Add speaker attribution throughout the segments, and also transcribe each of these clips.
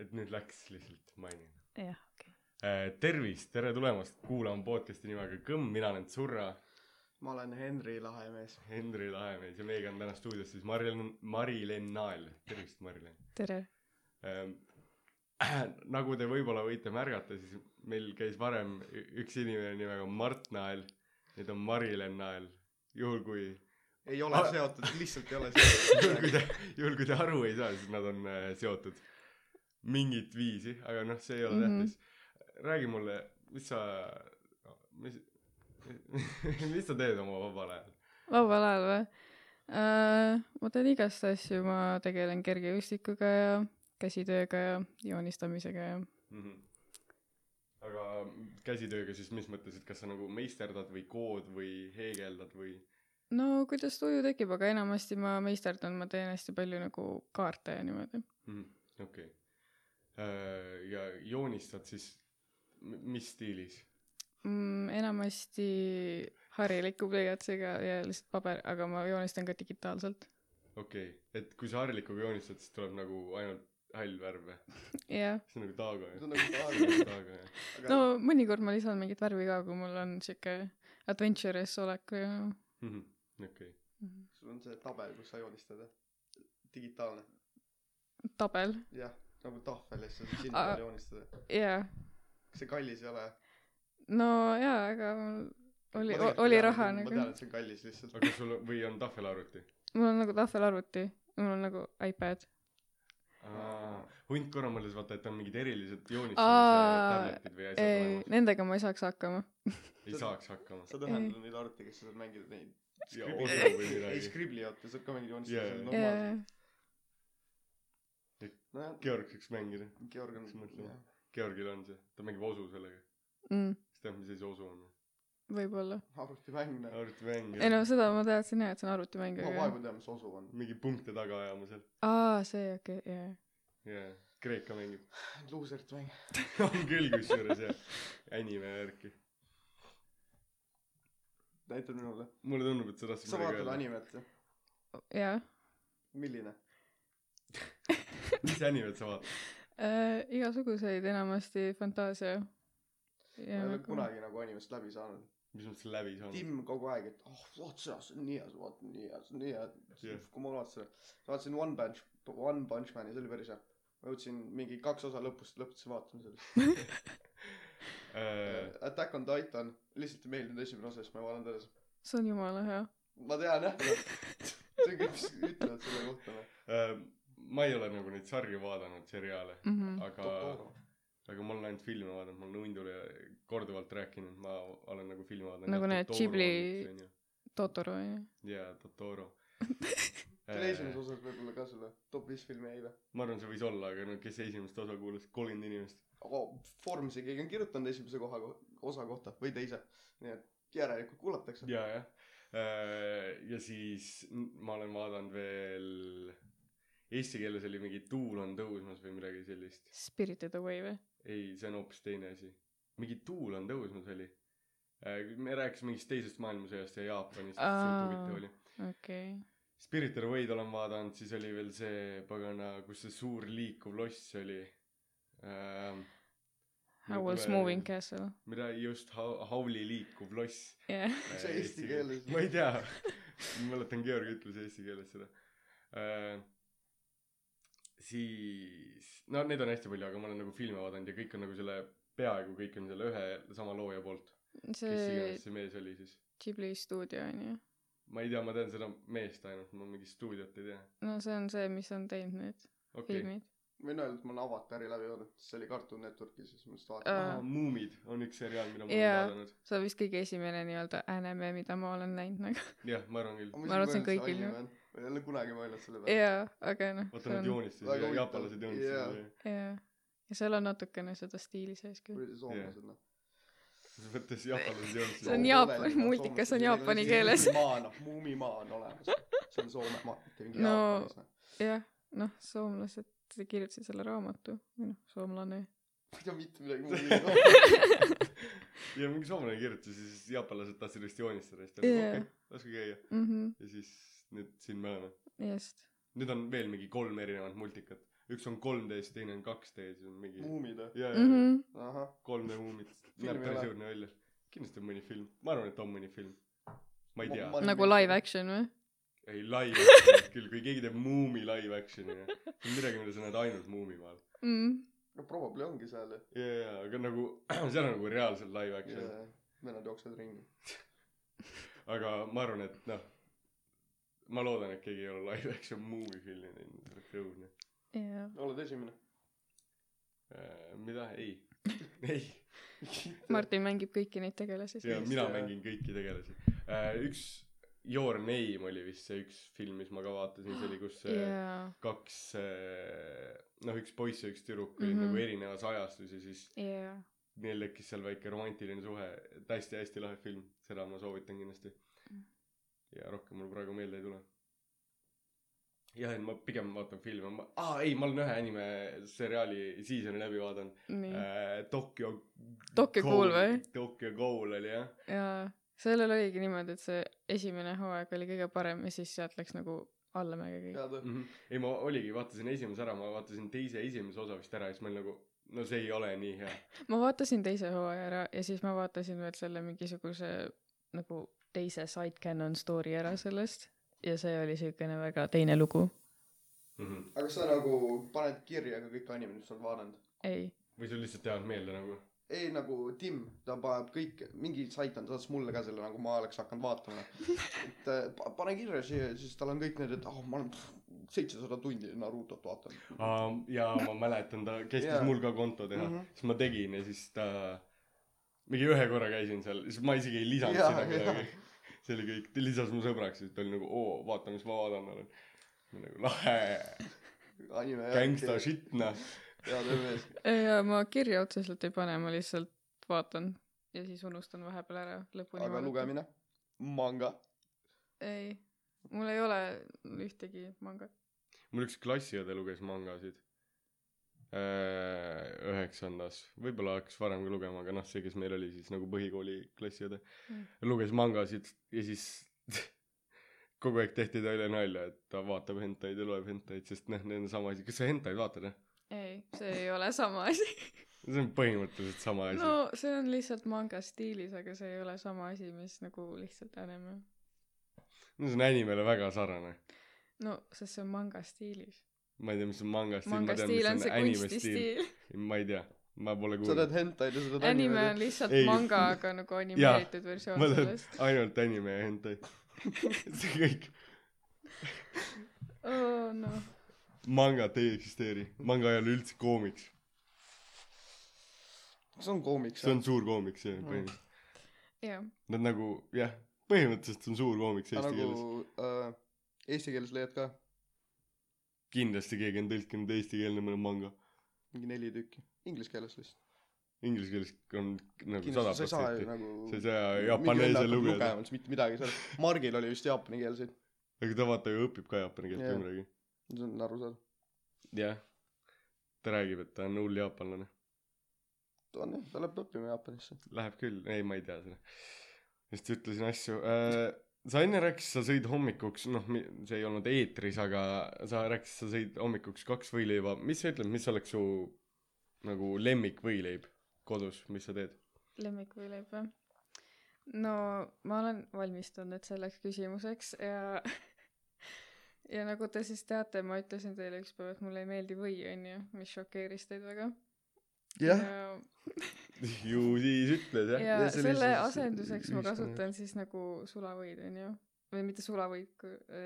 Speaker 1: et nüüd läks lihtsalt , mainin .
Speaker 2: jah , okei .
Speaker 1: tervist , tere tulemast kuulama podcast'i nimega Kõmm , mina olen Tsurra ,
Speaker 3: ma olen Henri Lahemees .
Speaker 1: Henri Lahemees ja meiega on täna stuudios siis Mari-Len- , Mari-Len Nael , tervist , Mari-Len .
Speaker 2: tere .
Speaker 1: Ähm, nagu te võib-olla võite märgata , siis meil käis varem ü- üks inimene nimega Mart Nael , nüüd on Mari-Len Nael . juhul kui ,
Speaker 3: ei ole
Speaker 1: Ah.
Speaker 3: seotud , lihtsalt ei ole
Speaker 1: juhul kui
Speaker 3: seotud .
Speaker 1: te , juhul kui te aru ei saa , siis nad on äh, seotud mingit viisi , aga noh , see ei ole
Speaker 2: Mhm.
Speaker 1: tähtis . räägi mulle , mis sa , mis , mis sa teed oma vabal ajal ?
Speaker 2: vabal ajal või äh, ? ma teen igast asju , ma tegelen kergejõustikuga ja käsitööga ja joonistamisega ja
Speaker 1: Mhm. aga käsitööga siis mis mõttes , et kas sa nagu meisterdad või kood või heegeldad või ?
Speaker 2: no kuidas tuju tekib , aga enamasti ma meisterdan , ma teen hästi palju nagu kaarte ja niimoodi .
Speaker 1: Mhm, okei okay. . ja joonistad siis m- mis stiilis ?
Speaker 2: mm, . enamasti hariliku pliiatsiga ja lihtsalt paber , aga ma joonistan ka digitaalselt .
Speaker 1: okei okay. , et kui sa harlikuga joonistad , siis tuleb nagu ainult hall värv või ?
Speaker 2: jah ,
Speaker 1: see on nagu taago
Speaker 3: see
Speaker 1: jah
Speaker 3: on ? nagu taag ,
Speaker 1: taago jah .
Speaker 3: aga
Speaker 2: no mõnikord ma lisan mingit värvi ka , kui mul on sihuke adventurous olek ja
Speaker 1: Mhm. okei ,
Speaker 2: mm,
Speaker 3: sul on see tabel , kus sa joonistad , jah ? digitaalne ,
Speaker 2: tabel ,
Speaker 3: jah , nagu tahvel ja siis sa saad sinna
Speaker 2: Ah.
Speaker 3: peale joonistada .
Speaker 2: jaa .
Speaker 3: kas see kallis ei ole ?
Speaker 2: no jaa , aga mul oli , oli raha
Speaker 3: ma tean ,
Speaker 2: nagu .
Speaker 3: et see on kallis lihtsalt .
Speaker 1: aga sul on- või on tahvelarvuti ?
Speaker 2: mul on nagu tahvelarvuti , mul on nagu iPad .
Speaker 1: hunt korra mõtles vaata , et on mingid erilised joonistamise
Speaker 2: Aa,
Speaker 1: tabletid või asjad
Speaker 2: ei ,
Speaker 1: olemas .
Speaker 2: nendega ma ei saaks hakkama .
Speaker 1: ei saaks hakkama .
Speaker 3: saad ühendada neid arvuteid , kes saavad mängida neid .
Speaker 1: Scribble'i
Speaker 3: ei
Speaker 1: või , midagi.
Speaker 3: ei Scribble'i oota , saab ka mängida
Speaker 1: Jaa,
Speaker 3: joonistada , see
Speaker 1: jaa.
Speaker 3: on normaalne .
Speaker 2: jaa ,
Speaker 3: nojah ,
Speaker 1: Georg saaks mängida ,
Speaker 3: Georg
Speaker 1: Mis ma
Speaker 3: on ,
Speaker 1: ütlen?
Speaker 3: jah .
Speaker 1: Georgil on see , ta mängib osu sellega . kas tead , mis asi see osu on ?
Speaker 2: Mm, võib-olla .
Speaker 3: arvutimäng , noh .
Speaker 1: arvutimäng
Speaker 2: ei
Speaker 1: ja
Speaker 2: no seda ma teadsin jah , et see on arvutimäng ,
Speaker 3: ma
Speaker 2: aga
Speaker 3: vaevu tean , mis osu on .
Speaker 1: mingi punkte taga ajama seal .
Speaker 2: aa , see okei okay, , jaa .
Speaker 1: jaa , Kreeka mängib .
Speaker 3: luusert mäng .
Speaker 1: on küll kusjuures jah , anime värki .
Speaker 3: näita minule .
Speaker 1: mulle tundub , et sa tahtsid
Speaker 3: sa vaatad . animet , jah ?
Speaker 2: jaa
Speaker 3: milline ?
Speaker 1: mis animet sa vaatad ?
Speaker 2: äh, , igasuguseid enamasti fantaasia .
Speaker 3: ma
Speaker 2: ja
Speaker 3: ei ole
Speaker 2: nagu ,
Speaker 3: kunagi nagu animest läbi saanud .
Speaker 1: mis mõttes läbi saanud ?
Speaker 3: Tim kogu aeg , et oh , vaata seda , see on nii hea , see vaata nii hea , see on nii hea
Speaker 1: Jah.
Speaker 3: yeah. . kui ma vaatasin , vaatasin One Punch , One Punch Mani , see oli päris hea . ma jõudsin mingi kaks osa lõpust , lõpetasin vaatama sellest .
Speaker 1: Äh,
Speaker 3: Attack on Titan , lihtsalt ei meeldinud esimene osa , siis ma ei vaadanud edasi .
Speaker 2: see on jumala hea .
Speaker 3: ma tean jah , see on kõik , mis ütlevad selle kohta . noh.
Speaker 1: Äh, ma ei ole nagu neid sarju vaadanud , seriaale ,
Speaker 2: Mm -hmm.
Speaker 1: aga , aga ma olen ainult filme vaadanud , ma olen Hundule korduvalt rääkinud , ma olen nagu filme vaadanud .
Speaker 2: Nagu need Ghibli- . Totoro on ju .
Speaker 1: jaa , Totoro
Speaker 3: see
Speaker 1: äh,
Speaker 3: oli esimeses osas võib-olla ka selle top viis filmi eile .
Speaker 1: ma arvan , see võis olla , aga no kes esimest osa kuulas , kolmkümmend inimest .
Speaker 3: aga Formsi keegi on kirjutanud esimese koha , osa kohta või teise . nii et järelikult kuulatakse .
Speaker 1: ja , jah . ja siis n- ma olen vaadanud veel , eesti keeles oli mingi Tuul on tõusmas või midagi sellist .
Speaker 2: Spirited Away või ?
Speaker 1: ei , see on hoopis teine asi . mingi Tuul on tõusmas oli . me rääkisime mingist teisest maailmasõjast ja Jaapanist , see
Speaker 2: Aa.
Speaker 1: huvitav oli .
Speaker 2: okei okay. .
Speaker 1: Spirited Away'd olen vaadanud , siis oli veel see pagana , kus see suur liikuv loss oli .
Speaker 2: Howl's Moving . Castle .
Speaker 1: mida just hau- , hauli liikuv loss Äh,
Speaker 2: jah .
Speaker 3: Mis see eesti keeles on?
Speaker 1: ma ei tea , ma mäletan , Georg ütles eesti keeles seda . siis , no neid on hästi palju , aga ma olen nagu filme vaadanud ja kõik on nagu selle , peaaegu kõik on selle ühe sama looja poolt . kes
Speaker 2: see
Speaker 1: iganes see mees oli siis .
Speaker 2: Ghibli stuudio on ju .
Speaker 1: ma ei tea , ma tean seda meest ainult , ma mingit stuudiot ei tea .
Speaker 2: no see on see , mis on teinud need okay.
Speaker 1: okei okay. ,
Speaker 2: filmid .
Speaker 3: võin öelda , et ma olen Avatari läbi vaadanud , see oli Cartoon Networkis ja siis ma lihtsalt
Speaker 2: Aa.
Speaker 3: vaatasin .
Speaker 1: Muumid on üks seriaal , mida ma olen
Speaker 2: Jaa.
Speaker 1: yeah. vaadanud .
Speaker 2: see on vist kõige esimene nii-öelda anime , mida ma olen näinud nagu .
Speaker 1: jah , ma arvan küll .
Speaker 2: Ma arvan, et see on kõigil ju.
Speaker 3: ju . ma ei ole kunagi mõelnud selle peale .
Speaker 2: jaa , aga noh ,
Speaker 1: vaata
Speaker 2: see
Speaker 1: nad
Speaker 2: on ,
Speaker 1: joonistasid
Speaker 3: väga
Speaker 1: ja
Speaker 3: huvitav.
Speaker 1: jaapanlased joonistasid
Speaker 3: Jaa.
Speaker 1: yeah. .
Speaker 2: jaa . ja seal on natukene seda stiili sees küll .
Speaker 3: või see soomlased noh .
Speaker 1: selles mõttes jaapanlased joonistasid .
Speaker 2: See on Jaapani-
Speaker 3: noh,
Speaker 2: multikas on jaapani keeles.
Speaker 3: maa noh , muumimaa on olemas . see on Soome maa , mitte mingi
Speaker 2: No.
Speaker 3: no. Jaapanis noh .
Speaker 2: jah , noh , soomlased kirjutasid selle raamatu , või noh , soomlane .
Speaker 3: ma ei tea mitte midagi muud .
Speaker 1: ja mingi soomlane kirjutas ja siis jaapanlased tahtsid vist joonistada ja siis ta
Speaker 2: Jaa.
Speaker 1: ütles okei laske käia
Speaker 2: mhm ,
Speaker 1: ja siis nüüd siin me oleme
Speaker 2: just .
Speaker 1: nüüd on veel mingi kolm erinevat multikat üks on kolmteist , teine on kaksteist , mingi
Speaker 3: muumid või ?
Speaker 1: ja , ja , ja
Speaker 2: mhmh ,
Speaker 3: ahah ,
Speaker 1: kolm ja muumit
Speaker 3: Filmi
Speaker 1: näeb päris
Speaker 3: või?
Speaker 1: õudne välja kindlasti on mõni film ma arvan et on mõni film ma ei
Speaker 3: Ma-
Speaker 1: tea
Speaker 3: ma-
Speaker 2: nagu live action või ?
Speaker 1: ei live action'it küll kui keegi teeb muumi live action'i jah see on midagi mida sa näed ainult muumimaal
Speaker 2: mm. .
Speaker 3: no probably ongi seal ju .
Speaker 1: ja ja aga nagu seal on nagu reaalselt live action yeah.
Speaker 3: vennad jooksevad ringi .
Speaker 1: aga ma arvan et noh ma loodan et keegi ei ole live action muumifilmi teinud see oleks õudne
Speaker 2: jah ,
Speaker 3: oled esimene ?
Speaker 1: Äh, mida ei ei
Speaker 2: Martin mängib kõiki neid tegelasi
Speaker 1: ja
Speaker 2: seal .
Speaker 1: mina
Speaker 3: jah.
Speaker 1: mängin kõiki tegelasi Äh, üks Your Name oli vist see üks film mis ma ka vaatasin see oli kus see
Speaker 2: jaa ,
Speaker 1: kaks äh, noh üks poiss ja üks tüdruk olid
Speaker 2: Mhm.
Speaker 1: nagu erinevas ajastus ja siis
Speaker 2: jaa .
Speaker 1: neil tekkis seal väike romantiline suhe et hästi hästi lahe film seda ma soovitan kindlasti
Speaker 2: Mhm.
Speaker 1: ja rohkem mul praegu meelde ei tule jah et ma pigem vaatan filme ma aa ei ma olen ühe anime seriaali season'i läbi vaadanud
Speaker 2: nii ,
Speaker 1: äh, Tokyo
Speaker 2: Mhm. Tokyo Ghoul või?
Speaker 1: Tokyo Ghoul oli jah
Speaker 2: jaa . sellel oligi niimoodi , et see esimene hooaeg oli kõige parem ja siis sealt läks nagu allamäge kõik .
Speaker 3: tead või ?
Speaker 1: mm -hmm. ei ma oligi vaatasin esimese ära ma vaatasin teise ja esimese osa vist ära ja siis ma olin nagu no see ei ole nii hea
Speaker 2: ma vaatasin teise hooaja ära ja siis ma vaatasin veel selle mingisuguse nagu teise side-canon story ära sellest ja see oli siukene väga teine lugu .
Speaker 1: mm -hmm.
Speaker 3: aga sa nagu paned kirja ka kõik animid , mis sa oled vaadanud ?
Speaker 2: ei ,
Speaker 1: või sul lihtsalt ei olnud meelde nagu
Speaker 3: ei nagu Tim , ta paneb kõik , mingi sait on , ta saatis mulle ka selle , nagu ma oleks hakanud vaatama . et äh, pa- pane kirja siia , siis tal on kõik need , et ah oh, , ma olen seitsesada tundi Narutot vaatanud .
Speaker 1: um, . jaa , ma mäletan , ta kestis
Speaker 3: Jaa.
Speaker 1: yeah. mul ka konto teha mm ,
Speaker 3: Mhm.
Speaker 1: -hmm. siis ma tegin ja siis ta , mingi ühe korra käisin seal , siis ma isegi ei lisanud
Speaker 3: Jaa,
Speaker 1: yeah, sinna
Speaker 3: jaa.
Speaker 1: midagi yeah. . see oli kõik , ta lisas mu sõbraks ja siis ta oli nagu oo , vaata , mis ma vaadanud olen . nagu lahe ,
Speaker 3: anime .
Speaker 1: gängsta . shit noh .
Speaker 3: head mees .
Speaker 2: ja ma kirja otseselt ei pane , ma lihtsalt vaatan ja siis unustan vahepeal ära lõpuni .
Speaker 3: aga . lugemine ? manga .
Speaker 2: ei , mul ei ole ühtegi mangat .
Speaker 1: mul üks klassiõde luges mangasid . Üheksandas , võib-olla hakkas varem ka lugema , aga noh , see , kes meil oli siis nagu põhikooli klassiõde
Speaker 2: Mm.
Speaker 1: mm. , luges mangasid ja siis kogu aeg tehti talle nalja , et ta vaatab hentaid ja loeb hentaid , sest noh , need on sama asi , kas sa hentaid vaatad jah ?
Speaker 2: ei , see ei ole sama asi .
Speaker 1: see on põhimõtteliselt sama asi no. .
Speaker 2: no see on lihtsalt manga stiilis , aga see ei ole sama asi , mis nagu lihtsalt anime .
Speaker 1: no see on animele väga sarnane .
Speaker 2: no sest see on manga stiilis .
Speaker 1: ma ei tea , mis on manga stiil , ma
Speaker 2: manga
Speaker 1: tean ,
Speaker 2: stiil on
Speaker 1: mis
Speaker 2: see
Speaker 1: on anime stiil .
Speaker 2: kunstistiil .
Speaker 1: ma ei tea , ma pole
Speaker 3: sa teed
Speaker 1: kuulnud .
Speaker 3: hentaid ja sa teed
Speaker 2: anime
Speaker 3: animeid.
Speaker 2: on lihtsalt
Speaker 1: Ei.
Speaker 2: ei. manga , aga nagu animeeritud versioon
Speaker 1: ma teen
Speaker 2: sellest .
Speaker 1: ainult anime ja hentaid . see kõik
Speaker 2: oo noh ,
Speaker 1: mangat ei eksisteeri , manga ei ole üldse koomiks ,
Speaker 3: see on koomiks
Speaker 1: see on suur koomiks jah
Speaker 3: Mm.
Speaker 1: põhimõtteliselt ,
Speaker 2: jah .
Speaker 1: nad nagu jah , põhimõtteliselt see on suur koomiks
Speaker 3: aga
Speaker 1: eesti nagu... keeles ,
Speaker 3: nagu äh, eesti keeles leiad ka
Speaker 1: kindlasti keegi on tõlkinud eestikeelne mõne manga ,
Speaker 3: mingi neli tükki inglise keeles vist
Speaker 1: inglise keeles on nagu sada
Speaker 3: kindlasti sa ei saa ju
Speaker 1: protsenti ,
Speaker 3: nagu
Speaker 1: sa ei saa
Speaker 3: mingi vend
Speaker 1: jaapaneese
Speaker 3: hakkab
Speaker 1: lugeda ,
Speaker 3: lugema siis mitte midagi seal Margil oli vist jaapanikeelseid
Speaker 1: aga ta vaata ju õpib ka jaapani keelt
Speaker 3: Jah.
Speaker 1: või midagi ,
Speaker 3: see on arusaadav
Speaker 1: jah , ta räägib , et ta on hull jaapanlane ,
Speaker 3: ta on jah ta läheb õppima Jaapanisse
Speaker 1: läheb küll , ei ma ei tea seda , just ütlesin asju äh, , sa enne rääkisid , sa sõid hommikuks , noh , see ei olnud eetris , aga sa rääkisid , sa sõid hommikuks kaks võileiba , mis sa ütled , mis oleks su nagu lemmikvõileib kodus , mis sa teed ?
Speaker 2: lemmikvõileib või ? no ma olen valmistunud selleks küsimuseks ja ja nagu te siis teate , ma ütlesin teile ükspäev , et mulle ei meeldi või , onju , mis šokeeris teid väga .
Speaker 3: jah
Speaker 2: Äh,
Speaker 1: ju siis ütled jah
Speaker 2: ja
Speaker 3: ja see oli
Speaker 2: selle
Speaker 3: siis
Speaker 2: asenduseks ma
Speaker 1: ühiskonna-
Speaker 2: kasutan siis nagu sulavõid , onju . või mitte sulavõid ,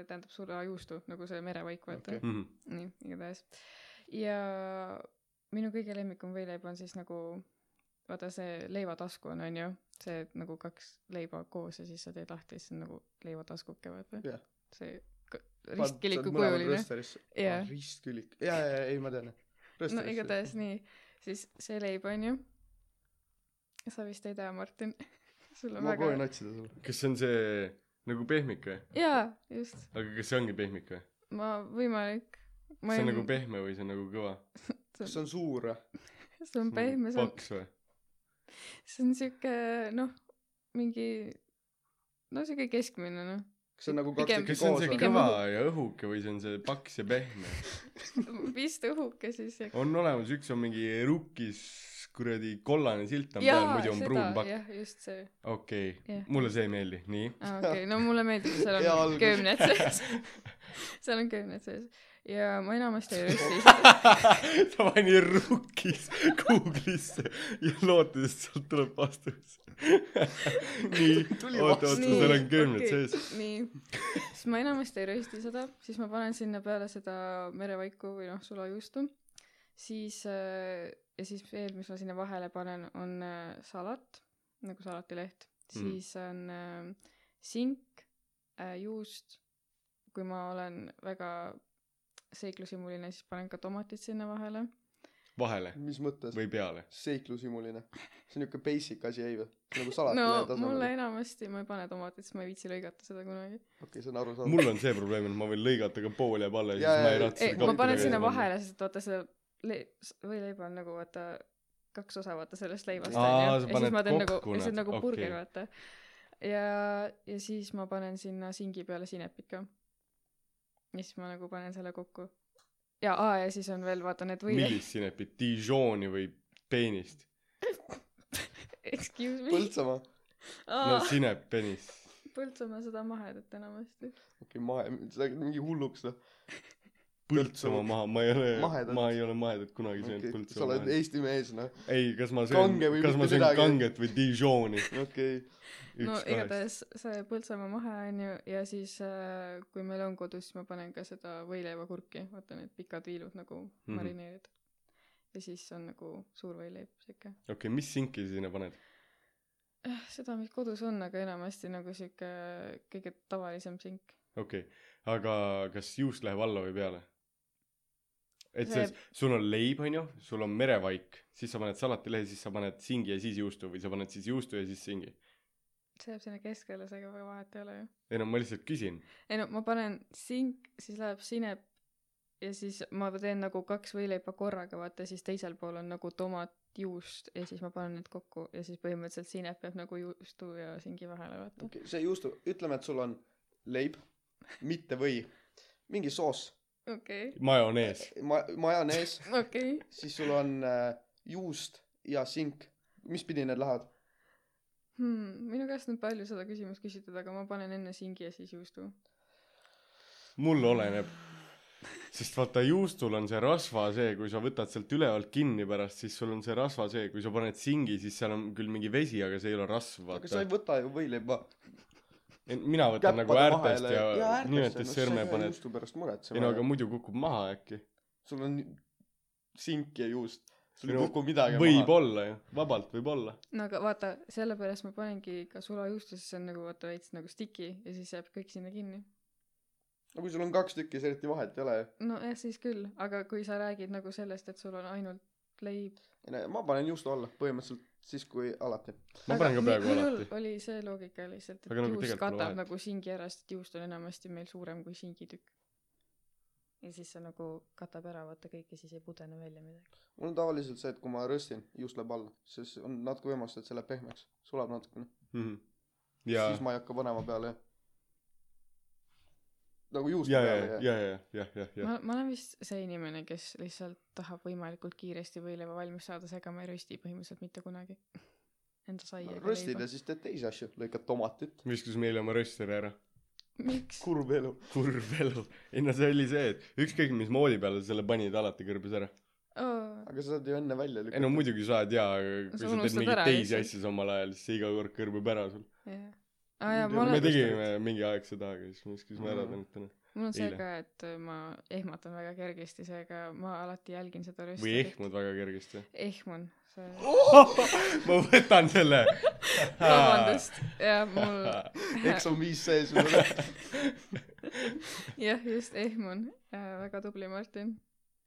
Speaker 2: tähendab sulajuustu , nagu see merevaik , vaata
Speaker 3: Okei.
Speaker 2: okay. .
Speaker 1: mm . -hmm.
Speaker 2: nii , igatahes . ja minu kõige lemmikum võileib on siis nagu , vaata see leivatasku on , on ju , see et nagu kaks leiba koos ja siis sa teed lahti ja siis on nagu leivataskuke , vaata
Speaker 3: Jah.
Speaker 2: see k- ristkiliku kujuline .
Speaker 3: jaa
Speaker 2: jah ,
Speaker 3: ristkilik jaa jaa jaa ei ma tean
Speaker 2: no igatahes nii , siis see leib on ju . sa vist ei tea , Martin ? sul on
Speaker 3: ma
Speaker 2: väga
Speaker 3: proovin otsida sulle
Speaker 1: kas see on see nagu pehmik või ?
Speaker 2: jaa , just ,
Speaker 1: aga kas see ongi pehmik või ?
Speaker 2: ma võimalik . ma
Speaker 1: see on
Speaker 2: ei ,
Speaker 1: nagu pehme või see on nagu kõva ?
Speaker 3: kas see on suur vä
Speaker 2: see
Speaker 1: nagu
Speaker 2: on pehme , see on
Speaker 1: paks või ?
Speaker 2: see on siuke noh mingi no siuke keskmine noh
Speaker 3: kas kas see on nagu
Speaker 2: Pigem-
Speaker 1: kas
Speaker 3: kaks tükki
Speaker 1: see on
Speaker 3: koos
Speaker 1: see
Speaker 3: või?
Speaker 2: pigem-
Speaker 1: kõva ja õhuke või see on see paks ja pehme ?
Speaker 2: noh. vist õhuke siis ja
Speaker 1: on olemas , üks on mingi rukkis kuradi kollane silt on peal , muidu on pruun pakk .
Speaker 2: jah , just see .
Speaker 1: okei
Speaker 2: Jah. ,
Speaker 1: mulle see ei meeldi , nii .
Speaker 2: aa , okei okay. , no mulle meeldib , seal
Speaker 3: Hea
Speaker 2: on
Speaker 3: algus.
Speaker 2: köömned sees . seal on köömned sees ja ma enamasti ei rösti ise .
Speaker 1: ta pani rukkis Google'isse ja lootes , et sealt tuleb vastus . nii ,
Speaker 3: Tuli
Speaker 1: oota , oota ,
Speaker 3: vastus.
Speaker 1: seal on köömned sees ..
Speaker 2: nii , siis ma enamasti ei rösti seda , siis ma panen sinna peale seda merevaiku või noh , sulajuustu , siis äh, ja siis veel , mis ma sinna vahele panen , on äh, salat , nagu salatileht ,
Speaker 1: Mm.
Speaker 2: siis on äh, sink äh, , juust , kui ma olen väga seiklusimuline , siis panen ka tomatit sinna vahele .
Speaker 1: vahele
Speaker 3: mis mõttes ?
Speaker 1: või peale ?
Speaker 3: seiklusimuline . see on niuke basic asi , ei või ? nagu salat
Speaker 2: no
Speaker 3: üle tasemel
Speaker 2: mulle . enamasti ma ei pane tomatit , sest ma ei viitsi lõigata seda kunagi .
Speaker 3: okei , see on arusaadav .
Speaker 1: mul on see probleem , et ma võin lõigata ka pool jääb alla ja
Speaker 3: Jaa,
Speaker 1: siis ma ei
Speaker 3: jaa,
Speaker 1: raatsi
Speaker 2: ei
Speaker 3: Ei, ,
Speaker 2: ma
Speaker 3: kappi
Speaker 2: panen
Speaker 3: taga
Speaker 2: sinna
Speaker 3: ei ole.
Speaker 2: vahele , sest vaata see leib , võileiba on nagu vaata kaks osa vaata sellest leivast
Speaker 1: Aa,
Speaker 2: onju . ja
Speaker 1: sa
Speaker 2: siis
Speaker 1: paned
Speaker 2: ma teen nagu ,
Speaker 1: kokku
Speaker 2: ja siis
Speaker 1: nad,
Speaker 2: on nagu
Speaker 1: okei.
Speaker 2: burger okay. vaata . ja , ja siis ma panen sinna singi peale sinepit ka . ja siis ma nagu panen selle kokku . ja , aa ja siis on veel vaata need võileib .
Speaker 1: millist sinepit , Dijoni või peenist ?
Speaker 2: Excuse me .
Speaker 3: Põltsamaa .
Speaker 1: no
Speaker 2: aa ,
Speaker 1: sinep , peenis .
Speaker 2: Põltsamaa seda mahedat enamasti .
Speaker 3: okei , mahe , see on mingi hulluks noh .
Speaker 1: Põltsamaa maha , ma ei ole ,
Speaker 3: Mahedat.
Speaker 1: ma ei ole mahedat kunagi söönud
Speaker 3: okei , sa
Speaker 1: Põltsamaa
Speaker 3: oled
Speaker 1: mahedat .
Speaker 3: Eesti mees noh .
Speaker 1: ei , kas ma söön
Speaker 3: Kange või ,
Speaker 1: kas ma
Speaker 3: mitte
Speaker 1: söön
Speaker 3: midagi.
Speaker 1: kanget või Dijoni ?
Speaker 3: okei .
Speaker 2: no . igatahes see Põltsamaa mahe on ju ja siis äh, kui meil on kodus , siis ma panen ka seda võileivakurki , vaata need pikad viilud nagu mm
Speaker 1: Mhm.
Speaker 2: -hmm. marineerid . ja siis on nagu suur võileib siuke .
Speaker 1: okei , mis sinki sa sinna paned ?
Speaker 2: Äh, seda , mis kodus on , aga enamasti nagu siuke kõige tavalisem sink .
Speaker 1: okei , aga kas juust läheb alla või peale ? et
Speaker 2: See-
Speaker 1: see , sul on leib , onju , sul on merevaik , siis sa paned salatilehe , siis sa paned singi ja siis juustu või sa paned siis juustu ja siis singi .
Speaker 2: see jääb sinna keskele , seega väga vahet ei ole ju .
Speaker 1: ei no ma lihtsalt küsin .
Speaker 2: ei no ma panen sink , siis läheb sinep ja siis ma teen nagu kaks võileiba korraga , vaata siis teisel pool on nagu tomat , juust ja siis ma panen need kokku ja siis põhimõtteliselt sinep jääb nagu juustu ja singi vahele , vaata .
Speaker 3: okei , see juustu , ütleme , et sul on leib , mitte või , mingi soos ,
Speaker 2: okei ,
Speaker 1: majonees .
Speaker 3: ma- , majonees ,
Speaker 2: okei .
Speaker 3: siis sul on äh, juust ja sink . mis pidi need lähevad ?
Speaker 2: Hmm, minu käest on palju seda küsimust küsitud , aga ma panen enne singi ja siis juustu .
Speaker 1: mul oleneb . sest vaata juustul on see rasva see , kui sa võtad sealt ülevalt kinni pärast , siis sul on see rasva see , kui sa paned singi , siis seal on küll mingi vesi , aga see ei ole rasv ,
Speaker 3: aga sa
Speaker 1: vaata
Speaker 3: ei . võta ju võileiba .
Speaker 1: mina võtan nagu äärtest ja, ja nimetest sõrme paned .
Speaker 3: juustu pärast
Speaker 1: ei no
Speaker 3: muretsema
Speaker 1: aga . muidu kukub maha äkki .
Speaker 3: sul on sink ja juust . sul
Speaker 1: Ei
Speaker 3: ei
Speaker 1: no
Speaker 3: kuku midagi maha .
Speaker 1: võib-olla ju , vabalt võib-olla .
Speaker 2: no aga vaata , sellepärast ma panengi ka sulajuustu , sest see on nagu vaata veits nagu sticky ja siis jääb kõik sinna kinni .
Speaker 3: no kui sul on kaks tükki , siis eriti vahet ei ole ju .
Speaker 2: nojah , siis küll , aga kui sa räägid nagu sellest , et sul on ainult leib
Speaker 3: ei no ma panen juustu alla põhimõtteliselt siis , kui alati .
Speaker 1: ma
Speaker 2: Aga
Speaker 1: panen ka
Speaker 2: mi-
Speaker 1: praegu
Speaker 2: minul
Speaker 1: alati .
Speaker 2: oli see loogika lihtsalt , et
Speaker 1: Aga nagu
Speaker 2: nagu juust
Speaker 1: tegelikult pole
Speaker 2: katab
Speaker 1: vahet.
Speaker 2: nagu singi ära , sest juust on enamasti meil suurem kui singitükk . ja siis see nagu katab ära vaata kõik ja siis ei pudene välja midagi .
Speaker 3: mul on tavaliselt see , et kui ma röstin , juust läheb alla , siis on natuke võimalust , et see läheb pehmeks , sulab natukene .
Speaker 1: Mhm. ja ,
Speaker 3: siis ma ei hakka panema peale nagu juust
Speaker 1: ja , ja ,
Speaker 3: peale
Speaker 1: ja , ja , jah , jah , jah .
Speaker 2: ma , ma olen vist see inimene , kes lihtsalt tahab võimalikult kiiresti võileiva valmis saada , seega ma ei rösti põhimõtteliselt mitte kunagi enda saia .
Speaker 3: röstid ja . siis teed teisi asju , lõikad tomatit ,
Speaker 1: viskas meile oma rösteri ära .
Speaker 2: miks ?
Speaker 3: kurb elu .
Speaker 1: kurb elu . ei no see oli see , et ükskõik mis moodi peale sa selle panid , alati kõrbes ära .
Speaker 2: Oh,
Speaker 3: aga sa saad ju enne välja
Speaker 1: ei no
Speaker 3: lükata .
Speaker 1: muidugi saad jaa , aga kui sa, sa
Speaker 2: Sa
Speaker 1: teed
Speaker 2: unustad
Speaker 1: mingeid
Speaker 2: ära
Speaker 1: teisi
Speaker 2: lihtsalt.
Speaker 1: asju samal ajal , siis see iga kord kõrbeb ära sul .
Speaker 2: jah . aa jaa , ma
Speaker 3: Ma
Speaker 1: me
Speaker 2: olen , Mm.
Speaker 1: tegime mingi aeg seda , aga siis me viskasime ära
Speaker 3: Mhm.
Speaker 1: tänitena .
Speaker 2: mul on see
Speaker 1: eile.
Speaker 2: ka , et äh, ma ehmatan väga kergesti , seega ma alati jälgin seda rösti .
Speaker 1: või . ehmud väga kergesti .
Speaker 2: ehmun , see
Speaker 1: ma võtan selle .
Speaker 2: vabandust , jah , mul ,
Speaker 3: eks on viis sees veel .
Speaker 2: jah , just ehmun äh, , väga tubli Martin ,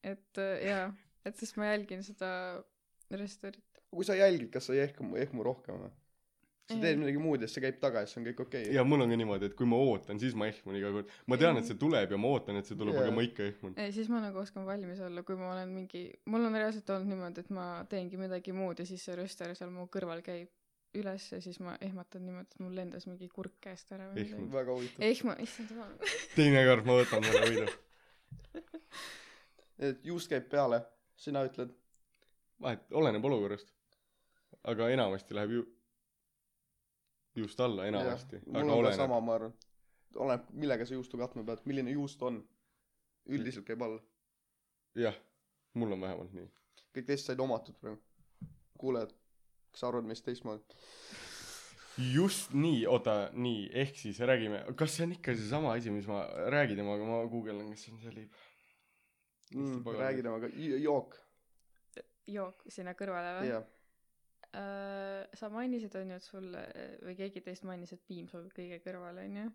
Speaker 2: et äh, jaa , et siis ma jälgin seda restoranit .
Speaker 3: kui sa jälgid , kas sa ei ehku , ehmu rohkem või ? sa
Speaker 2: Ei.
Speaker 3: teed midagi muud ja siis see käib taga ja siis on kõik okei okay. .
Speaker 1: ja mul on ka niimoodi , et kui ma ootan , siis ma ehmun iga kord . ma tean , et see tuleb ja ma ootan , et see tuleb ,
Speaker 3: Jaa.
Speaker 1: aga ma ikka ehmun .
Speaker 2: ei , siis ma nagu oskan valmis olla , kui ma olen mingi , mul on reaalselt olnud niimoodi , et ma teengi midagi muud ja siis see röster seal mu kõrval käib üles ja siis ma ehmatan niimoodi , et mul lendas mingi kurk käest ära või
Speaker 1: Ehmad.
Speaker 2: midagi .
Speaker 3: väga huvitav .
Speaker 2: ehma , issand jumal .
Speaker 1: teinekord ma võtan selle noh, võidu .
Speaker 3: et juust käib peale , sina ütled ,
Speaker 1: vahet , oleneb olukorrast . aga enamasti läheb ju just alla enamasti ,
Speaker 3: mul
Speaker 1: aga
Speaker 3: on ka
Speaker 1: oleneb .
Speaker 3: sama , ma arvan . oleneb , millega sa juustu katma pead , milline juust on . üldiselt käib alla .
Speaker 1: jah , mul on vähemalt nii .
Speaker 3: kõik teist said omatud praegu . kuulajad , kas sa arvad meist teistmoodi ?
Speaker 1: just nii , oota , nii , ehk siis räägime , kas see on ikka seesama asi , mis ma räägin temaga , ma guugeldan , kas see on see liib .
Speaker 3: mm, .
Speaker 1: pagan.
Speaker 3: räägi temaga , jook ,
Speaker 2: jook sinna kõrvale või ?
Speaker 3: jah .
Speaker 2: Äh, sa mainisid , on ju , et sul äh, või keegi teist mainis , et piim sobib kõige kõrvale , on ju .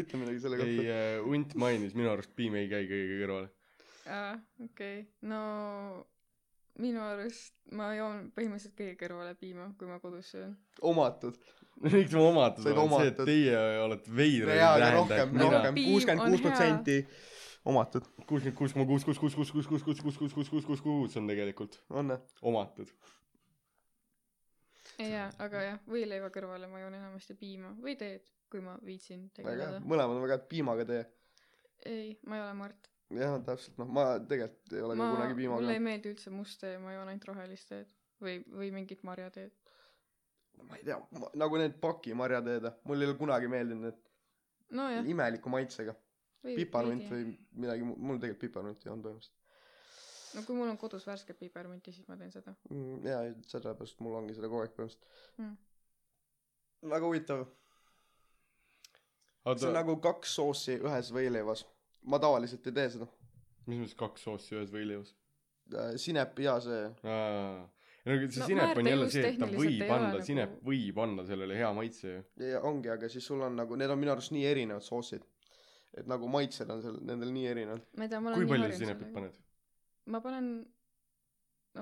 Speaker 3: ütle midagi selle
Speaker 1: ei äh,
Speaker 3: kohta .,
Speaker 1: hunt mainis , minu arust piim ei käi kõige kõrvale .
Speaker 2: aa , okei okay. , no minu arust ma joon põhimõtteliselt kõige kõrvale piima , kui ma kodus söön .
Speaker 3: omatud .
Speaker 1: miks ma omatud
Speaker 3: Said
Speaker 1: olen , see , et
Speaker 3: omatud.
Speaker 1: teie olete veidrad ja
Speaker 3: reaalne
Speaker 1: tähendab ,
Speaker 3: rohkem ,
Speaker 1: mina
Speaker 3: rohkem ,
Speaker 2: Piim
Speaker 3: kuuskümmend kuus
Speaker 2: on hea.
Speaker 3: protsenti omatud ,
Speaker 1: kuuskümmend kuus koma kuus , kuus , kuus , kuus , kuus , kuus , kuus , kuus , kuus , kuus , kuus , kuus , kuus on tegelikult
Speaker 3: on või ?
Speaker 1: omatud .
Speaker 2: jaa , aga jah , võileiva kõrvale ma joon enamasti piima või teed , kui ma viitsin
Speaker 3: väga hea ,
Speaker 2: tegeleda .
Speaker 3: mõlemad on väga head , piimaga tee .
Speaker 2: ei , ma ei ole Mart .
Speaker 3: jah , täpselt , noh , ma tegelikult ei ole
Speaker 2: ma
Speaker 3: ka , kunagi piimaga
Speaker 2: mulle ei . meeldi üldse must tee , ma joon ainult rohelist teed või , või mingit marjateed .
Speaker 3: ma ei tea , nagu need pakimarjateed , mul ei ole kunagi meeldinud need
Speaker 2: nojah .
Speaker 3: imeliku maitsega . piparmünt või midagi , mul tegelikult piparmünti on põhimõtteliselt
Speaker 2: no kui mul on kodus värsket piparmünti , siis ma teen seda .
Speaker 3: mm, . jaa , sellepärast mul ongi seda kogu aeg põhimõtteliselt
Speaker 2: Mm.
Speaker 3: mm. . väga huvitav , see on
Speaker 1: oota ,
Speaker 3: nagu kaks soosi ühes võileivas . ma tavaliselt ei tee seda .
Speaker 1: mis mõttes kaks soossi ühes võileivas ?
Speaker 3: sinep ja see ,
Speaker 1: Aa. no aga see no,
Speaker 2: No
Speaker 1: sinep on
Speaker 2: määrde
Speaker 1: jälle
Speaker 2: juust
Speaker 1: see , et ta
Speaker 2: tehniliselt
Speaker 1: võib
Speaker 2: ei ole
Speaker 1: anda
Speaker 2: nagu-
Speaker 1: nagu... , sinep võib anda sellele hea maitse ju .
Speaker 3: ongi , aga siis sul on nagu , need on minu arust nii erinevad soosid . et nagu maitsed on seal , nendel nii erinevad .
Speaker 2: ma ei tea , ma olen
Speaker 1: kui
Speaker 2: nii
Speaker 1: palju
Speaker 2: harjunud
Speaker 1: sa sinepit
Speaker 2: sellega.
Speaker 1: paned ?
Speaker 2: ma panen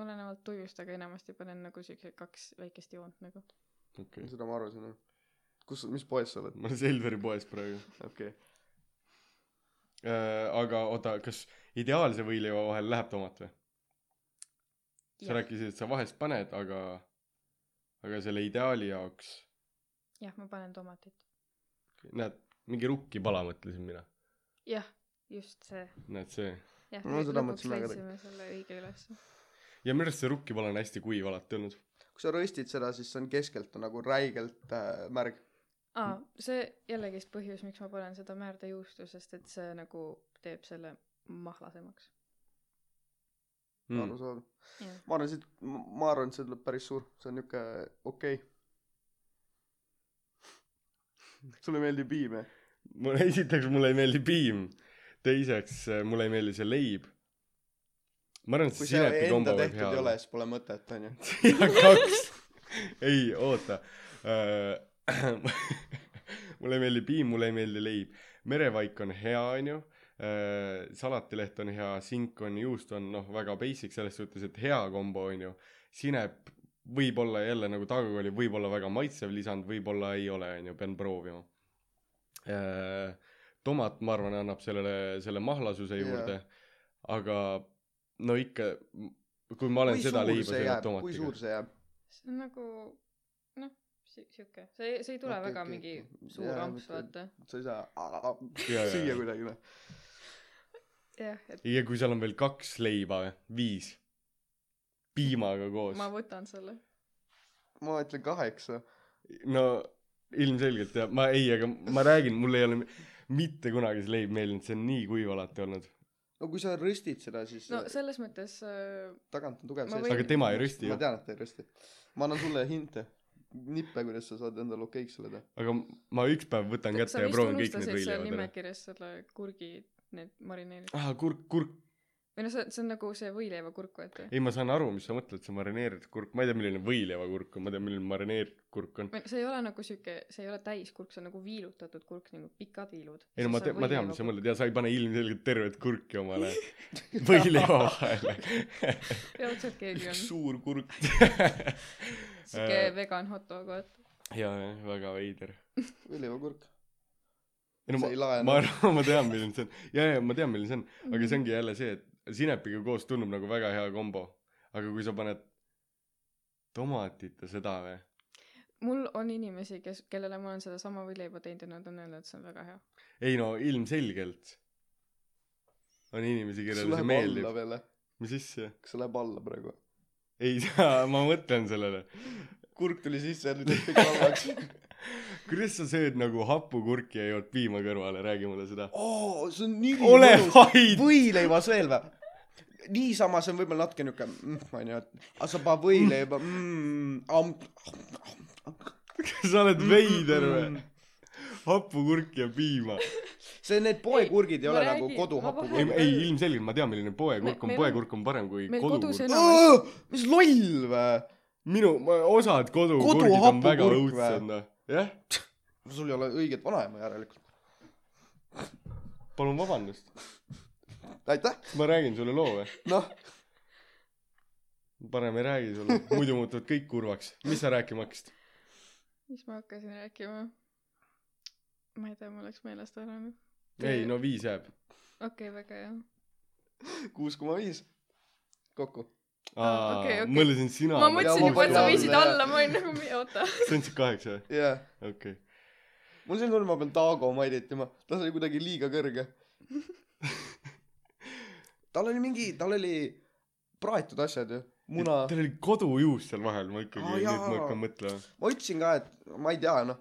Speaker 2: olenevalt tujust aga enamasti panen nagu siukse kaks väikest joont nagu
Speaker 1: okei okay. ,
Speaker 3: seda ma arvasin jah . kus , mis poes sa oled ?
Speaker 1: ma olen Selveri poes praegu .
Speaker 3: okei okay. .
Speaker 1: aga oota , kas ideaalse võileiva vahel läheb tomat või ? sa
Speaker 2: jah
Speaker 1: rääkisid , et sa vahest paned , aga , aga selle ideaali jaoks ,
Speaker 2: jah ma panen tomatit
Speaker 1: näed , mingi rukki pala mõtlesin mina ,
Speaker 2: jah just see
Speaker 1: näed see .
Speaker 2: jah
Speaker 3: No
Speaker 2: lõ-
Speaker 3: seda
Speaker 2: lõpuks
Speaker 3: mõtlesin väga
Speaker 2: leidsime selle õige ülesse
Speaker 1: ja minu arust see rukki pala on hästi kuiv alati olnud .
Speaker 3: kui sa röstid seda , siis see on keskelt on nagu räigelt äh, märg .
Speaker 2: aa see jällegist põhjus miks ma panen seda määrdejuustu sest et see nagu teeb selle mahlasemaks
Speaker 1: Mm.
Speaker 3: arusaadav .
Speaker 2: jah
Speaker 3: ma arvan , siit , ma arvan , et see tuleb päris suur , see on niuke okei okay. . sulle ei meeldi piim , jah ?
Speaker 1: mul esiteks mulle ei meeldi piim , teiseks äh, mulle ei meeldi see leib . ma arvan , et
Speaker 3: kui
Speaker 1: see
Speaker 3: see enda
Speaker 1: sinepikombo võib
Speaker 3: tehtud
Speaker 1: hea
Speaker 3: ei
Speaker 1: olla
Speaker 3: ole ,. siis pole mõtet , onju .
Speaker 1: ja kaks , ei oota . mulle ei meeldi piim , mulle ei meeldi leib , merevaik on hea , onju . salatileht on hea , sink on , juust on noh , väga basic selles suhtes , et hea kombo onju . sinep võib-olla jälle nagu Taago oli , võib-olla väga maitsev lisand , võib-olla ei ole onju , pean proovima . tomat , ma arvan , annab sellele , selle mahlasuse
Speaker 3: Jaa.
Speaker 1: juurde , aga no ikka , kui ma olen
Speaker 3: kui
Speaker 1: seda
Speaker 3: suur
Speaker 1: leiba
Speaker 3: see
Speaker 1: söönud
Speaker 3: jääb , kui
Speaker 1: tomatiga
Speaker 3: suur . see jääb ?
Speaker 2: see on nagu noh si- siuke see ei- see ei tule
Speaker 3: Okei,
Speaker 2: okay, väga
Speaker 3: okei,
Speaker 2: okay, mingi
Speaker 3: okei.
Speaker 2: suur
Speaker 3: Jaa,
Speaker 2: yeah, amps
Speaker 3: okei.
Speaker 2: vaata
Speaker 3: sa ei saa a- a-
Speaker 1: Jaa, jaa,
Speaker 3: süüa
Speaker 1: jaa.
Speaker 3: kuidagi , noh .
Speaker 2: jah et
Speaker 1: ja kui seal on veel kaks leiba , viis , piimaga koos
Speaker 2: ma . võtan selle
Speaker 3: ma ütlen kaheksa .
Speaker 1: no ilmselgelt jah , ma ei , aga ma räägin , mul ei ole mitte kunagi see leib meeldinud , see on nii kuiv alati olnud .
Speaker 3: no kui sa röstid seda , siis
Speaker 2: no
Speaker 3: no, see...
Speaker 2: selles mõttes äh,
Speaker 3: tagant on tugev
Speaker 2: Ma
Speaker 3: sees
Speaker 2: võin- .
Speaker 1: aga tema ei rösti
Speaker 3: ma
Speaker 1: ju ,
Speaker 3: tean , et ta ei rösti . ma annan sulle hinte , nippe , kuidas sa saad endale okeiks selle teha .
Speaker 1: aga ma üks päev võtan
Speaker 2: sa
Speaker 1: kätte ja
Speaker 2: vist
Speaker 1: proovin kõik need
Speaker 2: unustasid seal
Speaker 1: võileivad ära .
Speaker 2: nimekirjas selle kurgi need marineeritud
Speaker 1: aa , kurk , kurk ,
Speaker 2: või noh see see on nagu see võileivakurk vaata
Speaker 1: ei , ma saan aru , mis sa mõtled , see marineeritud kurk , ma ei tea , milline võileivakurk on , ma tean , milline marineeritud kurk on .
Speaker 2: Või see ei ole nagu siuke see ei ole täiskurk see on nagu viilutatud kurk nagu pikad viilud
Speaker 1: ei no ma
Speaker 2: Siis nagu
Speaker 1: tean ,
Speaker 2: on
Speaker 1: ma tean , mis sa
Speaker 2: võileivakurk.
Speaker 1: mõtled ja sa ei pane ilmselgelt tervet kurki omale võileiva vahele
Speaker 2: raudselt keegi on
Speaker 3: üks suur kurk .
Speaker 2: siuke
Speaker 1: Äh,
Speaker 2: vegan hot dog vaata
Speaker 1: jaa , jah , väga veider .
Speaker 3: õlivakurk .
Speaker 1: ei no
Speaker 3: sa
Speaker 1: ma
Speaker 3: ei , lae
Speaker 1: ma . arvan , ma tean , milline see on . jaa , jaa , ma tean , milline see on , aga see ongi jälle see , et sinepiga koos tundub nagu väga hea kombo . aga kui sa paned tomatit ja seda või ,
Speaker 2: mul on inimesi , kes , kellele ma olen sedasama võileiba teinud ja nad on öelnud , et see on väga hea .
Speaker 1: ei no ilmselgelt on inimesi , kellele see meeldib .
Speaker 3: veel ,
Speaker 1: mis asja ?
Speaker 3: kas see läheb alla praegu ?
Speaker 1: ei saa , ma mõtlen sellele .
Speaker 3: kurk tuli sisse ja nüüd läks kõik halvaks .
Speaker 1: kuidas sa sööd nagu hapukurki ja jood piima kõrvale , räägi mulle seda .
Speaker 3: oo , see on nii
Speaker 1: ole
Speaker 3: mõnus .
Speaker 1: vaid .
Speaker 3: võileivas veel või ? niisama see on võib-olla natuke niuke mm, , onju , et aga sa paned võileiba mm, .
Speaker 1: sa oled veider või ? hapukurk ja piima .
Speaker 3: see , need poekurgid ei
Speaker 2: ma
Speaker 3: ole nagu
Speaker 2: räägin- ma
Speaker 1: ei
Speaker 3: koduhapukurgid
Speaker 2: vahe- .
Speaker 1: ei , ilmselgelt ma tean , milline poekurk on ,
Speaker 2: meil on-
Speaker 1: poekurk on parem kui
Speaker 2: meil kodus
Speaker 1: kodukurk .
Speaker 2: enam ei ole .
Speaker 3: mis loll või ?
Speaker 1: minu , osad kodukurgid on
Speaker 3: Koduhapukurk
Speaker 1: väga
Speaker 3: või?
Speaker 1: õudsed , noh . jah ,
Speaker 3: sul ei ole õiget vanaema järelikult .
Speaker 1: palun vabandust .
Speaker 3: aitäh ,
Speaker 1: ma räägin sulle loo või ?
Speaker 3: noh ,
Speaker 1: parem ei räägi sulle , muidu muutuvad kõik kurvaks . mis sa rääkima hakkasid ?
Speaker 2: mis ma hakkasin rääkima ? ma ei tea , mul läks meelest ära nüüd .
Speaker 1: ei , no viis jääb .
Speaker 2: okei okay, , väga hea .
Speaker 3: kuus koma viis kokku .
Speaker 2: Aa, okei,
Speaker 1: ma
Speaker 2: okei.
Speaker 1: mõtlesin sina .
Speaker 2: ma
Speaker 3: mõtlesin
Speaker 2: mõtlesin juba , et sa
Speaker 3: panin
Speaker 2: võisid
Speaker 3: alla.
Speaker 2: alla , ma olin nagu , oota .
Speaker 1: sa andsid kaheksa või ?
Speaker 3: jah yeah. ,
Speaker 1: okei okay. .
Speaker 3: mul siin on , ma pean Taago mainitima , ta sai kuidagi liiga kõrge . tal oli mingi , tal oli praetud asjad ju , muna .
Speaker 1: tal oli kodujuus seal vahel , ma ikkagi
Speaker 3: Aa,
Speaker 1: oh, nüüd
Speaker 3: jaa.
Speaker 1: ma hakkan mõtlema .
Speaker 3: ma ütlesin ka , et ma ei tea noh ,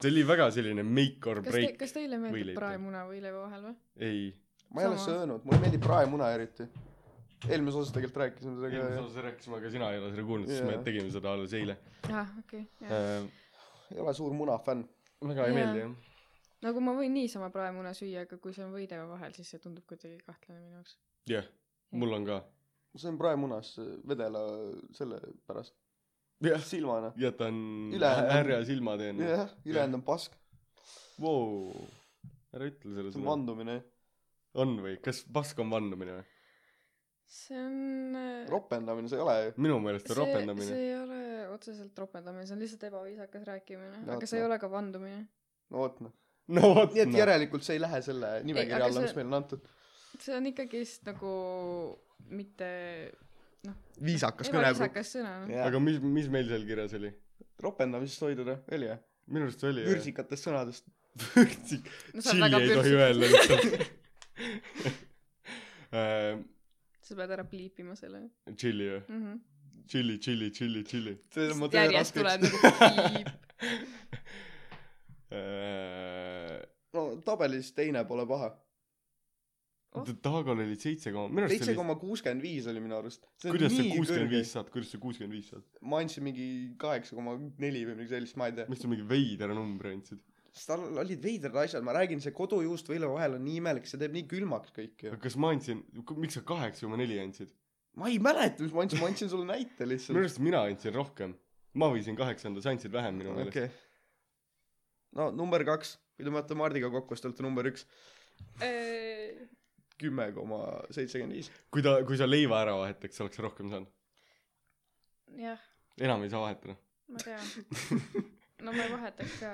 Speaker 1: see oli väga selline make or
Speaker 2: kas te ,
Speaker 1: break .
Speaker 2: kas teile meeldib
Speaker 1: võileiba.
Speaker 2: praemuna võileiva vahel või ?
Speaker 1: ei .
Speaker 3: ma ei ole
Speaker 2: Sama.
Speaker 3: söönud , mulle meeldib praemuna eriti . eelmises osas tegelikult rääkisime seda
Speaker 1: eelmises
Speaker 3: ka ,
Speaker 1: osas rääkisime , aga sina ei ole seda kuulnud , sest me
Speaker 3: Jaa.
Speaker 1: tegime seda alles eile
Speaker 2: ah , okei okay, , jah .
Speaker 1: äh, .
Speaker 3: ei ole suur muna fänn .
Speaker 1: väga ei
Speaker 2: Jaa.
Speaker 1: meeldi jah .
Speaker 2: nagu ma võin niisama praemuna süüa , aga kui see on võileiva vahel , siis see tundub kuidagi kahtlane minu jaoks .
Speaker 1: jah , mul on ka .
Speaker 3: see on praemunas vedela selle pärast ,
Speaker 1: jah ,
Speaker 3: silmana .
Speaker 1: ja ta on
Speaker 3: Üle-
Speaker 1: härja silma teinud .
Speaker 3: jah , ülejäänud on pask ,
Speaker 1: Vau , ära ütle selle
Speaker 3: see on
Speaker 1: sõna .
Speaker 3: vandumine ,
Speaker 1: on või , kas pask on vannumine või ?
Speaker 2: see on äh,
Speaker 3: ropendamine , see ei ole ju .
Speaker 1: minu meelest on
Speaker 2: see , see
Speaker 1: ropendamine .
Speaker 2: ei ole otseselt ropendamine , see on lihtsalt ebaviisakas rääkimine ,
Speaker 3: No
Speaker 2: aga
Speaker 3: vot,
Speaker 2: see ei
Speaker 3: noh.
Speaker 2: ole ka vandumine .
Speaker 3: no vot noh .
Speaker 1: no vot
Speaker 3: nii et
Speaker 1: noh ,
Speaker 3: järelikult see ei lähe selle nimekirja
Speaker 2: aga
Speaker 3: alla ,
Speaker 2: see- Mhm.
Speaker 3: mis meile on antud .
Speaker 2: see on ikkagist nagu mitte
Speaker 3: viisakas kõnepruuk .
Speaker 2: ebaviisakas sõna , noh .
Speaker 1: aga mis , mis meil seal kirjas oli ?
Speaker 3: ropendamisest hoiduda , oli jah ?
Speaker 1: minu arust oli jah .
Speaker 3: vürsikatest sõnadest .
Speaker 1: vürtsik .
Speaker 2: No sa
Speaker 1: tšilli
Speaker 2: oled väga
Speaker 1: ei tohi
Speaker 2: vürtsik.
Speaker 1: öelda lihtsalt .
Speaker 2: sa pead ära pliipima selle
Speaker 1: Tšilli Äh, või ?
Speaker 2: mm . -hmm.
Speaker 1: Tšilli , tšilli , tšilli , tšilli .
Speaker 3: see on mu töö
Speaker 2: järjest tuleb
Speaker 3: raskeks .
Speaker 2: nagu pliip .
Speaker 1: Äh,
Speaker 3: no tabelis teine pole paha .
Speaker 2: Oh.
Speaker 1: Taagol oli seitse koma , minu arust
Speaker 3: seitse
Speaker 1: oli ,
Speaker 3: koma kuuskümmend viis oli minu arust .
Speaker 1: kuidas sa kuuskümmend viis . saad , kuidas sa kuuskümmend viis saad ?
Speaker 3: ma andsin mingi kaheksa koma neli või midagi sellist , ma ei tea .
Speaker 1: miks sa mingi veidera numbri andsid ?
Speaker 3: sest tal olid veidrad asjad , ma räägin , see kodujuust võileiva vahel on nii imelik , see teeb nii külmaks kõik ju .
Speaker 1: kas ma andsin , miks sa kaheksa koma neli andsid ?
Speaker 3: ma ei mäleta , mis ma andsin , ma andsin sulle näite
Speaker 1: minu
Speaker 3: lihtsalt .
Speaker 1: arust mina andsin rohkem . ma võisin kaheksanda , sa andsid vähem minu meelest okay. .
Speaker 3: okei . no number kaks , kui te võtate Mardiga kokku , siis te olete number üks .
Speaker 2: Äh,
Speaker 3: kümme koma seitsekümmend viis .
Speaker 1: kui ta , kui sa leiva ära vahetaks , sa oleks rohkem saanud .
Speaker 2: jah ,
Speaker 1: enam ei saa vahetada .
Speaker 2: ma tean . no ma ei vahetaks ka ,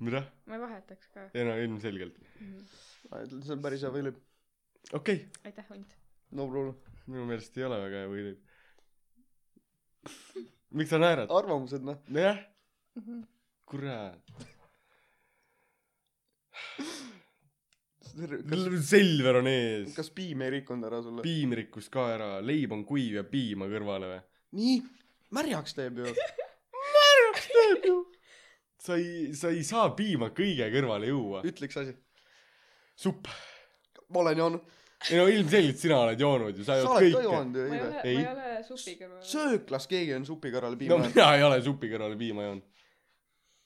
Speaker 1: mida ?
Speaker 2: ma ei vahetaks ka
Speaker 1: ei no ilmselgelt .
Speaker 2: mm . -hmm.
Speaker 3: ma ütlen , see on päris hea võileib .
Speaker 1: okei okay. ,
Speaker 2: aitäh , Hunt .
Speaker 3: no problem .
Speaker 1: minu meelest ei ole väga hea võileib . miks sa naerad ?
Speaker 3: arvamused noh .
Speaker 1: nojah ,
Speaker 2: Mm -hmm.
Speaker 1: kurat .
Speaker 3: kas ,
Speaker 1: Selver on ees .
Speaker 3: kas piim ei rikkunud ära sulle ?
Speaker 1: piim rikkus ka ära , leib on kuiv ja piima kõrvale või ?
Speaker 3: nii , märjaks teeb ju .
Speaker 1: sa ei , sa ei saa piima kõige kõrvale juua .
Speaker 3: ütle üks asi .
Speaker 1: supp .
Speaker 3: ma olen joonud .
Speaker 1: ei no ilmselgelt sina oled joonud ju , sa
Speaker 3: sa
Speaker 1: ei
Speaker 3: oled
Speaker 1: olnud
Speaker 3: ka
Speaker 1: kõike .
Speaker 3: joonud ju ,
Speaker 2: ma ei
Speaker 3: Ive .
Speaker 2: ole , ma
Speaker 1: Ei.
Speaker 2: ei ole supi kõrval .
Speaker 3: sööklas keegi on supi kõrvale piima
Speaker 1: no
Speaker 3: joonud .
Speaker 1: mina ei ole supi kõrvale piima joonud .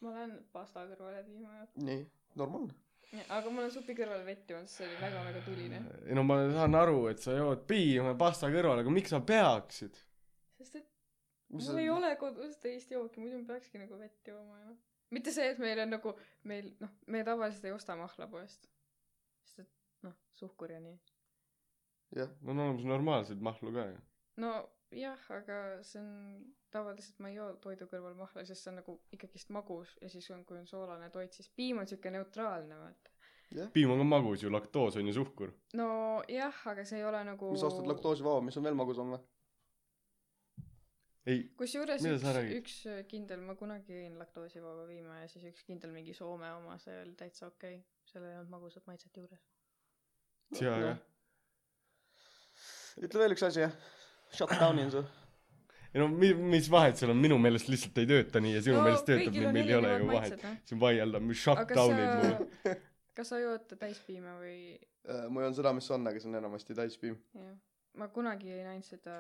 Speaker 2: ma olen pasta kõrvale piima joonud .
Speaker 3: nii , normaalne .
Speaker 2: Ja, aga ma olen supi kõrval vett joonud , see oli väga-väga tuline .
Speaker 1: ei no ma saan aru , et sa jood piima ja pasta kõrvale , aga miks sa peaksid ?
Speaker 2: sest et mul ei ole kodus teist jooki , muidu ma peakski nagu vett jooma ja noh . mitte see , et meil on nagu , meil noh , me tavaliselt ei osta mahlapoest . sest et noh , suhkur ja nii .
Speaker 1: on olemas normaalseid mahlu ka ju .
Speaker 2: nojah , aga see on , tavaliselt ma ei joo toidu kõrval mahla , sest see on nagu ikkagist magus ja siis on , kui on soolane toit , siis piim on siuke neutraalne vaata .
Speaker 1: piim on ka magus ju , laktoos on ju suhkur .
Speaker 2: nojah , aga see ei ole nagu
Speaker 3: mis sa ostad laktoosivaba , mis on veel magusam või ?
Speaker 1: ei ,
Speaker 2: kusjuures
Speaker 1: Mida
Speaker 2: üks
Speaker 1: sa , räägid?
Speaker 2: üks äh, kindel , ma kunagi jõin laktoosivaba piima ja siis üks kindel mingi Soome oma , see oli täitsa okei okay. . seal ei olnud magusat maitset juures .
Speaker 1: tea
Speaker 3: Noh.
Speaker 1: jah .
Speaker 3: ütle veel üks asi jah . Shutdown'i on sul .
Speaker 1: ei no mi- , mis vahet seal on , minu meelest lihtsalt ei tööta nii ja sinu no, meelest töötab nii , meil ei ole ju vahet .. see on vaieldav , mis
Speaker 2: aga
Speaker 1: shutdown'id mul on .
Speaker 2: sa , kas sa jood täispiima või ,
Speaker 3: Äh, ma joon seda , mis on , aga see on enamasti täispiim .
Speaker 2: jah , ma kunagi jõin ainult seda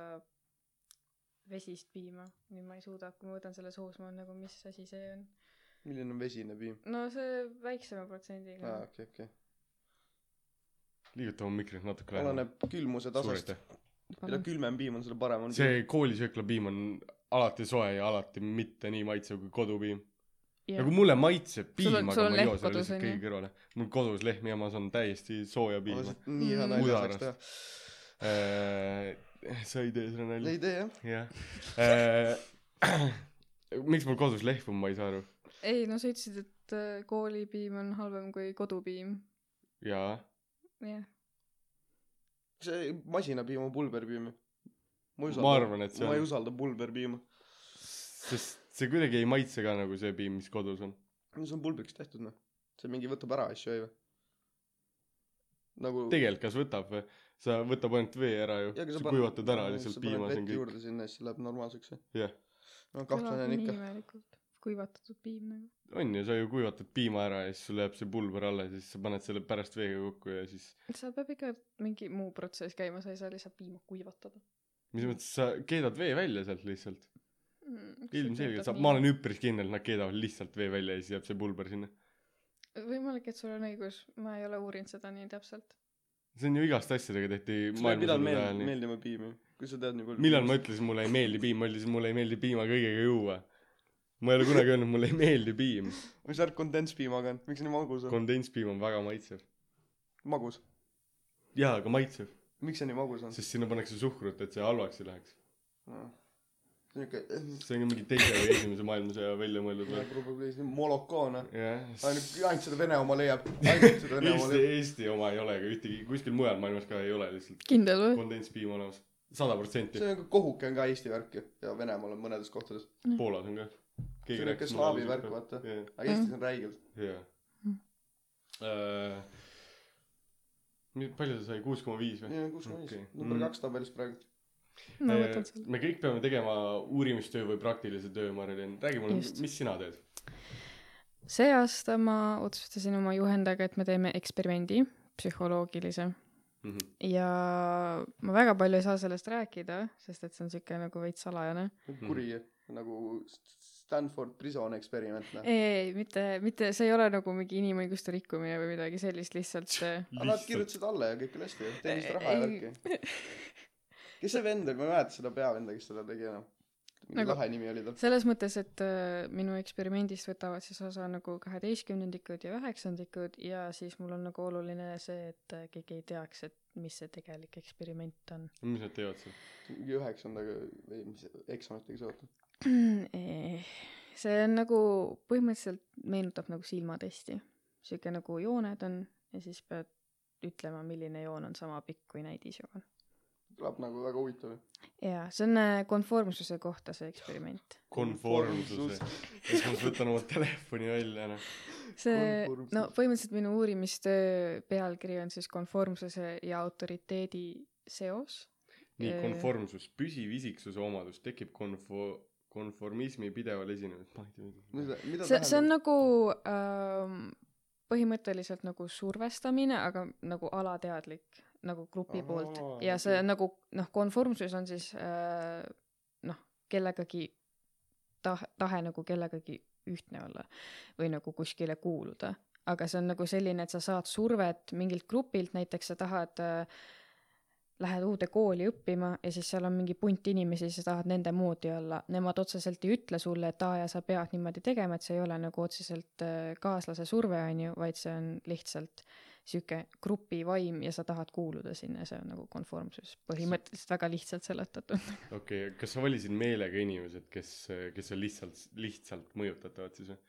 Speaker 2: vesist piima , nüüd ma ei suuda , kui ma võtan selle suus , ma olen nagu , mis asi see on .
Speaker 3: milline on vesine piim ?
Speaker 2: no see väiksema protsendiga
Speaker 3: aa ,
Speaker 2: ah. .
Speaker 3: okei , okei .
Speaker 1: liiguta oma mikrit natuke
Speaker 3: oleneb külmuse tasast
Speaker 1: Suuresti. .
Speaker 3: mida külmem piim on , selle parem on .
Speaker 1: see koolisööklapiim on alati soe ja alati mitte nii maitsev kui kodupiim . nagu mulle maitseb
Speaker 2: Sul
Speaker 1: piim ,
Speaker 2: on- sul
Speaker 1: aga ma
Speaker 2: on
Speaker 1: ei
Speaker 2: lehm
Speaker 1: joo selle
Speaker 2: kodus,
Speaker 1: lihtsalt
Speaker 2: on ju?
Speaker 1: kõige kõrvale . mul kodus lehmi jamas on täiesti sooja piima .
Speaker 3: nii hea
Speaker 2: Mm.
Speaker 3: nalja saaks
Speaker 1: Udarast.
Speaker 3: teha .
Speaker 1: Äh, sa ei tee seda nalja
Speaker 3: ei ? tee jah ?
Speaker 1: jah . miks mul kodus lehm on , ma ei saa aru .
Speaker 2: ei no sa ütlesid , et äh, koolipiim on halvem kui kodupiim .
Speaker 1: jaa .
Speaker 2: jah ,
Speaker 3: see masinapiim on pulberpiim ju .
Speaker 1: ma arvan , et see
Speaker 3: ma ei
Speaker 1: on ,
Speaker 3: usalda pulberpiima .
Speaker 1: sest see kuidagi ei maitse ka nagu see piim , mis kodus on .
Speaker 3: no see on pulbriks tehtud noh . see mingi võtab ära asju , ei või ? nagu .
Speaker 1: tegelikult , kas võtab või ? sa võtab ainult vee ära ju .
Speaker 3: Ja, aga
Speaker 1: sa
Speaker 3: paned-
Speaker 1: kuivatad ära
Speaker 3: jaa,
Speaker 1: lihtsalt
Speaker 3: sa paned
Speaker 1: piima , see on
Speaker 3: vett
Speaker 1: kõik .
Speaker 3: juurde sinna ja siis see läheb normaalseks ju .
Speaker 1: jah ,
Speaker 3: no kahtlane on ikka .
Speaker 2: imelikult , kuivatatud piim nagu .
Speaker 1: on ju , sa ju kuivatad piima ära ja siis sul jääb see pulber alles ja siis sa paned selle pärast veega kokku ja siis
Speaker 2: seal peab ikka mingi muu protsess käima , sa ei saa lihtsalt piima kuivatada
Speaker 1: mis mõttes sa keedad vee välja sealt lihtsalt .
Speaker 2: mm, .
Speaker 1: ilmselgelt saab , ma olen üpris kindel , et nad keedavad lihtsalt vee välja ja siis jääb see pulber sinna .
Speaker 2: võimalik , et sul on õigus , ma ei ole uurinud seda nii täpselt .
Speaker 1: see on ju igaste asjadega tehti
Speaker 3: sulle ei pidanud
Speaker 1: maailmasõdade
Speaker 3: meel-
Speaker 1: ajal nii .
Speaker 3: meeldima piim ju . kui sa tead nii palju .
Speaker 1: millal ma ütlesin , mulle ei meeldi piim , ma ütlesin , mulle ei meeldi piima kõigega juua . ma ei ole kunagi öelnud , mulle ei meeldi piim .
Speaker 3: mis värk kondentspiimaga on , miks see nii magus on ?
Speaker 1: kondentspiim on väga maitsev .
Speaker 3: magus ,
Speaker 1: jaa , aga maitsev ,
Speaker 3: miks see nii magus on ?
Speaker 1: sest sinna pannakse suhkrut , et see halvaks ei läheks .
Speaker 3: niuke ,
Speaker 1: see on ka mingi teise või esimese maailmasõja välja mõeldud või ?
Speaker 3: probabli see Moloko noh ,
Speaker 1: jah .
Speaker 3: ainult , ainult seda Vene oma leiab , ainult seda Vene oma
Speaker 1: Eesti ,
Speaker 3: leiab .
Speaker 1: Eesti oma ei ole ka ühtegi , kuskil mujal maailmas ka ei ole lihtsalt
Speaker 2: kindel või ?
Speaker 1: kondentspiim olemas . sada protsenti
Speaker 3: see . on ka kohuke on ka Eesti värk ju ja Venemaal on mõnedes kohtades ,
Speaker 1: Poolas on ka .
Speaker 3: See on niisugune slaavi värk, vaata. aga Eestis on räigelt .
Speaker 1: jah , jah . palju ta sai , kuus koma viis või ?
Speaker 3: kuus koma viis
Speaker 1: Okei. ,
Speaker 3: number
Speaker 1: Mm.
Speaker 3: kaks tabelis praegu .
Speaker 2: ma
Speaker 1: Äh,
Speaker 2: võtan selle .
Speaker 1: me kõik peame tegema uurimistöö või praktilise töö , Marilyn , räägi mulle
Speaker 2: Just. ,
Speaker 1: mis sina teed ?
Speaker 2: see aasta ma otsustasin oma juhendajaga , et me teeme eksperimendi , psühholoogilise .
Speaker 1: Mhm.
Speaker 2: ja ma väga palju ei saa sellest rääkida , sest et see on siuke nagu veits salajane .
Speaker 3: kuri nagu Stanford prison experiment noh .
Speaker 2: ei , ei , mitte , mitte , see ei ole nagu mingi inimõiguste rikkumine või midagi sellist , lihtsalt äh,
Speaker 3: aga nad . kirjutasid alla ja kõik oli hästi , teenisid raha ja
Speaker 2: Ei.
Speaker 3: värki . kes see vend oli , ma ei mäleta seda peavenda , kes seda tegi enam . mingi
Speaker 2: Nagu-
Speaker 3: lahe nimi oli tal .
Speaker 2: selles mõttes , et äh, minu eksperimendist võtavad siis osa nagu kaheteistkümnendikud ja üheksandikud ja siis mul on nagu oluline see , et äh, keegi ei teaks , et mis see tegelik eksperiment on .
Speaker 1: mis nad teevad seal ?
Speaker 3: mingi üheksandaga , ei nagu- mis eksamitega seotud .
Speaker 2: Eh, see on nagu põhimõtteliselt meenutab nagu silmatesti , sihuke nagu jooned on ja siis pead ütlema , milline joon on sama pikk kui näidisjoon .
Speaker 3: kõlab nagu väga huvitav .
Speaker 2: ja see on äh, konformsuse kohta see eksperiment .
Speaker 1: konformsuse . siis ma võtan oma telefoni välja , noh .
Speaker 2: see ,
Speaker 3: Konformsus.
Speaker 2: no põhimõtteliselt minu uurimistöö pealkiri on siis konformsuse ja autoriteedi seos .
Speaker 1: nii
Speaker 2: Eh. ,
Speaker 1: konformsus , püsiv isiksuse omadus , tekib konfo- , konformismi pideval esinemisel . ma ei tea , mida
Speaker 3: mida , mida
Speaker 2: see , see on nagu ähm, põhimõtteliselt nagu survestamine , aga nagu alateadlik nagu grupi
Speaker 3: Ahaa,
Speaker 2: poolt ja see
Speaker 3: okei.
Speaker 2: nagu noh , konformsus on siis äh, noh , kellegagi tah- , tahe nagu kellegagi ühtne olla või nagu kuskile kuuluda . aga see on nagu selline , et sa saad survet mingilt grupilt , näiteks sa tahad äh, Lähed uude kooli õppima ja siis seal on mingi punt inimesi , sa tahad nende moodi olla , nemad otseselt ei ütle sulle , et aa ja sa pead niimoodi tegema , et see ei ole nagu otseselt äh, kaaslase surve , on ju , vaid see on lihtsalt sihuke grupivaim ja sa tahad kuuluda sinna , see on nagu konformsus , põhimõtteliselt väga lihtsalt seletatud .
Speaker 1: okei okay, , kas sa valisid meelega inimesed , kes , kes on lihtsalt , lihtsalt mõjutatavad siis või ?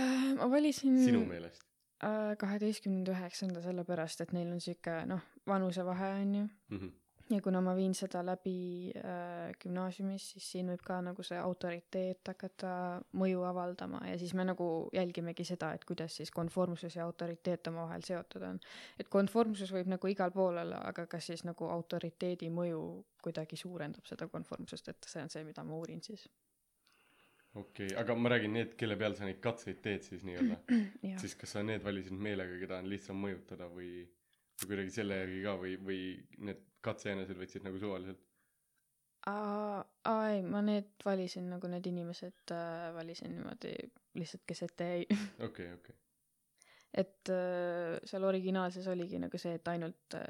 Speaker 2: Äh, ma valisin äh,
Speaker 1: sinu meelest
Speaker 2: kaheteistkümnenda üheksanda sellepärast , et neil on sihuke noh , vanusevahe on ju ,
Speaker 1: mm ? -hmm.
Speaker 2: ja kuna ma viin seda läbi äh, gümnaasiumis , siis siin võib ka nagu see autoriteet hakata mõju avaldama ja siis me nagu jälgimegi seda , et kuidas siis konformsus ja autoriteet omavahel seotud on . et konformsus võib nagu igal pool olla , aga kas siis nagu autoriteedi mõju kuidagi suurendab seda konformsust , et see on see , mida ma uurin siis .
Speaker 1: okei okay, , aga ma räägin need , kelle peal sa neid katseid teed siis nii-öelda ,
Speaker 2: Mm, jah ,
Speaker 1: siis kas sa need valisid meelega , keda on lihtsam mõjutada või , või kuidagi selle järgi ka või , või need katsejänesed võtsid nagu suvaliselt ?
Speaker 2: aa ei , ma need valisin nagu need inimesed äh, valisin niimoodi lihtsalt , E kes ette jäi
Speaker 1: okei okay, , okei okay. .
Speaker 2: et äh, seal originaalses oligi nagu see , et ainult äh,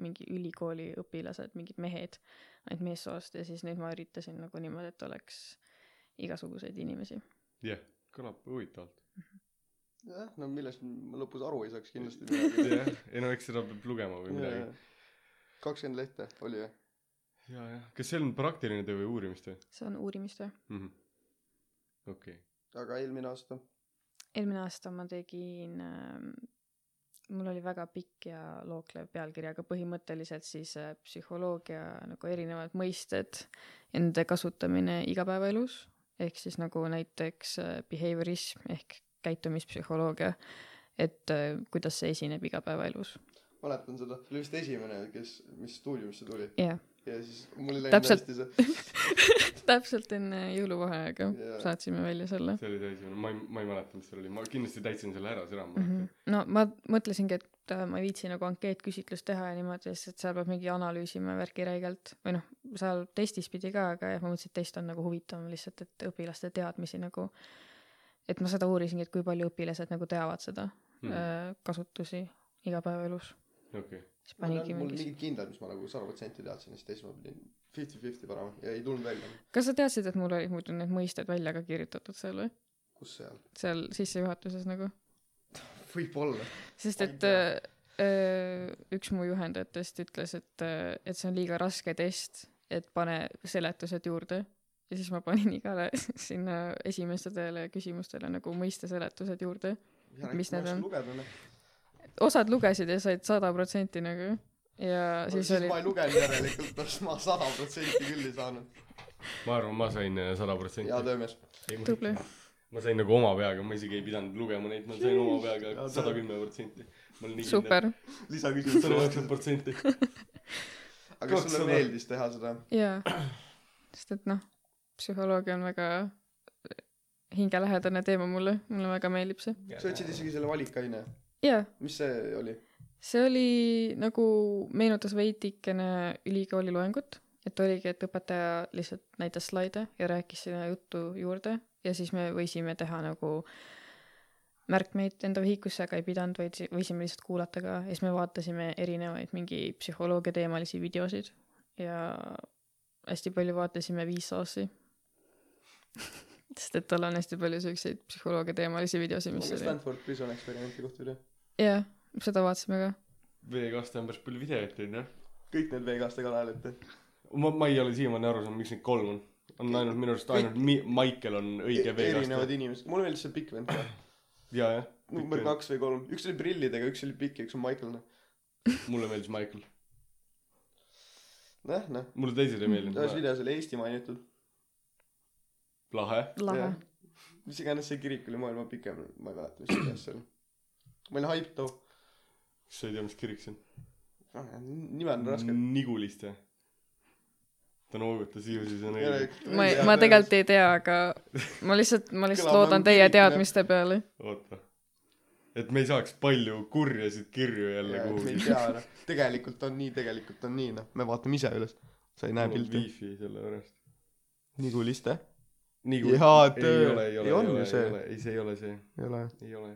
Speaker 2: mingi ülikooli õpilased , mingid mehed , ainult meessoost ja siis nüüd ma üritasin nagu niimoodi , et oleks igasuguseid inimesi .
Speaker 1: jah yeah, , kõlab huvitavalt .
Speaker 2: nagu-
Speaker 3: jah , no millest ma lõpus aru ei saaks kindlasti
Speaker 1: jah , ei no eks seda peab lugema või midagi .
Speaker 3: kakskümmend lehte oli jah ?
Speaker 1: ja , jah . kas see on praktiline töö või uurimistöö
Speaker 2: see on uurimistöö .
Speaker 1: mm -hmm. ? okei okay. ,
Speaker 3: aga eelmine aasta
Speaker 2: eelmine aasta ma tegin äh, mul oli väga pikk ja looklev pealkiri , aga põhimõtteliselt siis äh, psühholoogia nagu erinevad mõisted ja nende kasutamine igapäevaelus , ehk siis nagu näiteks äh, behaviorism ehk käitumispsühholoogia , et äh, kuidas see esineb igapäevaelus .
Speaker 3: mäletan seda , see oli vist esimene , kes , mis stuudiumisse tuli
Speaker 2: jah ,
Speaker 3: ja siis mul ei läinud
Speaker 2: Täpselt.
Speaker 3: hästi see .
Speaker 2: täpselt enne jõuluvaheaega
Speaker 3: Jaa.
Speaker 2: saatsime välja selle .
Speaker 1: see oli see esimene , ma ei , ma ei mäleta , mis seal oli , ma kindlasti täitsin selle ära , seda ma
Speaker 2: mm .
Speaker 1: mäletan
Speaker 2: -hmm. no ma mõtlesingi , et äh, ma ei viitsi nagu ankeetküsitlust teha ja niimoodi , sest seal peab mingi analüüsima värki räigelt või noh , seal testis pidi ka , aga jah , ma mõtlesin , et test on nagu huvitavam lihtsalt , et õpilaste teadmisi nagu , et ma seda uurisingi , et kui palju õpilased nagu teavad seda mm
Speaker 1: mm. .
Speaker 2: -hmm. kasutusi igapäevaelus .
Speaker 1: okei okay. ,
Speaker 2: siis
Speaker 3: mul
Speaker 2: panigi
Speaker 3: on mul
Speaker 2: mingi ,
Speaker 3: mingid kindlad , mis ma nagu sada protsenti teadsin , siis teised ma pidin fifty-fifty panema ja ei tulnud välja .
Speaker 2: kas sa teadsid , et mul olid muidu need mõisted välja ka kirjutatud seal või ?
Speaker 3: kus seal ?
Speaker 2: seal sissejuhatuses nagu ?
Speaker 3: võib-olla .
Speaker 2: sest
Speaker 3: Ma ei
Speaker 2: et
Speaker 3: tea.
Speaker 2: öö, üks mu juhendajatest ütles , et , et see on liiga raske test , et pane seletused juurde . ja siis ma panin igale sinna esimestele küsimustele nagu mõisteseletused juurde . Mis need on?
Speaker 3: lugeda , noh .
Speaker 2: osad lugesid ja said sada protsenti nagu ja siis
Speaker 3: siis
Speaker 2: oli
Speaker 3: ma ei lugenud järelikult , ma sada protsenti küll ei saanud .
Speaker 1: ma arvan , ma sain äh, sada
Speaker 3: hea
Speaker 1: protsenti .
Speaker 3: töömees .
Speaker 2: tubli .
Speaker 1: ma sain nagu oma peaga , ma isegi ei pidanud lugema neid , ma sain oma peaga
Speaker 3: Jaa,
Speaker 1: sada kümme protsenti . ma olen nii
Speaker 2: super .
Speaker 3: lisaküsimus
Speaker 1: sada üheksakümmend protsenti .
Speaker 3: aga kas sulle
Speaker 1: kakssada.
Speaker 3: meeldis teha seda ?
Speaker 2: jaa . sest et noh , psühholoogia on väga hingelähedane teema mulle , mulle väga meeldib see .
Speaker 3: sa võtsid isegi selle valikaine .
Speaker 2: jaa
Speaker 3: mis see oli ?
Speaker 2: see oli nagu , meenutas veidikene ülikooli loengut , et oligi , et õpetaja lihtsalt näitas slaide ja rääkis sinna juttu juurde ja siis me võisime teha nagu märkmeid enda vihikusse , aga ei pidanud , vaid si- võisime lihtsalt kuulata ka ja siis me vaatasime erinevaid mingi psühholoogia teemalisi videosid ja hästi palju vaatasime Viisausi sest et tal on hästi palju siukseid psühholoogia teemalisi videosid , mis
Speaker 3: aga
Speaker 2: oli ,
Speaker 3: Stanford Prison Experimenti kohta oli .
Speaker 2: jah , seda vaatasime ka
Speaker 1: V2-st on päris palju videoid teinud jah .
Speaker 3: kõik need vegaste kanalid .
Speaker 1: ma , ma ei ole siiamaani aru saanud , miks neid kolm on . on ainult minu arust ainult Mi- , Maicel on õige
Speaker 3: E-, erinevad
Speaker 1: V2-st .
Speaker 3: inimesed . mulle meeldis see pikk vend ka .
Speaker 1: ja , jah .
Speaker 3: number . kaks või kolm . üks oli prillidega , üks oli pikk ja üks on Michael .
Speaker 1: mulle meeldis Maicel .
Speaker 3: noh , noh .
Speaker 1: mulle teised ei
Speaker 3: ühes
Speaker 1: meeldinud .
Speaker 3: videos oli Eesti mainitud .
Speaker 1: lahe .
Speaker 2: lahe
Speaker 3: Jah. mis iganes see kirik oli maailma pikem , ma ei mäleta , mis iganes see oli . ma olin oh. haip too .
Speaker 1: sa ei tea , mis kirik see on ?
Speaker 3: nime on raske .
Speaker 1: Niguliste . ta noogutas ilusti , see on õige .
Speaker 2: ma ei , ma tegelikult ei tea , aga ma lihtsalt , ma lihtsalt
Speaker 3: Kõlama
Speaker 2: loodan
Speaker 3: on
Speaker 2: teie
Speaker 3: piinlik,
Speaker 2: teadmiste peale .
Speaker 1: oota . et me ei saaks palju kurjasid kirju jälle
Speaker 3: me ei
Speaker 1: kuhugi .
Speaker 3: tea , noh . tegelikult on nii , tegelikult on nii , noh . me vaatame ise üles . sa ei näe pilti .
Speaker 1: wifi selle pärast .
Speaker 3: nagu liste .
Speaker 1: Nigu- .
Speaker 3: Jaa,
Speaker 1: ei
Speaker 3: töö.
Speaker 1: ole , ei ole ,
Speaker 3: Ei,
Speaker 1: ei
Speaker 3: on ju
Speaker 1: ole ,
Speaker 3: see.
Speaker 1: ei ole , ei see ei ole see ,
Speaker 3: ei ole .
Speaker 1: ei ole .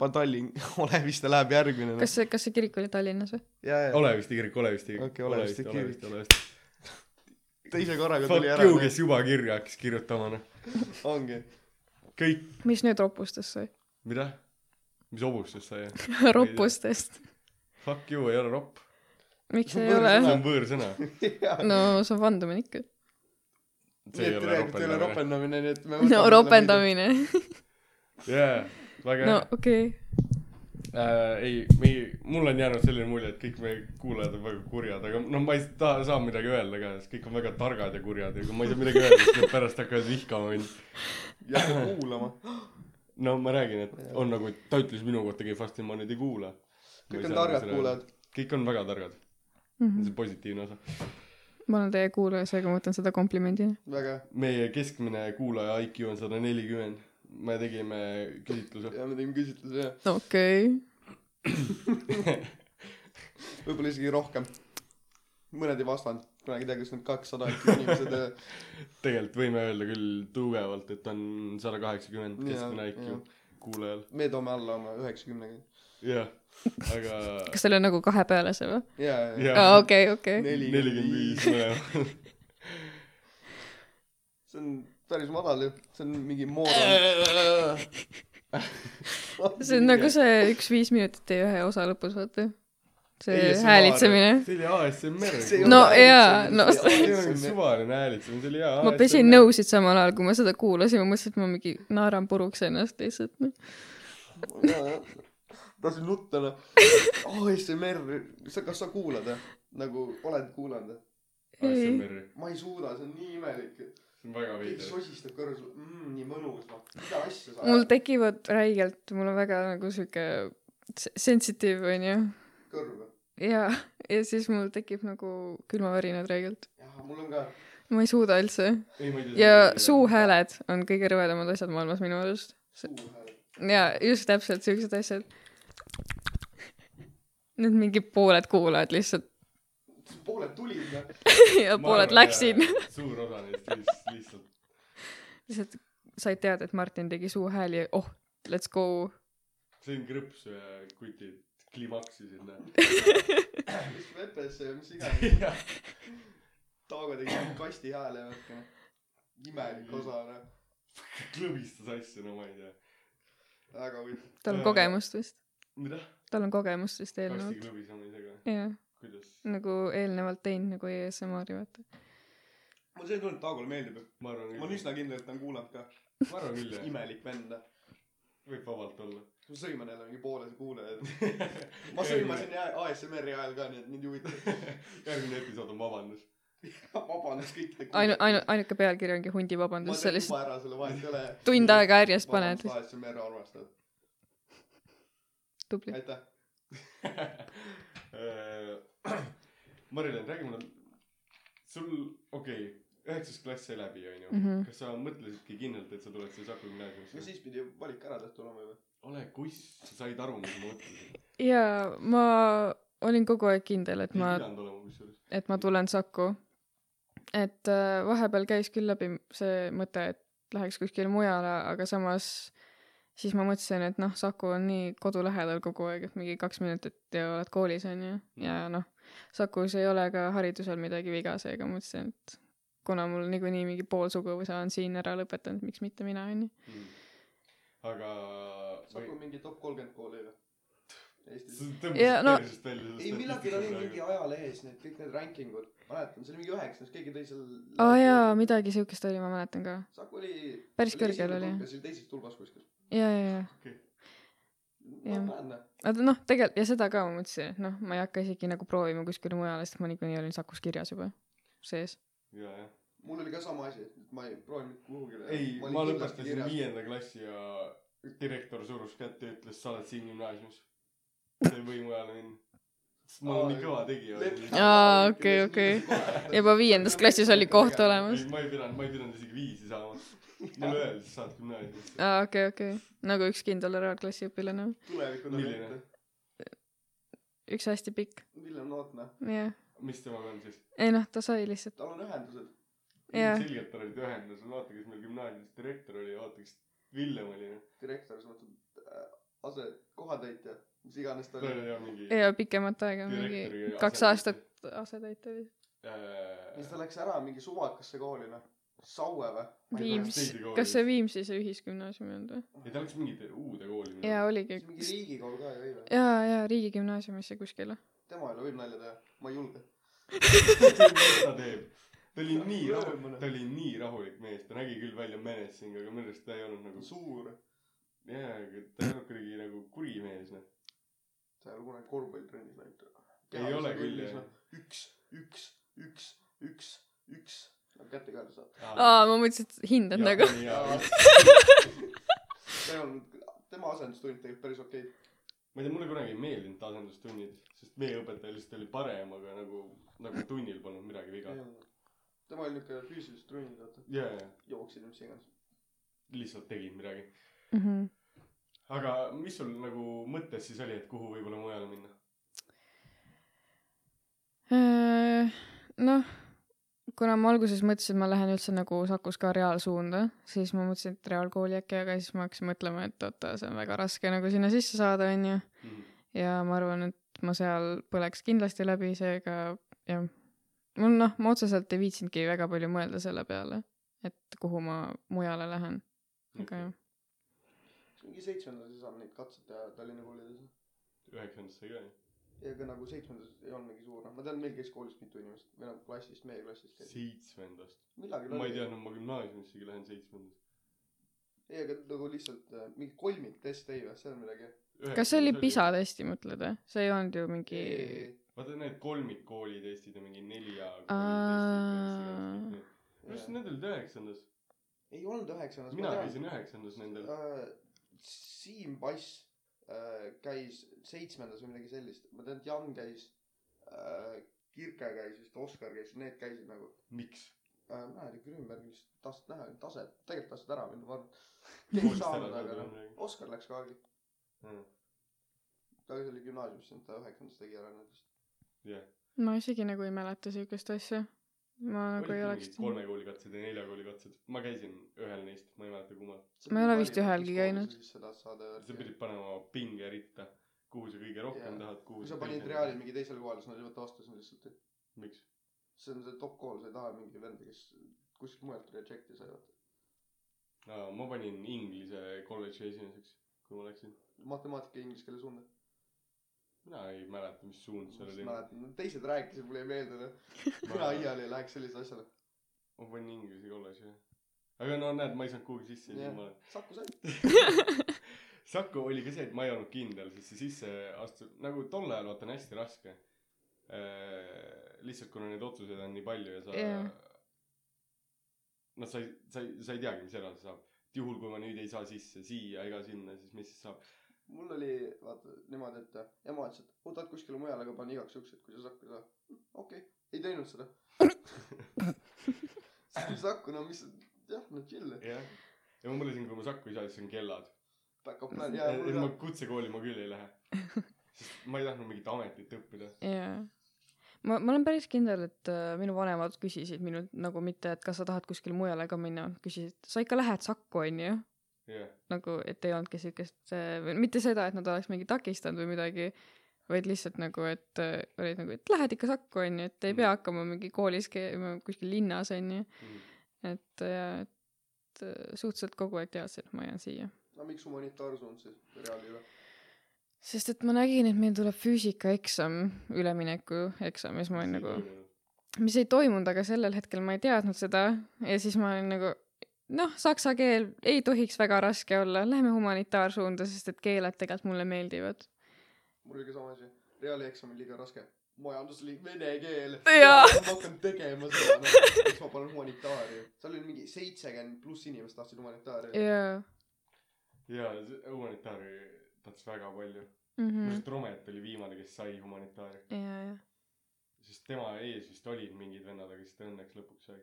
Speaker 3: Tallinn , Oleviste läheb järgmine . noh.
Speaker 2: kas see , kas see kirik oli Tallinnas või ?
Speaker 3: ja , ja
Speaker 1: Oleviste kirik , Oleviste kirik .
Speaker 3: Okei, Oleviste kirik.
Speaker 1: Oleviste .
Speaker 3: teise korraga
Speaker 1: Fuck
Speaker 3: tuli ära noh.
Speaker 1: you ,. kes juba kirja hakkas kirjutama , noh .
Speaker 3: ongi .
Speaker 1: kõik ,
Speaker 2: mis nüüd ropustest sai ?
Speaker 1: mida ? mis hobustest sai ?
Speaker 2: ropustest .
Speaker 1: Fuck you ei ole ropp .
Speaker 2: miks
Speaker 3: See
Speaker 2: ei
Speaker 3: on
Speaker 2: ole
Speaker 1: see ?
Speaker 3: võõrsõna.
Speaker 1: on võõrsõna .
Speaker 2: no see on vandumine ikka .
Speaker 1: see ei ole
Speaker 3: ei ole
Speaker 1: ropendamine .
Speaker 3: ropendamine , nii et me
Speaker 2: no . ropendamine .
Speaker 1: nagu- jaa , väga
Speaker 2: no
Speaker 1: hea .
Speaker 2: okei okay. .
Speaker 1: äh, ei , me , mul on jäänud selline mulje , et kõik meie kuulajad on väga kurjad , aga no ma ei taha , saa midagi öelda ka , sest kõik on väga targad ja kurjad ja kui ma ei saa midagi öelda , siis nad pärast hakkavad vihkama mind .
Speaker 3: jääme kuulama .
Speaker 1: no ma räägin , et on nagu , ta ütles minu kohta kehvasti , ma nüüd ei kuula .
Speaker 3: kõik on targad kuulajad ..
Speaker 1: kõik on väga targad , see on positiivne osa .
Speaker 2: Mhm. ma olen teie kuulaja , seega ma võtan seda komplimendina .
Speaker 3: väga hea .
Speaker 1: meie keskmine kuulaja IQ on sada nelikümmend . me tegime küsitluse .
Speaker 3: ja me tegime küsitluse ja
Speaker 2: okei okay. .
Speaker 3: võib-olla isegi rohkem . mõned ei vastanud , ma ei tea , kas need kakssada äkki inimesed äh,
Speaker 1: tegelikult võime öelda küll tugevalt , et on sada kaheksakümmend
Speaker 3: Jaa,
Speaker 1: keskmine
Speaker 3: jaa.
Speaker 1: IQ kuulajal .
Speaker 3: me toome alla oma üheksakümnega .
Speaker 1: jah , aga
Speaker 2: kas teil on nagu kahe peale see või ?
Speaker 3: ja , ja ,
Speaker 1: Jah.
Speaker 3: ja .
Speaker 2: aa , okei , okei .
Speaker 1: nelikümmend viis . mõlemal .
Speaker 3: see on päris madal ju , see on mingi moodne .
Speaker 2: see on nagu see üks viis minutit teie ühe osa lõpus , vaata . see
Speaker 1: ASMR.
Speaker 2: häälitsemine .
Speaker 1: see oli ASMR .
Speaker 3: See ei
Speaker 2: No
Speaker 3: ole
Speaker 2: jaa,
Speaker 3: ASMR,
Speaker 2: no
Speaker 3: see
Speaker 1: see ei
Speaker 3: ei ole
Speaker 1: ole mingi
Speaker 3: ASMR.
Speaker 1: suvaline häälitsemine , see oli hea .
Speaker 2: ma pesin . nõusid samal ajal , kui ma seda kuulasin , ma mõtlesin , et ma mingi naeran puruks ennast lihtsalt . noh.
Speaker 3: Jaa, tahtsin nutta noh ASMR , sa , kas sa kuulad jah ? nagu oled kuulanud jah ?
Speaker 1: ASMR-i ,
Speaker 3: ma ei suuda , see on nii imelik .
Speaker 1: see on väga
Speaker 3: keegi
Speaker 1: veider .
Speaker 3: sosistab kõrvas mm, , nii mõnus noh , mida asja sa
Speaker 2: mul tekivad räigelt , mul on väga nagu sihuke s- sensitiiv onju .
Speaker 3: ajad kõrva .
Speaker 2: ja , ja siis mul tekib nagu külmavärinad räigelt .
Speaker 3: jah , mul on ka ,
Speaker 2: ma ei suuda üldse . ja . suuhääled on kõige rõvedamad asjad maailmas minu arust .
Speaker 3: suu hääl .
Speaker 2: ja just täpselt siuksed asjad . Need mingi pooled kuulajad lihtsalt
Speaker 3: pooled tulid noh .
Speaker 2: ja pooled läksid .
Speaker 1: suur osa neist lihtsalt , lihtsalt
Speaker 2: lihtsalt said teada , et Martin tegi suuhääli ja oh , let's go .
Speaker 1: sõin krõpsu ja kutid klimaksisid näed .
Speaker 3: mis vepesse ja mis iganes . Taago tegi mingi kasti hääle natukene . imelik osa noh ,
Speaker 1: klõbistas asju , no ma ei tea .
Speaker 3: väga huvitav .
Speaker 2: tal on
Speaker 1: Jaa.
Speaker 2: kogemust vist ,
Speaker 1: mida ?
Speaker 2: tal on kogemust vist eelnevalt .
Speaker 1: kastiklõbis on isegi või ?
Speaker 2: jah ,
Speaker 1: kuidas ?
Speaker 2: nagu eelnevalt teinud nagu ESMR-i vaata .
Speaker 3: mul see tunne , et Taagole meeldib .
Speaker 1: ma arvan
Speaker 3: ma olen
Speaker 1: küll ,
Speaker 3: üsna kindel , et ta on kuulanud ka .
Speaker 1: ma arvan küll jah ,
Speaker 3: imelik vend noh .
Speaker 1: võib vabalt olla .
Speaker 3: ma sõiman jälle mingi pooled kuulajad . ma sõimasin jää- ASMR-i ajal ka , nii et mind ei huvita .
Speaker 1: järgmine episood on vabandus .
Speaker 3: vabandust kõikide
Speaker 2: ainu- , ainu- , ainuke pealkiri ongi hundi vabandus , sa
Speaker 3: ma teen
Speaker 2: lihtsalt
Speaker 3: juba ära selle vahet ei ole .
Speaker 2: tund aega härjest paned ,
Speaker 3: ASMR armastad .
Speaker 2: tubli .
Speaker 3: aitäh .
Speaker 1: Äh, Marilyn , räägi mulle , sul , okei okay, , üheksas klass sai läbi , onju mm .
Speaker 2: Mhm.
Speaker 1: -hmm. kas sa mõtlesidki kindlalt , et sa tuled siia Saku
Speaker 3: no
Speaker 1: gümnaasiumisse ?
Speaker 3: siis pidi valik ära tehtud olema juba .
Speaker 1: ole kuss , sa said aru , mis ma mõtlesin .
Speaker 2: jaa , ma olin kogu aeg kindel , et
Speaker 1: ei
Speaker 2: ma ,
Speaker 1: pidanud olema kusjuures .
Speaker 2: et ma tulen Saku . et äh, vahepeal käis küll läbi see mõte , et läheks kuskile mujale , aga samas siis ma mõtlesin , et noh , Saku on nii kodu lähedal kogu aeg , et mingi kaks minutit ja oled koolis , onju . ja noh , Sakus ei ole ka haridusel midagi viga , seega mõtlesin , et kuna mul niikuinii mingi pool suguvõsa on siin ära lõpetanud , miks mitte mina , onju .
Speaker 1: mm. . aga .
Speaker 3: Saku mingi top kolmkümmend kooli või ? Eestis .
Speaker 2: Ja
Speaker 1: tõmbasid
Speaker 2: no-
Speaker 1: persest välja .
Speaker 3: ei , millalgi oli mingi . ajalehes need kõik need rankingud , mäletan , see oli mingi üheksas , keegi tõi seal .
Speaker 2: aa jaa ,. midagi siukest oli , ma mäletan ka .
Speaker 3: Saku oli .
Speaker 2: Päris kõrgel oli, jah.
Speaker 3: see oli teises tulbas kuskil .
Speaker 2: ja , ja , ja Jah.
Speaker 3: jah .
Speaker 2: aga noh , tegelikult ja seda ka ma mõtlesin , et noh , ma ei hakka isegi nagu proovima kuskile mujale , sest ma niikuinii olin Sakus kirjas juba sees .
Speaker 1: ja , jah .
Speaker 3: mul oli ka sama asi , et ma ei proovinud kuhugile .
Speaker 1: ei , ma lõpetasin . viienda klassi ja direktor surus kätt ja ütles , sa oled siin gümnaasiumis . sa ei või mujale minna . sest ma olen nii kõva tegija . ei ,
Speaker 2: Aa, okei, okei. juba viiendas klassis oli koht . olemas .
Speaker 1: ma ei pidanud , ma ei pidanud isegi viisi saama . mulle öeldi , sa saad gümnaasiumisse .
Speaker 2: aa , okei , okei . nagu üks kindel ära klassiõpilane .
Speaker 3: tuleviku
Speaker 1: Milline?
Speaker 3: nagu .
Speaker 2: üks hästi pikk ,
Speaker 3: Villem Nootna ,
Speaker 2: jah .
Speaker 1: mis temaga on siis ?
Speaker 2: ei noh , ta sai lihtsalt ,
Speaker 3: tal on ühendused .
Speaker 2: jah .
Speaker 1: selgelt olid ühenduses , vaata , kes meil gümnaasiumis direktor oli , vaata , kes Villem oli . noh.
Speaker 3: direktor , selles mõttes äh, ase , kohatäitja , mis iganes ta
Speaker 1: tal
Speaker 3: oli .
Speaker 1: oli jah mingi .
Speaker 2: ja pikemat aega , mingi
Speaker 1: Direktori Äh,
Speaker 2: kaks
Speaker 1: asetäitja.
Speaker 2: aastat asetäitja oli .
Speaker 3: siis ta läks ära mingi suvakasse kooli , noh . Saue või ?
Speaker 1: Viims-
Speaker 2: Viimsi
Speaker 1: teise kooli. ,
Speaker 2: kas see Viimsi see ühisgümnaasium ei olnud või ?
Speaker 1: ei , ta läks mingite uude kooli .
Speaker 2: jaa , oligi .
Speaker 3: mingi riigikool ka ju eile .
Speaker 2: jaa , jaa , riigigümnaasiumisse kuskile .
Speaker 3: tema üle võib nalja teha , ma ei julge .
Speaker 1: mis ta teeb ? ta oli nii rahul , ta oli nii rahulik mees , ta nägi küll välja menacing , aga minu arust ta ei olnud nagu ,
Speaker 3: suur .
Speaker 1: jaa , aga ta ei olnud kuidagi nagu kuri mees , noh .
Speaker 3: sa ei ole kunagi korvpallitrennis läinud .
Speaker 1: Ei ole küll, jah. .
Speaker 3: üks , üks , üks , üks , üks , kätte ka ei saa .
Speaker 2: aa , ma mõtlesin , et hindan nagu .
Speaker 3: see on , tema asendustund tegelikult päris okei okay. .
Speaker 1: ma ei tea , mulle kunagi ei meeldinud asendustunnid , sest meie õpetaja lihtsalt oli parem , aga nagu , nagu tunnil polnud midagi viga .
Speaker 3: tema oli niuke füüsilist trenni , vaata ,
Speaker 1: ja , ja
Speaker 3: jooksid ja mis iganes .
Speaker 1: lihtsalt tegid midagi .
Speaker 2: Mhm.
Speaker 1: aga mis sul nagu mõttes siis oli , et kuhu võib-olla mujale minna ?
Speaker 2: noh , kuna ma alguses mõtlesin , et ma lähen üldse nagu Sakus ka reaalsuunda , siis ma mõtlesin , et reaalkooli äkki , aga siis ma hakkasin mõtlema , et oota , see on väga raske nagu sinna sisse saada , onju .
Speaker 1: Mhm.
Speaker 2: ja ma arvan , et ma seal põleks kindlasti läbi , seega jah . mul noh , ma otseselt ei viitsinudki väga palju mõelda selle peale , et kuhu ma mujale lähen , aga jah .
Speaker 3: mingi seitsmendas ei saanud neid katseid teha Tallinna koolides .
Speaker 1: üheksandas sai ka ju .
Speaker 3: ega nagu seitsmendas ei olnud mingi suur , ma tean , meil käis koolis mitu inimest , meil on klassist , meie klassist käis .
Speaker 1: seitsmendast .
Speaker 3: millalgi
Speaker 1: ma ei teadnud , ma gümnaasiumisse isegi lähen seitsmendast .
Speaker 3: ei , aga nagu lihtsalt äh, mingi kolmiktest ei või , see on midagi .
Speaker 2: kas see oli PISA ? testi mõtled või ? see ei olnud ju mingi .
Speaker 1: vaata need kolmikkooli testid ja mingi nelja
Speaker 2: Aa.
Speaker 1: kooli testid . minu arust need olid üheksandas .
Speaker 3: ei olnud üheksandas .
Speaker 1: mina käisin üheksandas nendel .
Speaker 3: äh, . Siim Vass äh, käis seitsmendas või midagi sellist , ma tean , et Jan käis äh, , Kirke käis vist , Oskar käis , need käisid nagu
Speaker 1: miks ?
Speaker 3: äh, . ma ei tea , Grünberg vist tahtsid näha , taset , tegelikult tahtsid ära minna , ma arvan . keegi ei saanud , aga noh , Oskar läks ka , ta oli gümnaasiumis , ta üheksandas tegi ära nendest .
Speaker 1: jah .
Speaker 2: ma isegi nagu ei mäleta siukest asja . ma nagu ei oleks .
Speaker 1: kolme kooli katsed ja nelja kooli katsed . ma käisin ühel neist , ma ei mäleta kummal .
Speaker 2: Ma ei ole vist ühelgi käinud.
Speaker 3: sa tahad saada .
Speaker 1: sa pidid panema pinge ritta , kuhu sa kõige rohkem
Speaker 3: Jah.
Speaker 1: tahad , kuhu
Speaker 3: kui sa panid Reali . mingi teisele kohale , siis nad juba vastasid lihtsalt , et
Speaker 1: miks ?
Speaker 3: see on see top call , sa ei taha mingi venda , kes kuskilt mujalt reject'i sai , vaata .
Speaker 1: ma panin inglise kolledži esimeseks , kui ma läksin .
Speaker 3: matemaatika ja inglise keele suunda .
Speaker 1: mina ei mäleta , mis suund seal oli .
Speaker 3: mäletan , teised rääkisid , mulle noh. ei meeldinud . mina iial ei läheks sellise asjale .
Speaker 1: ma panin inglise kolledži , jah . aga no näed , ma ei saanud kuhugi sisse , siis
Speaker 3: Jah.
Speaker 1: ma
Speaker 3: Saku sai .
Speaker 1: Saku oli ka see , et ma ei olnud kindel , sest see sisseastu- , nagu tol ajal vaata on hästi raske . lihtsalt kuna neid otsuseid on nii palju ja sa
Speaker 2: Jah.
Speaker 1: noh , sa ei , sa ei , sa ei teagi , mis edasi saab . et juhul , kui ma nüüd ei saa sisse siia ega sinna , siis mis siis saab ?
Speaker 3: mul oli , vaata , niimoodi , et ema ütles , et ootad kuskile mujale , aga pane igaks juhuks , et kui sa Saku ei saa . okei okay. , ei teinud seda . siis Saku , no mis , jah , no chill .
Speaker 1: jah . ja ma mõtlesin , kui ma Saku ei saa , siis on kellad .
Speaker 3: Back-up plan , jaa ,
Speaker 1: et et ma
Speaker 3: mul ka .
Speaker 1: kutsekooli ma küll ei lähe . sest ma ei tahtnud mingit ametit õppida .
Speaker 2: jaa . ma , ma olen päris kindel , et äh, minu vanemad küsisid minult nagu mitte , et kas sa tahad kuskile mujale ka minna , küsisid , sa ikka lähed Sakku , onju .
Speaker 1: jah .
Speaker 2: nagu , et ei olnudki siukest , mitte seda , et nad oleks mingi takistanud või midagi , vaid lihtsalt nagu , et äh, olid nagu , et lähed ikka Sakku , onju , et ei
Speaker 1: Mm.
Speaker 2: pea hakkama mingi koolis käima kuskil linnas , onju .
Speaker 1: Mhm.
Speaker 2: et ja , et äh, suhteliselt kogu aeg teadsin , et ma jään siia .
Speaker 3: no miks humanitaarsuund siis Reali üle ?
Speaker 2: sest et ma nägin , et meil tuleb füüsikaeksam , ülemineku eksam ja siis ma olin nagu mis ei toimunud , aga sellel hetkel ma ei teadnud seda ja siis ma olin nagu noh , saksa keel ei tohiks väga raske olla , lähme humanitaarsuunda , sest et keeled tegelikult mulle meeldivad .
Speaker 3: mul oli ka sama asi . reaali eksam on liiga raske . majandusliik , vene keel .
Speaker 2: Jaa.
Speaker 3: ma hakkan tegema seda , noh . siis ma panen humanitaari . seal oli mingi seitsekümmend pluss inimest tahtsid humanitaari .
Speaker 2: jaa
Speaker 1: jaa , humanitaari tahtis väga palju . minu
Speaker 2: mhm. ,
Speaker 1: arust Romet oli viimane , kes sai humanitaari .
Speaker 2: jaa , jaa ,
Speaker 1: sest tema ees vist olid mingid vennad , aga siis ta õnneks lõpuks sai .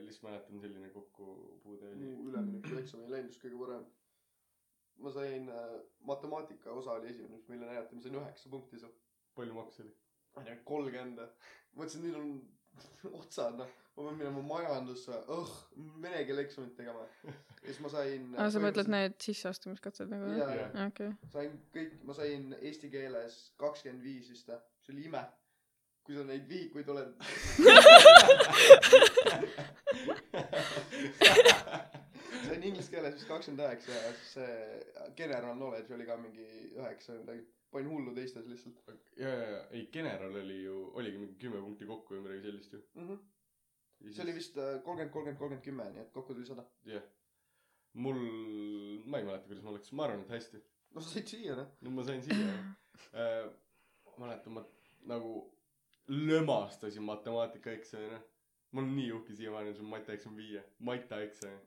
Speaker 1: lihtsalt mäletan , selline kokkupuude oli .
Speaker 3: mu ülemineku eksam ei läinud just kõige parem . ma sain äh, , matemaatika osa oli esimene , mis meile näidati , ma sain üheksa punkti seal .
Speaker 1: palju maks oli ?
Speaker 3: ma ei tea , kolmkümmend . mõtlesin , nüüd on otsad , noh . ma pean minema majandusse , õh , vene keele eksamit tegema . ja siis ma sain .
Speaker 2: aa , sa mõtled ? need sisseastumiskatsed nagu jah ?
Speaker 3: jaa , jaa .
Speaker 2: okei ,
Speaker 3: sain kõik , ma sain eesti keeles kakskümmend viis vist või , see oli ime . kui sa neid vihikuid oled . sain inglise keeles vist kakskümmend üheksa ja siis see general knowledge oli ka mingi üheksa või midagi . panin hullu teistes lihtsalt
Speaker 1: ja , ja , ja , ei , general oli ju , oligi mingi kümme punkti kokku või midagi sellist ju .
Speaker 3: mm . -hmm. see oli . vist äh, kolmkümmend , kolmkümmend , kolmkümmend , kümme , nii et kokku tuli sada .
Speaker 1: jah . mul , ma ei mäleta , kuidas mul läks , ma arvan , et hästi .
Speaker 3: no sa said siia noh
Speaker 1: no ma sain siia äh, . mäletan , ma nagu lömastasin matemaatikaeksami , noh . ma olen nii uhke siiamaani , et see on matjaeksam viie , matjaeksam .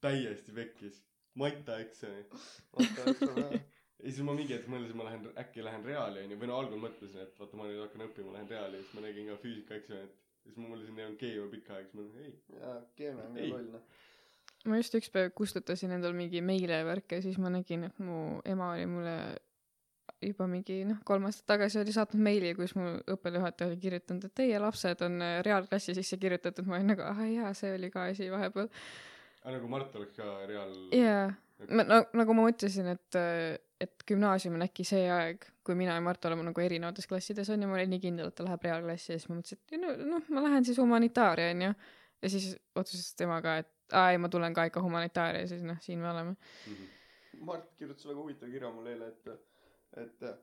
Speaker 1: täiesti pekkis , matjaeksam . ja siis ma mingi hetk mõtlesin , ma lähen , äkki lähen reaali onju , või no algul mõtlesin , et vaata , ma nüüd hakkan õppima , lähen reaali , siis ma nägin ka füüsikaeksamit . siis ma mõtlesin , neil on keemia pikka aeg , siis ma mõtlesin , ei ,
Speaker 3: jaa keemia on ka
Speaker 1: Ei.
Speaker 3: loll noh
Speaker 2: ma just üks päev kustutasin endal mingi meilevärke ja siis ma nägin , et mu ema oli mulle juba mingi noh , kolm aastat tagasi oli saatnud meili , kus mu õppejuhataja oli kirjutanud , et teie lapsed on äh, reaalklassi sisse kirjutatud , ma olin nagu ah jaa , see oli ka asi vahepeal .
Speaker 1: aga nagu Mart oleks ka reaal .
Speaker 2: jaa , ma no, nagu ma mõtlesin , et , et gümnaasium on äkki see aeg , kui mina ja Mart oleme nagu erinevates klassides onju , ma olin nii kindel , et ta läheb reaalklassi ja siis ma mõtlesin , et ei no noh , ma lähen siis humanitaaria onju . ja siis otsustas tema ka , et aa ei , ma tulen ka ikka humanitaaria ja siis noh , siin me oleme .
Speaker 1: Mhm.
Speaker 3: Mart kirjutas väga huvitava kirja mulle eile , et , et äh,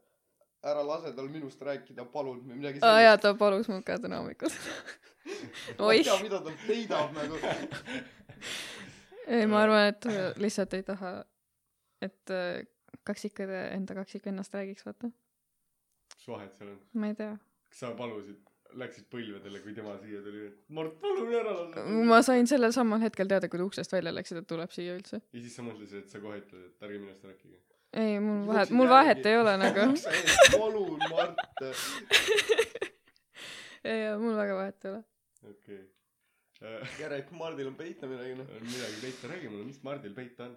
Speaker 3: ära lase tal minust rääkida , palun , või midagi
Speaker 2: aa jaa , ta palus mul ka täna hommikul
Speaker 3: ma ei
Speaker 2: oih
Speaker 3: tea , mida ta peidab nagu .
Speaker 2: ei , ma arvan , et ta lihtsalt ei taha , et äh, kaksikõde enda kaksikvennast räägiks , vaata .
Speaker 1: mis vahet seal on ?
Speaker 2: ma ei tea .
Speaker 1: kas sa palusid , läksid põlvedele , kui tema siia tuli , et Mart , palun ära lase .
Speaker 2: ma sain sellel samal hetkel teada , kui ta uksest välja läks , et ta tuleb siia üldse .
Speaker 1: ja siis sa mõtlesid , et sa kohe ütled , et ärge minust rääkige .
Speaker 2: ei , mul vahet , mul vahet ei ole nagu .
Speaker 3: palun , Mart .
Speaker 2: ei , mul väga vahet ei ole .
Speaker 1: okei okay. .
Speaker 3: järelikult Mardil on peita midagi noh .
Speaker 1: on midagi peita , räägi mulle , mis Mardil peita on ?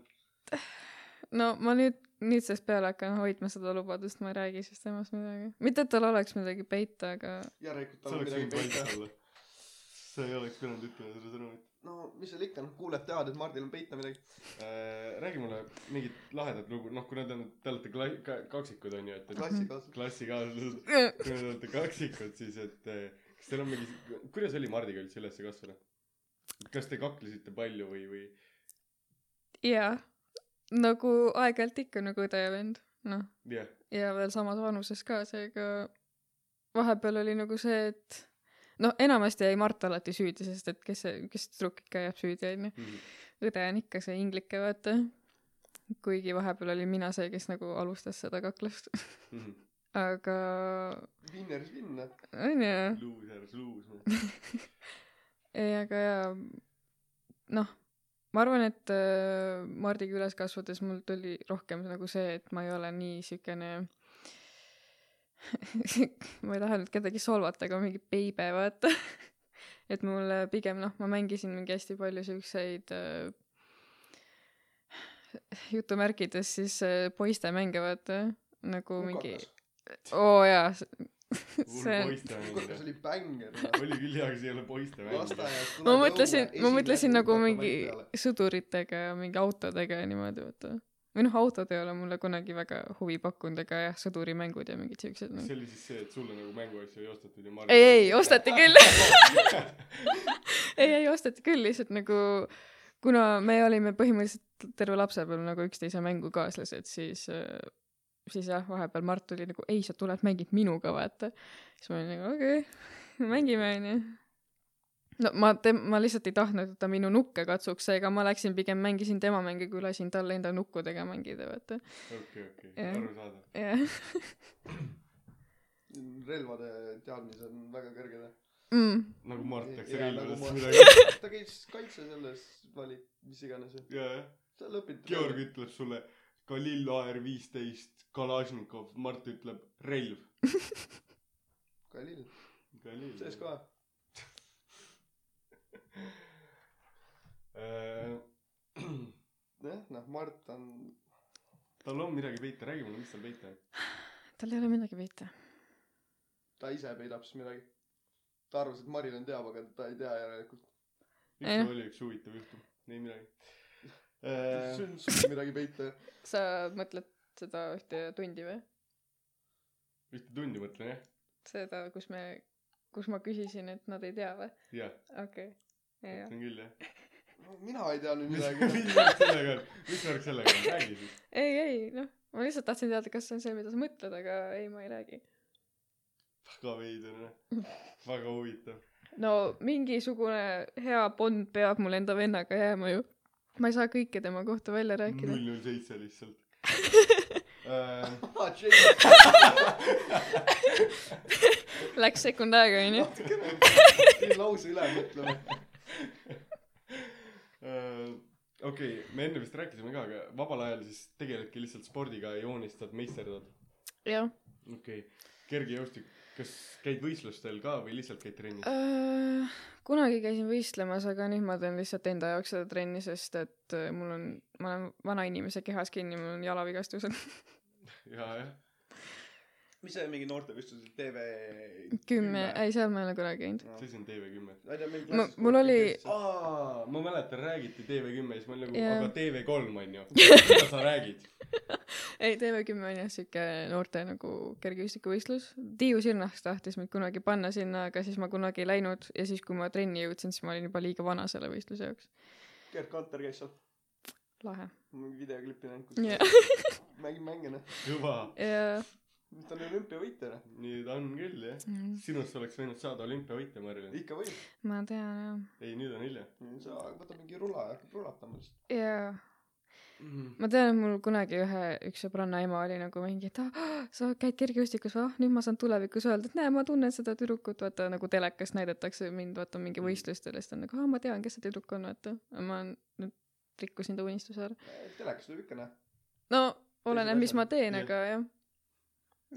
Speaker 2: no ma nüüd , nüüdsest peale hakkan hoidma seda lubadust , ma ei räägi siis temast midagi . mitte , et tal oleks midagi peita , aga
Speaker 3: järelikult
Speaker 1: see
Speaker 3: tal
Speaker 1: oleks võinud
Speaker 3: on midagi peita
Speaker 1: peita . olla . sa ei oleks pidanud ütlema seda sõnumit
Speaker 3: no mis seal ikka , noh kuulajad teavad , et Mardil on peita midagi .
Speaker 1: äh, . räägi mulle mingit lahedat lugu , noh , kuna te olete , te olete kla- , ka- , kaksikud on ju , et , et
Speaker 3: klassikaaslased .
Speaker 1: klassikaaslased , kui te olete kaksikud , siis et eh, kas teil on mingi , kuidas oli Mardiga üldse üles kasvada ? kas te kaklesite palju või , või ?
Speaker 2: jaa . nagu aeg-ajalt ikka nagu õde ja vend , noh
Speaker 1: jah ,
Speaker 2: ja veel samas vanuses ka , seega vahepeal oli nagu see , et noh , enamasti jäi Mart alati süüdi , sest et kes see , kes tüdruk ikka jääb süüdi , onju .
Speaker 1: mhm,
Speaker 2: õde on ikka see inglike , vaata . kuigi vahepeal olin mina see , kes nagu alustas seda kaklust ,
Speaker 1: mhm.
Speaker 2: aga
Speaker 3: Winner is win noh .
Speaker 2: onju ,
Speaker 1: luuser , luus .
Speaker 2: ei , aga jaa , noh , ma arvan , et äh, Mardiga üles kasvades mul tuli rohkem nagu see , et ma ei ole nii siukene ma ei taha nüüd kedagi solvata , aga mingi peibe , vaata . et mulle pigem noh , ma mängisin mingi hästi palju siukseid äh, jutumärkides siis äh, poistemänge , vaata . nagu mingi , oo jaa , see on ,
Speaker 3: kurat , see
Speaker 1: oli
Speaker 3: oli bänger noh .
Speaker 1: küll hea , aga see ei ole poiste mäng .
Speaker 3: lasteaias .
Speaker 2: ma mõtlesin , ma mõtlesin nagu mingi sõduritega ja mingi autodega ja niimoodi , vaata või noh , autod ei ole mulle kunagi väga huvi pakkunud , aga jah , sõdurimängud ja mingid siuksed no.
Speaker 1: kas . see oli siis see , et sulle nagu mänguasju ei ostetud ja Mardil
Speaker 2: ei , ei , osteti küll . ei , ei osteti küll , lihtsalt nagu kuna me olime põhimõtteliselt terve lapsepõlve nagu üksteise mängukaaslased , siis , siis jah , vahepeal Mart oli nagu , ei , sa tuled mängid minuga , vaata . siis ma olin nagu okei okay, , mängime onju . no ma tem- , ma lihtsalt ei tahtnud , et ta minu nukke katsuks , seega ma läksin pigem mängisin tema mänge , kui lasin talle enda nukkudega mängida , vaata .
Speaker 1: okei , okei ,
Speaker 2: Jah.
Speaker 1: arusaadav .
Speaker 2: jah
Speaker 3: relvade teadmised on väga kõrged noh .
Speaker 2: mm. .
Speaker 1: nagu Mart läks
Speaker 3: Jaa, nagu
Speaker 1: relvadesse
Speaker 3: Mart.
Speaker 1: midagi .
Speaker 3: ta käis kaitse selles vali- , mis iganes .
Speaker 1: jajah .
Speaker 3: seal õpiti .
Speaker 1: Georg ütleb sulle Kalil AR viisteist , Kalašnikov , Mart ütleb relv .
Speaker 3: Kalil ,
Speaker 1: Kalil .
Speaker 3: sees kohe .
Speaker 1: Äh,
Speaker 3: jah , noh , Mart on ,
Speaker 1: tal on midagi peita , räägi mulle , mis tal peita on .
Speaker 2: tal ei ole midagi peita .
Speaker 3: ta ise peidab siis midagi . ta arvas , et Marilyn teab , aga ta ei tea järelikult .
Speaker 1: üks
Speaker 2: Jah.
Speaker 1: oli üks huvitav juhtum , ei midagi . Äh,
Speaker 3: sul on sul midagi peita .
Speaker 2: sa mõtled seda ühte tundi või ?
Speaker 1: ühte tundi mõtlen jah ,
Speaker 2: seda , kus me , kus ma küsisin , et nad ei tea või ?
Speaker 1: jah ,
Speaker 2: okei okay. , ja , ja .
Speaker 1: mõtlen küll jah .
Speaker 3: no mina ei tea nüüd
Speaker 1: mis
Speaker 3: midagi .
Speaker 1: mis värk sellega on , mis värk sellega on , räägi siis .
Speaker 2: ei , ei , noh , ma lihtsalt tahtsin teada , kas see on see , mida sa mõtled , aga ei , ma ei räägi .
Speaker 1: väga veider jah , väga huvitav .
Speaker 2: no mingisugune hea bond peab mul enda vennaga jääma ju . ma ei saa kõike tema kohta välja rääkida .
Speaker 1: null null seitse lihtsalt .
Speaker 3: Ah,
Speaker 2: Läks sekund aega , onju .
Speaker 3: natukene , tee lause üle , mõtleme .
Speaker 1: Äh, okei , me enne vist rääkisime ka , aga vabal ajal siis tegeledki lihtsalt spordiga , joonistad , meisterdad .
Speaker 2: jah .
Speaker 1: okei okay. , kergejõustik , kas käid võistlustel ka või lihtsalt käid trennis ?
Speaker 2: Äh. kunagi käisin võistlemas , aga nüüd ma teen lihtsalt enda jaoks seda trenni , sest et äh, mul on , ma olen vana inimese kehas kinni , mul on jalavigastused .
Speaker 1: ja , jah .
Speaker 3: mis see mingi noortevõistlus , TV ?
Speaker 2: kümme , ei seal ma ei ole kunagi käinud .
Speaker 1: see siis on TV10
Speaker 2: Ma- mul oli-
Speaker 3: Ah,
Speaker 1: aa , ma mäletan , räägiti TV10 ja siis ma olin nagu yeah. ,
Speaker 2: Jah.
Speaker 1: aga TV3 on ju . mida sa räägid ?
Speaker 2: ei , TV10 on jah siuke noorte nagu kergejõustikuvõistlus . Tiiu Sirnas tahtis mind kunagi panna sinna , aga siis ma kunagi ei läinud ja siis , kui ma trenni jõudsin , siis ma olin juba liiga vana selle võistluse jaoks .
Speaker 3: Gerd Kanter käis seal ,
Speaker 2: lahe .
Speaker 3: mingi videoklipi näinud ,
Speaker 2: ja
Speaker 3: kus , mängib mänge , noh .
Speaker 1: kõva .
Speaker 2: ja
Speaker 3: ta on olümpiavõitja , noh .
Speaker 1: nii ta on küll , jah .
Speaker 2: mm,
Speaker 1: sinust oleks võinud saada olümpiavõitja , ma arvan .
Speaker 3: ikka võib .
Speaker 2: ma tean jah .
Speaker 1: ei , nüüd on hilja
Speaker 3: sa võtad mingi rula ja hakkad rulatama lihtsalt .
Speaker 2: jaa
Speaker 1: mm. .
Speaker 2: ma tean , et mul kunagi ühe , üks sõbranna ema oli nagu mingi , et ah, sa käid kergejõustikus või ah , nüüd ma saan tulevikus öelda , et näe , ma tunnen seda tüdrukut , vaata nagu telekas näidatakse mind , vaata mingi
Speaker 1: Mm.
Speaker 2: võistlustel ja siis ta on nagu , aa , ma tean , kes see tüdruk on , vaata . ma olen- nüüd rikkusin ta unistuse ära .
Speaker 3: telekas tuleb Eh, ikka , noh .
Speaker 2: no oleneb , mis ma
Speaker 3: asjana,
Speaker 2: teen ,
Speaker 1: jah.
Speaker 2: aga jah .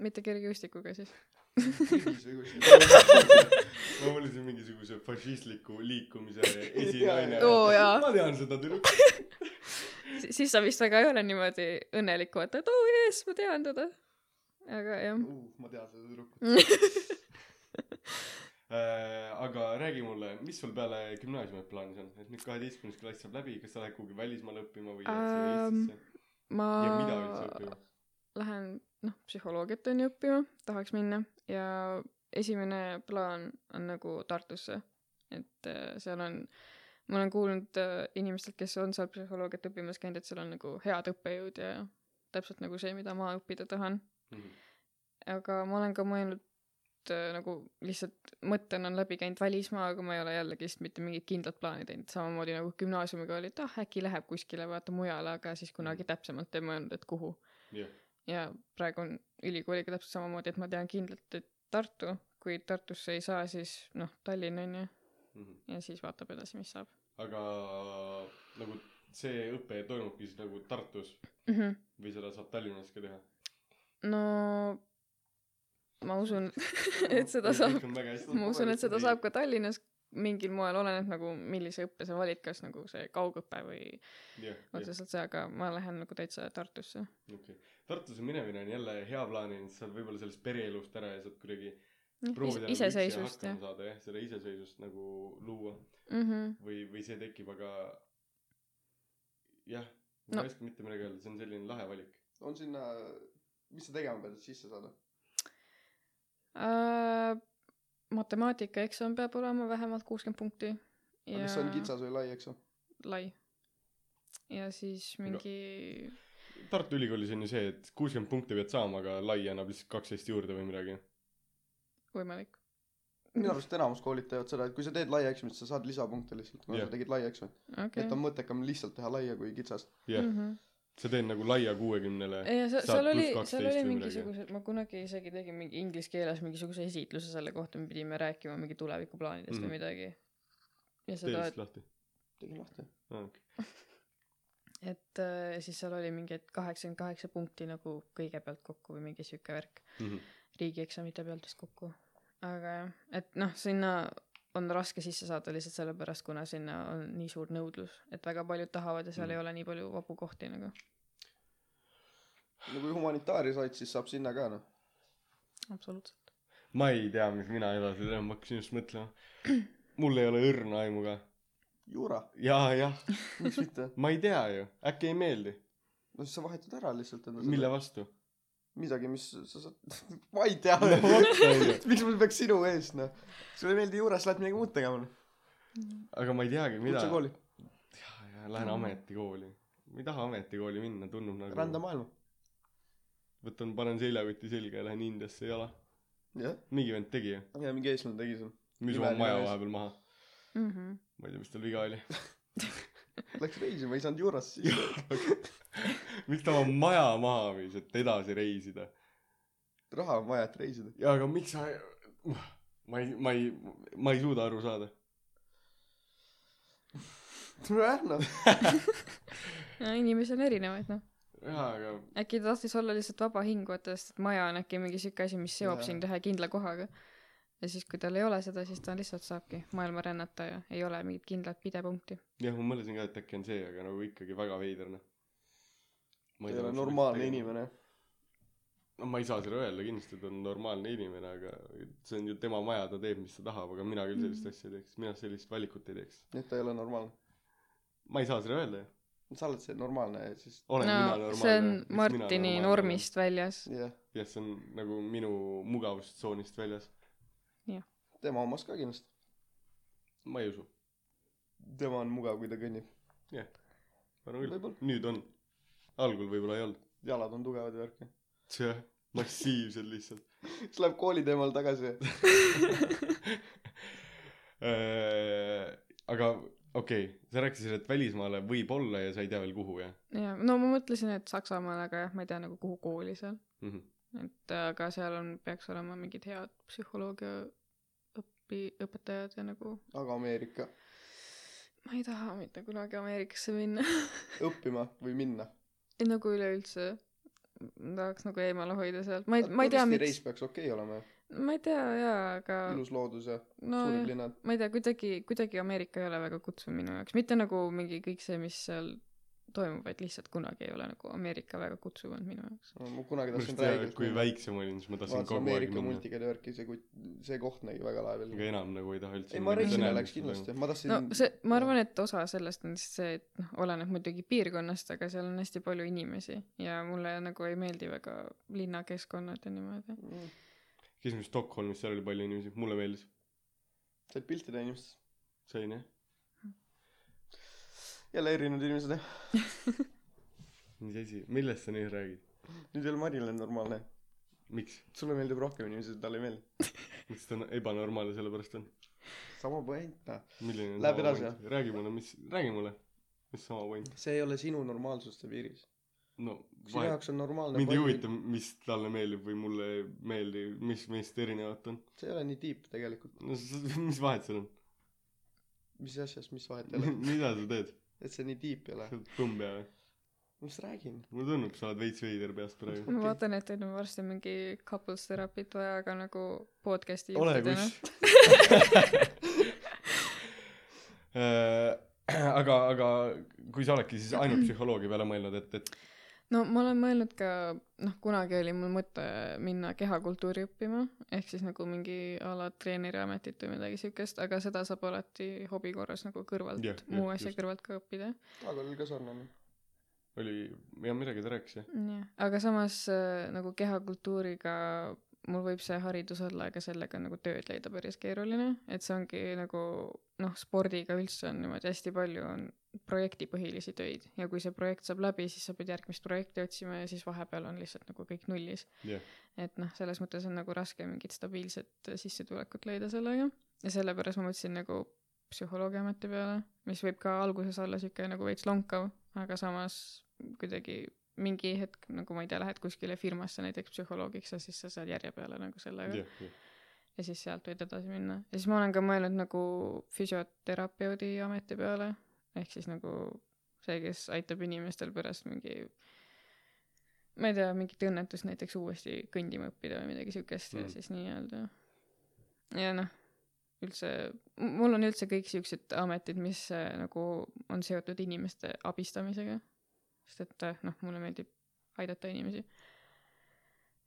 Speaker 2: mitte kergejõustikuga siis .
Speaker 3: pildis või kuskil .
Speaker 1: ma mõtlesin mingisuguse fašistliku liikumise esinaine .
Speaker 2: Oo, jaa.
Speaker 1: ma tean seda tüdrukut .
Speaker 2: siis sa vist väga ei ole niimoodi õnnelik , vaata , et oo oh, jess , ma tean teda . aga jah .
Speaker 1: Uh,
Speaker 3: ma tean seda tüdrukut .
Speaker 1: Äh, aga räägi mulle , mis sul peale gümnaasiumit plaanis on , et nüüd kaheteistkümnes klass saab läbi , kas sa lähed kuhugi välismaale õppima või jääd siia
Speaker 2: Ähm,
Speaker 1: Eestisse
Speaker 2: ma .
Speaker 1: ja mida
Speaker 2: äh,
Speaker 1: üldse õppima ?
Speaker 2: lähen noh psühholoogiat onju õppima tahaks minna ja esimene plaan on nagu Tartusse et äh, seal on ma olen kuulnud äh, inimestelt kes on seal psühholoogiat õppimas käinud et seal on nagu head õppejõud ja täpselt nagu see mida ma õppida tahan
Speaker 1: Mhm,
Speaker 2: aga ma olen ka mõelnud äh, nagu lihtsalt mõttena on läbi käinud välismaa aga ma ei ole jällegist mitte mingit kindlat plaani teinud samamoodi nagu gümnaasiumiga oli et ah äkki läheb kuskile vaata mujale aga siis kunagi täpsemalt ei mõelnud et kuhu
Speaker 1: jah ,
Speaker 2: ja praegu on ülikooliga täpselt samamoodi , et ma tean kindlalt , et Tartu , kui Tartusse ei saa , siis noh , Tallinn on ju , ja siis vaatab edasi , mis saab
Speaker 1: mhm. aga nagu see õpe toimubki siis nagu Tartus
Speaker 2: mm . -hmm.
Speaker 1: või seda saab Tallinnas ka teha ?
Speaker 2: no ma usun , et seda saab ,
Speaker 1: väga hästi .
Speaker 2: ma usun , et seda saab ka Tallinnas mingil moel , oleneb nagu millise õppe sa valid , kas nagu see kaugõpe või
Speaker 1: jah , jah ,
Speaker 2: otseselt see , aga ma lähen nagu täitsa Tartusse .
Speaker 1: okei . Tartusse minemine on jälle hea plaaninud , saad võib-olla sellest pereelust ära ja saad kuidagi proovida nagu
Speaker 2: iseseisvust
Speaker 1: üksi
Speaker 2: jah
Speaker 1: hakkama saada jah , seda iseseisvust nagu luua
Speaker 2: mm . -hmm.
Speaker 1: või , või see tekib , aga jah , ma
Speaker 2: No.
Speaker 1: ei oska mitte midagi öelda , see on selline lahe valik .
Speaker 3: on sinna , mis sa tegema pead , et sisse saada ?
Speaker 2: Äh, matemaatikaeksam peab olema vähemalt kuuskümmend punkti ja
Speaker 3: kas see on kitsas või lai , eks ju ?
Speaker 2: lai ja siis mingi
Speaker 1: Tartu Ülikoolis on ju see , et kuuskümmend punkti pead saama , aga lai annab lihtsalt kaksteist juurde või midagi .
Speaker 2: võimalik
Speaker 3: minu arust enamus koolid teevad seda , et kui sa teed laia eksamit , sa saad lisapunkte lihtsalt , kuna
Speaker 1: Jah.
Speaker 3: sa tegid laia eksamit okay. .
Speaker 2: okei
Speaker 3: et on mõttekam lihtsalt teha laia kui kitsast .
Speaker 1: jah.
Speaker 2: mhmh.
Speaker 1: sa teed nagu laia kuuekümnele .
Speaker 2: ja seal
Speaker 1: Saad
Speaker 2: seal oli
Speaker 1: pluss 12
Speaker 2: seal oli
Speaker 1: või
Speaker 2: mingisugused ma kunagi isegi tegin mingi inglise keeles mingisuguse esitluse selle kohta me pidime rääkima mingi tulevikuplaanidest
Speaker 1: Mhm.
Speaker 2: või midagi ja
Speaker 1: tee
Speaker 2: seda
Speaker 1: siis lahti .
Speaker 3: tegin lahti .
Speaker 2: et et äh, siis seal oli mingi et kaheksakümmend kaheksa punkti nagu kõigepealt kokku või mingi siuke värk
Speaker 1: Mhm.
Speaker 2: riigieksamite pealt vist kokku . aga jah , et noh , sinna on raske sisse saada lihtsalt sellepärast , kuna sinna on nii suur nõudlus , et väga paljud tahavad ja seal
Speaker 1: Mm.
Speaker 2: mm. ei ole nii palju vabu kohti nagu .
Speaker 3: no Nagu kui humanitaari said , siis saab sinna ka noh .
Speaker 2: absoluutselt .
Speaker 1: ma ei tea , mis mina edasi teen , ma hakkasin just mõtlema . mul ei ole õrna aimu ka .
Speaker 3: juura ,
Speaker 1: jaa , jah ,
Speaker 3: miks mitte ?
Speaker 1: ma ei tea ju , äkki ei meeldi .
Speaker 3: no siis sa vahetad ära lihtsalt enda
Speaker 1: mille ? vastu ?
Speaker 3: midagi , mis sa saad , ma ei tea .
Speaker 1: No vot, on ju.
Speaker 3: miks ma peaks sinu ees noh ? sulle ei meeldi juuras , lähed midagi muud tegema noh .
Speaker 1: aga ma ei teagi , mida . Nagu-
Speaker 3: kutsekooli , Mm.
Speaker 1: jaa , jaa , lähen ametikooli . ma ei taha ametikooli minna , tundub nagu .
Speaker 3: rändemaailma .
Speaker 1: võtan , panen seljakoti selga ja lähen Indiasse jala .
Speaker 3: jah ,
Speaker 1: mingi vend tegi ju ,
Speaker 3: ja mingi eestlane tegi seda .
Speaker 1: müüs
Speaker 3: Imeline
Speaker 1: oma maja
Speaker 3: mees.
Speaker 1: vahepeal maha .
Speaker 2: Mm -hmm.
Speaker 1: ma ei tea , mis tal viga oli .
Speaker 3: Läks reisima , ei saanud Jurasse sisse .
Speaker 1: miks ta oma maja maha müüs , et edasi reisida ?
Speaker 3: raha on vaja , et reisida .
Speaker 1: jaa , aga miks sa , ma ei , ma ei , ma ei suuda aru saada .
Speaker 3: tule ära noh .
Speaker 2: no inimesi on erinevaid noh
Speaker 1: jaa , aga
Speaker 2: äkki ta tahtis olla lihtsalt vaba hing vaata sest et maja on äkki mingi siuke asi mis seob
Speaker 3: Jaa.
Speaker 2: sind ühe kindla kohaga ja siis kui tal ei ole seda siis ta lihtsalt saabki maailma rännata ja ei ole mingit kindlat pidepunkti
Speaker 1: jah , ma mõtlesin ka , et äkki on see , aga nagu ikkagi väga veider , noh .
Speaker 3: ei ole normaalne . inimene .
Speaker 1: no ma ei saa seda öelda kindlasti , et ta on normaalne inimene , aga see on ju tema maja , ta teeb , mis ta tahab , aga mina küll sellist
Speaker 2: Mhm.
Speaker 1: asja ei teeks , mina sellist valikut ei teeks .
Speaker 3: nii et ta ei ole normaalne .
Speaker 1: ma ei saa seda öelda ju .
Speaker 3: sa oled see normaalne ja siis
Speaker 1: olen no, mina
Speaker 2: no
Speaker 1: normaalne .
Speaker 2: see on Martini normist väljas
Speaker 3: jah ,
Speaker 1: jah , see on nagu minu mugavustsoonist väljas .
Speaker 3: tema omas ka kindlasti .
Speaker 1: ma ei usu ,
Speaker 3: tema on mugav , kui ta kõnnib .
Speaker 1: ma arvan küll
Speaker 3: Võib-olla. ,
Speaker 1: nüüd on . algul võib-olla ei olnud .
Speaker 3: jalad on tugevad ja värki .
Speaker 1: jah , massiivsed lihtsalt .
Speaker 3: siis läheb kooli teemal tagasi .
Speaker 1: Äh, aga okei okay, , sa rääkisid , et välismaale võib olla ja sa ei tea veel kuhu jah
Speaker 2: ja no ma mõtlesin et Saksamaal aga jah ma ei tea nagu kuhu kooli seal
Speaker 1: mm ? -hmm.
Speaker 2: et äh, aga seal on peaks olema mingid head psühholoogia õpi- õpetajad ja nagu
Speaker 3: aga Ameerika
Speaker 2: ma ei taha mitte kunagi Ameerikasse minna
Speaker 3: õppima või minna .
Speaker 2: ei nagu üleüldse tahaks nagu eemale hoida sealt ma ei ma ei tea miks
Speaker 3: reis peaks okei okay olema ju .
Speaker 2: ma ei tea jaa aga
Speaker 3: ilus loodus ja
Speaker 2: nojah
Speaker 3: suured linnad .
Speaker 2: ma ei tea kuidagi kuidagi Ameerika ei ole väga kutsuv minu jaoks mitte nagu mingi kõik see mis seal toimub vaid lihtsalt kunagi ei ole nagu Ameerika väga kutsuv olnud minu jaoks
Speaker 3: ma kunagi
Speaker 1: ma
Speaker 3: tahtsin
Speaker 1: just tean , et
Speaker 3: räägida
Speaker 1: kui . väiksem olin , siis ma tahtsin
Speaker 3: vaatasin
Speaker 1: kogu aeg
Speaker 3: Ameerika
Speaker 1: minna .
Speaker 3: multikaid ja värki , see , see koht nägi väga lahe
Speaker 1: aga
Speaker 3: välja .
Speaker 1: enam nagu ei taha üldse .
Speaker 3: ei , ma reisile läheks kindlasti , ma tahtsin
Speaker 2: no see ma
Speaker 3: jah.
Speaker 2: arvan et osa sellest on lihtsalt see et noh oleneb muidugi piirkonnast aga seal on hästi palju inimesi ja mulle nagu ei meeldi väga linnakeskkonnad ja niimoodi
Speaker 3: Mm,
Speaker 1: käisime Stockholmis , seal oli palju inimesi , mulle meeldis .
Speaker 3: said pilte teha inimestest .
Speaker 1: sain jah ,
Speaker 3: jälle erinevad inimesed jah .
Speaker 1: mis asi , millest sa nüüd räägid ?
Speaker 3: nüüd ei ole Marile normaalne .
Speaker 1: miks ,
Speaker 3: sulle meeldib rohkem inimesi , talle ei meeldi .
Speaker 1: miks ta on ebanormaalne sellepärast on ?
Speaker 3: sama point noh .
Speaker 1: milline on
Speaker 3: Läheb
Speaker 1: sama
Speaker 3: edasi,
Speaker 1: point? räägi mulle , mis , räägi mulle , mis sama point ,
Speaker 3: see ei ole sinu normaalsuste piiris .
Speaker 1: no
Speaker 3: sinu
Speaker 1: vahet
Speaker 3: jaoks on normaalne .
Speaker 1: mind ei huvita , mis talle meeldib või mulle ei meeldi , mis meist erinevat on .
Speaker 3: see ei ole nii deep tegelikult .
Speaker 1: no s- s- mis vahet seal on ?
Speaker 3: mis asjas , mis vahet ei ole .
Speaker 1: mida sa teed ?
Speaker 3: et see nii deep ei ole
Speaker 1: sa . oled põmm pea või ?
Speaker 3: mis räägin ?
Speaker 1: mulle tundub , sa oled veits veider peast praegu .
Speaker 2: ma
Speaker 3: Okei.
Speaker 2: vaatan , et teil on varsti mingi couples therapy't vaja ka nagu podcast'i
Speaker 1: ole
Speaker 2: juhtidena .
Speaker 1: kus . Äh, aga , aga kui sa oledki siis ainult psühholoogi peale mõelnud , et , et
Speaker 2: no ma olen mõelnud ka , noh , kunagi oli mul mõte minna kehakultuuri õppima , ehk siis nagu mingi a la treeneriametit või midagi siukest , aga seda saab alati hobi korras nagu kõrvalt
Speaker 1: Jah,
Speaker 2: yeah, ,
Speaker 1: jah,
Speaker 2: muu asja
Speaker 1: just.
Speaker 2: just. kõrvalt ka õppida .
Speaker 3: aga oli ka sarnane .
Speaker 1: oli , jah , midagi ta rääkis jah .
Speaker 2: jah , aga samas äh, nagu kehakultuuriga mul võib see haridus olla , aga sellega on nagu tööd leida päris keeruline , et see ongi nagu noh , spordiga üldse on niimoodi hästi palju on projektipõhilisi töid ja kui see projekt saab läbi , siis sa pead järgmist projekti otsima ja siis vahepeal on lihtsalt nagu kõik nullis .
Speaker 1: Jah.
Speaker 2: et noh , selles mõttes on nagu raske mingit stabiilset sissetulekut leida sellega ja sellepärast ma mõtlesin nagu psühholoogiaameti peale , mis võib ka alguses olla sihuke nagu veits lonkav , aga samas kuidagi mingi hetk nagu ma ei tea , lähed kuskile firmasse näiteks psühholoogiks ja siis sa saad järje peale nagu sellega
Speaker 1: jah , jah .
Speaker 2: ja siis sealt võid edasi minna ja siis ma olen ka mõelnud nagu füsioterapeudi ameti peale ehk siis nagu see kes aitab inimestel pärast mingi ma ei tea mingit õnnetust näiteks uuesti kõndima õppida või midagi siukest mm.
Speaker 1: Mm.
Speaker 2: ja siis nii-öelda ja noh üldse m- mul on üldse kõik siuksed ametid mis äh, nagu on seotud inimeste abistamisega sest et äh, noh mulle meeldib aidata inimesi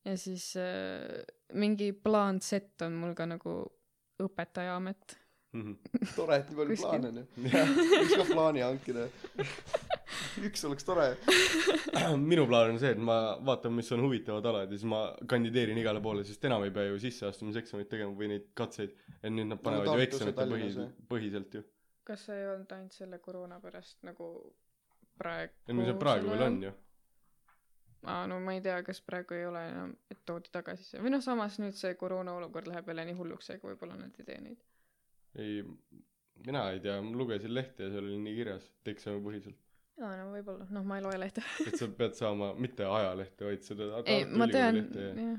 Speaker 2: ja siis äh, mingi plaan Z on mul ka nagu õpetajaamet .
Speaker 1: Mhm.
Speaker 3: tore , et nii palju
Speaker 2: Kuskil.
Speaker 3: plaane on ju . võiks ka plaani hankida . üks oleks tore .
Speaker 1: minu plaan on see , et ma vaatan , mis on huvitavad alad ja siis ma kandideerin igale poole , sest enam ei pea ju sisseastumiseksameid tegema või neid katseid . et nüüd nad panevad ju
Speaker 3: Tartus ja
Speaker 1: eksamite põhi
Speaker 3: Tallinnas või? ,
Speaker 1: põhiselt ju .
Speaker 2: kas see ei olnud ainult selle koroona pärast nagu praegu ?
Speaker 1: et mis see praegu veel on ju .
Speaker 2: aa , no ma ei tea , kas praegu ei ole enam , et toodi tagasi see või noh , samas nüüd see koroona olukord läheb jälle nii hulluks , seega võib-olla nad ei tee neid .
Speaker 1: ei , mina ei tea , ma lugesin lehte ja seal oli nii kirjas , et eksamipõhiselt .
Speaker 2: aa , no võib-olla , noh , ma ei loe lehte .
Speaker 1: et sa pead saama mitte ajalehte , vaid seda
Speaker 2: ei , ma tean , jah .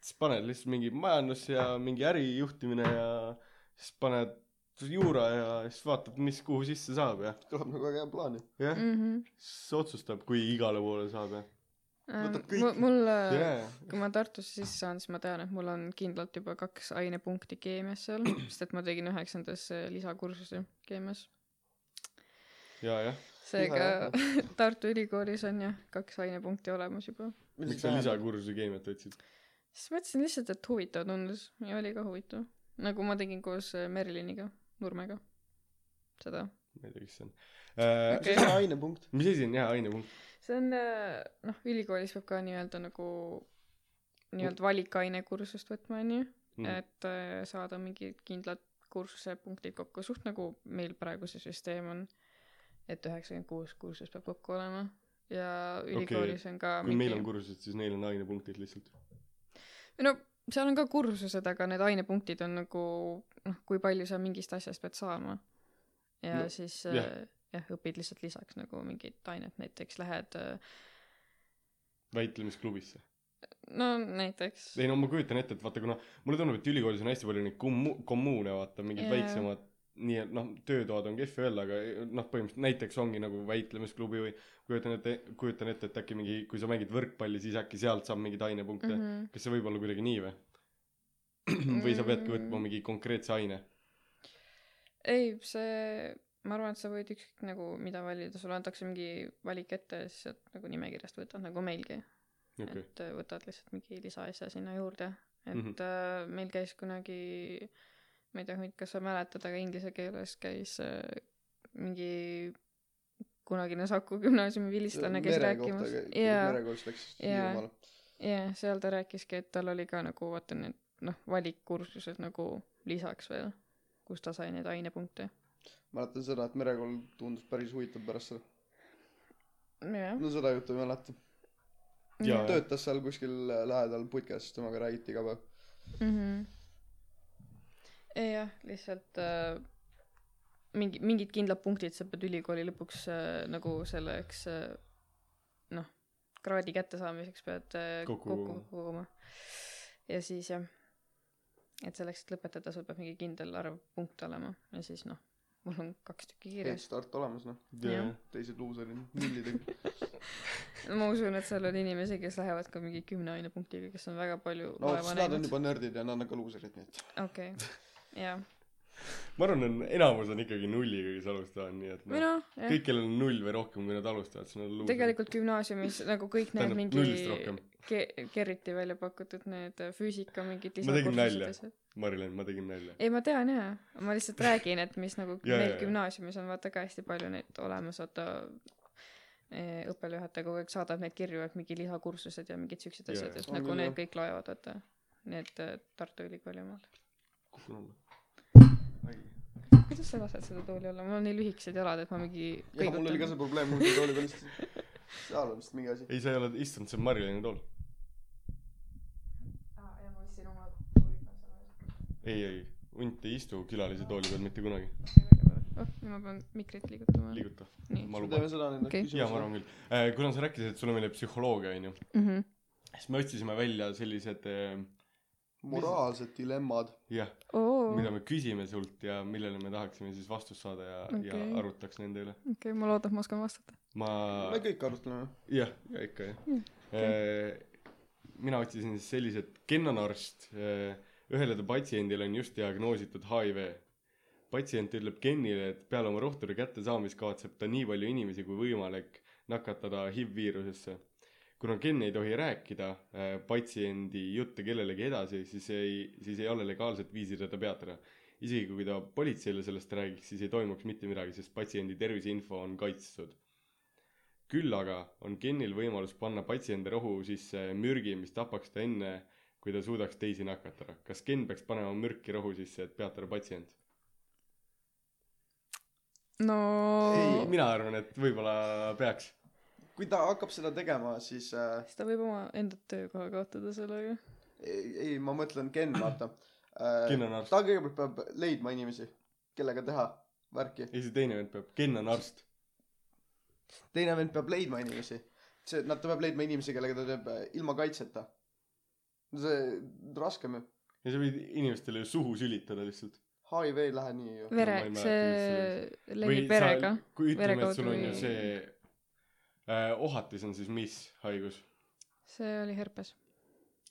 Speaker 1: siis paned lihtsalt mingi majandus ja mingi ärijuhtimine ja siis paned juura ja siis vaatad , mis kuhu sisse saab ja
Speaker 3: kõlab nagu väga hea plaan ju .
Speaker 1: jah ,
Speaker 2: mhmh .
Speaker 1: siis otsustab , kui igale poole saab ja Võtab kõik.
Speaker 2: mul ,
Speaker 1: yeah. .
Speaker 2: Äh, kui ma Tartusse sisse saan , siis ma tean , et mul on kindlalt juba kaks ainepunkti keemias seal , sest et ma tegin üheksandas eh, lisakursuse keemias .
Speaker 1: ja , jah ,
Speaker 2: seega Tartu Ülikoolis on jah , kaks ainepunkti olemas juba .
Speaker 1: miks sa ? lisakursuse keemiat võtsid ?
Speaker 2: siis mõtlesin lihtsalt , et huvitav tundus ja oli ka huvitav . nagu ma tegin koos eh, Meriliniga , Nurmega , seda .
Speaker 1: ma ei tea , kes see on äh, .
Speaker 3: see on ainepunkt .
Speaker 1: mis asi on hea ainepunkt ?
Speaker 2: see on eh, noh , ülikoolis peab ka nii-öelda nagu nii-öelda valikainekursust võtma , onju .
Speaker 1: Mm.
Speaker 2: et äh, saada mingid kindlad kursusepunktid kokku , suht nagu meil praegu see süsteem on , et üheksakümmend kuus kursust peab kokku olema ja ülikoolis okay. on ka
Speaker 1: kui meil on kursused , siis neil on ainepunktid lihtsalt .
Speaker 2: no seal on ka kursused , aga need ainepunktid on nagu noh , kui palju sa mingist asjast pead saama . ja
Speaker 1: No,
Speaker 2: no, siis äh,
Speaker 1: jah.
Speaker 2: jah , õpid lihtsalt lisaks nagu mingit ainet , näiteks lähed äh,
Speaker 1: väitlemisklubisse .
Speaker 2: no näiteks
Speaker 1: ei no ma kujutan ette , et vaata , kuna mulle tundub , et ülikoolis on hästi palju neid kommu- , kommuune , vaata , mingid
Speaker 2: Jaa.
Speaker 1: yeah. väiksemad nii et noh , töötoad on kehv öelda , aga noh , põhimõtteliselt näiteks ongi nagu väitlemisklubi või kujutan ette , kujutan ette , et äkki mingi , kui sa mängid võrkpalli , siis äkki sealt saab mingeid ainepunkte mm .
Speaker 2: Mhm.
Speaker 1: -hmm. kas see võib olla kuidagi nii või ? või sa peadki võtma mingi konkreetse aine ?
Speaker 2: ei , see , ma arvan , et sa võid ükskõik nagu mida valida , sulle antakse mingi valik ette ja siis sealt nagu nimekirjast võtad nagu meilgi
Speaker 1: okei
Speaker 2: okay.
Speaker 1: okay. ,
Speaker 2: et äh, võtad lihtsalt mingi lisaasja sinna juurde et mm
Speaker 1: Mhm.
Speaker 2: -hmm. äh, meil käis kunagi ma ei tea Hunt, kas sa mäletad aga inglise keeles käis äh, mingi kunagine Saku gümnaasiumi vilistlane käis rääkimas jaa
Speaker 3: merekoolist läks
Speaker 2: Jaa.
Speaker 3: Hiiumaale .
Speaker 2: jaa seal ta rääkiski et tal oli ka nagu vaata need noh valikkursused nagu lisaks veel kus ta sai neid ainepunkte
Speaker 3: mäletan seda , et merekool tundus päris huvitav pärast seda .
Speaker 2: jah
Speaker 3: no seda juttu ei mäleta .
Speaker 1: Jaa.
Speaker 3: töötas seal kuskil lähedal putkas , temaga räägiti iga päev .
Speaker 2: mhmh Mm-hmm. ei jah lihtsalt äh, mingi mingid kindlad punktid sa pead ülikooli lõpuks äh, nagu selleks äh, noh kraadi kättesaamiseks pead äh,
Speaker 1: Kokku
Speaker 2: kokku
Speaker 1: koguma.
Speaker 2: kokku koguma ja siis jah et selleks et lõpetada sul peab mingi kindel arv punkte olema ja siis noh mul on kaks tükki kirjas
Speaker 3: start olemas noh ,
Speaker 1: yeah.
Speaker 2: Jah.
Speaker 3: teised luuserid , nullidega .
Speaker 2: ma usun et seal on inimesi kes lähevad ka mingi kümne ainepunktiga kes on väga palju
Speaker 3: no
Speaker 2: vaeva
Speaker 3: siis nad on
Speaker 2: näinud
Speaker 3: juba nördid ja nad on ka luuserid , nii et .
Speaker 2: okei jah
Speaker 1: ma arvan , et enamus on ikkagi nulliga , kes alustavad , nii et
Speaker 2: või
Speaker 1: noh ,
Speaker 2: noh jah
Speaker 1: kõik , kellel on null või rohkem , kui nad alustavad , siis nad luusid .
Speaker 2: tegelikult gümnaasiumis nagu kõik need
Speaker 1: Tähendab,
Speaker 2: mingi
Speaker 1: nullist rohkem.
Speaker 2: ke- , keriti välja pakutud need äh, füüsika mingid
Speaker 1: Ma tegin nalja.
Speaker 2: asjad .
Speaker 1: Marilyn , ma tegin nalja .
Speaker 2: ei , ma tean jaa , ma lihtsalt räägin , et mis nagu
Speaker 1: Jaa,
Speaker 2: ja,
Speaker 1: jaa,
Speaker 2: meil
Speaker 1: jaa.
Speaker 2: gümnaasiumis on vaata ka hästi palju neid olemas , vaata eh, õppejuhataja kogu aeg saadab neid kirju , et mingi lisakursused ja mingid siuksed
Speaker 1: Jaa,
Speaker 2: asjad ,
Speaker 1: jaa.
Speaker 2: et
Speaker 3: On
Speaker 2: nagu
Speaker 3: küll,
Speaker 2: need
Speaker 3: jah.
Speaker 2: kõik loevad , vaata . Need eh, Tartu Ülikooli omad .
Speaker 1: kukun alla .
Speaker 2: kuidas sa lased seda tooli olla , mul on nii lühikesed jalad , et ma mingi
Speaker 3: ja mul oli ka
Speaker 2: kõigutan .
Speaker 3: see probleem , mul tooli peal istus . seal on vist mingi asi .
Speaker 1: ei , sa ei ole istunud , see on Marilyni tool .
Speaker 2: aa , Ah, jaa , ma võtsin oma tooli kaasa .
Speaker 1: ei , ei , hunt ei istu külalise tooli peal mitte kunagi ,
Speaker 2: oh , nüüd ma pean mikrit liigutama .
Speaker 1: liiguta ,
Speaker 2: nii .
Speaker 1: ma luban .
Speaker 3: teeme seda nüüd
Speaker 2: Okei.
Speaker 1: jaa , ma arvan küll . kuna sa rääkisid , et sulle meeldib psühholoogia , onju ,
Speaker 2: mhmh
Speaker 1: siis me otsisime välja sellised äh,
Speaker 3: moraalsed dilemmad .
Speaker 1: jah ,
Speaker 2: oo ,
Speaker 1: mida
Speaker 2: okei
Speaker 1: me küsime sult ja millele me tahaksime siis vastust saada ja okay. , ja
Speaker 2: Okei.
Speaker 1: arutaks nende üle .
Speaker 2: okay, , ma loodan , et ma oskan vastata .
Speaker 1: ma ,
Speaker 3: me kõik arutleme .
Speaker 1: jah , ikka jah
Speaker 2: Mm,
Speaker 1: okay. . Äh, mina otsisin siis sellised , kennanarst , ühele ta patsiendile on just diagnoositud HIV . patsient ütleb Kennile , et peale oma rohturi kättesaamist kavatseb ta nii palju inimesi kui võimalik nakatada HIV viirusesse . kuna Ken ei tohi rääkida äh, patsiendi jutte kellelegi edasi , siis ei , siis ei ole legaalset viisi teda peatada . isegi kui ta politseile sellest räägiks , siis ei toimuks mitte midagi , sest patsiendi terviseinfo on kaitstud . küll aga on Kenil võimalus panna patsiendi rohu sisse mürgi , mis tapaks ta enne , kui ta suudaks teisi nakatada . kas Ken peaks panema mürki rohu sisse , et peatada patsient ?
Speaker 2: no
Speaker 1: ei , mina arvan , et võib-olla peaks .
Speaker 3: kui ta hakkab seda tegema , siis äh,
Speaker 2: siis ta võib omaenda töökoha kaotada sellega .
Speaker 3: ei , ei , ma mõtlen Ken , vaata äh,
Speaker 1: Ken on arst.
Speaker 3: ta kõigepealt peab leidma inimesi . kellega teha värki .
Speaker 1: ja siis teine vend peab , Ken on arst .
Speaker 3: teine vend peab leidma inimesi . see , nad , ta peab leidma inimesi , kellega ta teeb äh, ilma kaitseta . no see , raskem ju .
Speaker 1: ja sa võid inimestele ju suhu sülitada lihtsalt .
Speaker 3: HIV ei lähe nii ju .
Speaker 2: vere
Speaker 1: Ma ei , mäleta,
Speaker 2: see levib verega ..
Speaker 1: kui
Speaker 2: Vere
Speaker 1: ütleme ,
Speaker 2: kaudu
Speaker 1: et sul on ju
Speaker 2: või-
Speaker 1: see äh, ohatis on siis mis haigus ?
Speaker 2: see oli herpes .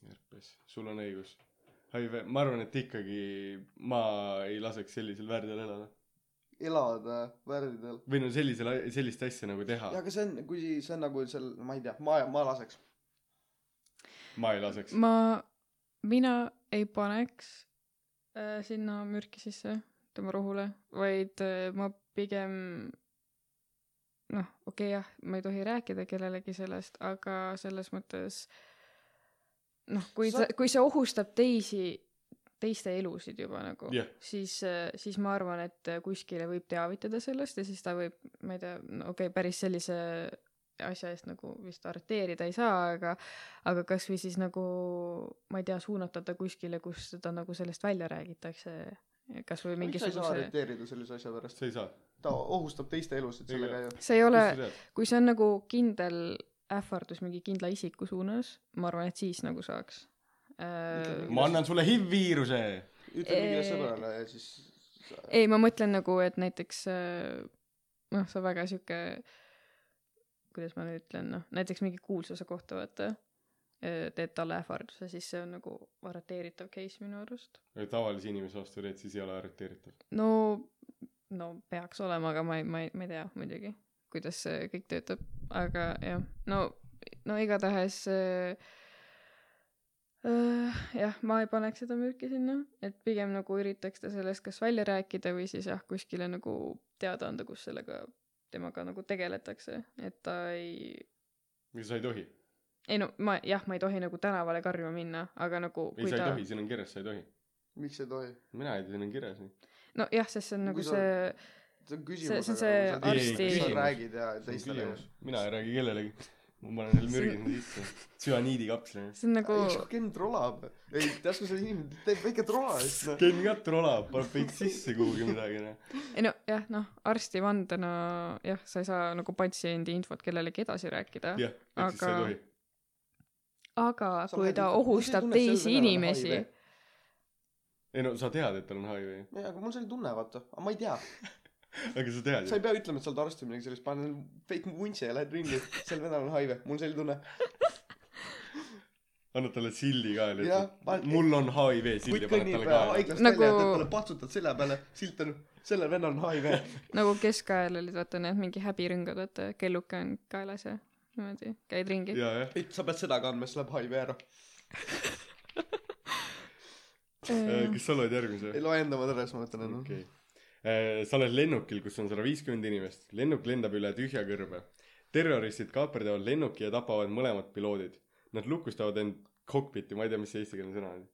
Speaker 1: herpes , sul on õigus . HIV , ma arvan , et ikkagi ma ei laseks sellisel värdjal elada .
Speaker 3: elada äh, värdidel .
Speaker 1: või no sellisel , sellist asja nagu teha
Speaker 3: ja , aga see on , kui see on nagu seal , ma ei tea , maa , maalaseks .
Speaker 1: ma ei laseks .
Speaker 2: ma , mina ei paneks äh, sinna mürki sisse tema rohule , vaid äh, ma pigem noh , okei okay, jah , ma ei tohi rääkida kellelegi sellest , aga selles mõttes noh , kui
Speaker 3: Sa-
Speaker 2: ta , kui see ohustab teisi , teiste elusid juba nagu
Speaker 1: Jah.
Speaker 2: siis , siis ma arvan , et äh, kuskile võib teavitada sellest ja siis ta võib , ma ei tea , no okei okay, , päris sellise asja eest nagu vist arreteerida ei saa , aga aga kasvõi siis nagu ma ei tea , suunata ta kuskile , kus teda nagu sellest välja räägitakse , kasvõi
Speaker 3: miks sa ei saa
Speaker 2: mingisuguse
Speaker 3: arreteerida sellise asja pärast ?
Speaker 1: sa ei saa .
Speaker 3: ta ohustab teiste elusid sellega ju .
Speaker 2: see ei ole ,
Speaker 1: aga
Speaker 2: kui see on nagu kindel ähvardus mingi kindla isiku suunas , ma arvan , et siis nagu saaks . Äh,
Speaker 1: ma annan sulle HIV-viiruse .
Speaker 3: ütle mingile
Speaker 2: Eh,
Speaker 3: sõbrale ja siis .
Speaker 2: ei , ma mõtlen nagu , et näiteks äh, noh , see on väga sihuke , kuidas ma nüüd ütlen , noh , näiteks mingi kuulsuse kohta , vaata , teed talle ähvarduse , siis see on nagu arreteeritav case minu arust .
Speaker 1: tavalise inimese vastu teed , siis ei ole arreteeritav .
Speaker 2: no , no peaks olema , aga ma ei , ma ei , ma ei tea muidugi , kuidas see kõik töötab , aga jah , no , no igatahes äh, äh, jah , ma ei paneks seda mürki sinna , et pigem nagu üritaks ta sellest kas välja rääkida või siis jah , kuskile nagu teada anda , kus sellega temaga nagu tegeletakse , et ta ei
Speaker 1: või sa ei tohi .
Speaker 2: ei no ma jah , ma ei tohi nagu tänavale karjuma minna , aga nagu
Speaker 1: ei , sa ei tohi , siin on kirjas , sa ei tohi .
Speaker 3: miks ei tohi ?
Speaker 1: mina ei tea , siin on kirjas .
Speaker 2: nojah , sest see on nagu
Speaker 3: Kui sa-
Speaker 2: see
Speaker 3: see on küsimus .
Speaker 2: see on see
Speaker 1: arsti-
Speaker 3: sa
Speaker 1: Küsimus.
Speaker 3: räägid ja teistele .
Speaker 1: mina ei räägi kellelegi . ma panen neile mürgi
Speaker 2: See-
Speaker 1: sinna sisse . tsüaniidikapsli .
Speaker 2: see on nagu
Speaker 3: ei , Ken trolab . ei , tead , kui see inimene teeb väike trola ja siis noh .
Speaker 1: Ken ka trolab , paneb kõik sisse kuhugi midagi .
Speaker 2: ei no jah , noh , arsti vandena jah , sa ei saa nagu patsiendi infot kellelegi edasi rääkida ,
Speaker 1: jah , et siis sa ei
Speaker 2: Aga-
Speaker 1: tohi .
Speaker 2: aga
Speaker 3: Sa
Speaker 2: kui
Speaker 3: lähed
Speaker 2: ta
Speaker 3: ütled, "Mul see
Speaker 2: ohustab
Speaker 3: tunne, et sel
Speaker 2: teisi
Speaker 3: venelane on
Speaker 2: inimesi ,
Speaker 3: HIV."
Speaker 1: ei no sa tead , et tal on HIV ,
Speaker 3: jaa , aga mul selline tunne , vaata . aga ma ei tea .
Speaker 1: aga sa tead
Speaker 3: sa
Speaker 1: ju
Speaker 3: ei . pea ütlema , et sa oled arst või midagi sellist . pane fake vuntse ja lähed ringi . sel venelal on HIV . mul on selline tunne .
Speaker 1: annad talle sildi ka
Speaker 3: Jah,
Speaker 1: lihtsalt
Speaker 3: pan- .
Speaker 1: mul on HIV sild
Speaker 3: kutt
Speaker 1: ja paned
Speaker 3: kõnnib
Speaker 1: talle
Speaker 3: äh,
Speaker 1: ka .
Speaker 3: haiglast
Speaker 2: Nagu-
Speaker 3: välja , teed talle patsutad selja peale . silt on , sellel venelal on HIV .
Speaker 2: nagu keskajal olid vaata need mingi häbirõngad , vaata kelluke on kaelas ja niimoodi käid ringi .
Speaker 1: ja , jah .
Speaker 3: ei , sa pead seda kandma , siis läheb HIV ära .
Speaker 1: Äh, kas sa loed järgmise ?
Speaker 3: ei loe enda oma tõres , ma mõtlen , et noh,
Speaker 1: okei . sa oled lennukil , kus on sada viiskümmend inimest . lennuk lendab üle tühja kõrbe . terroristid kaaperdavad lennuki ja tapavad mõlemad piloodid . Nad lukustavad end kokpiti , ma ei tea , mis see eestikeelne sõna on .
Speaker 3: noh .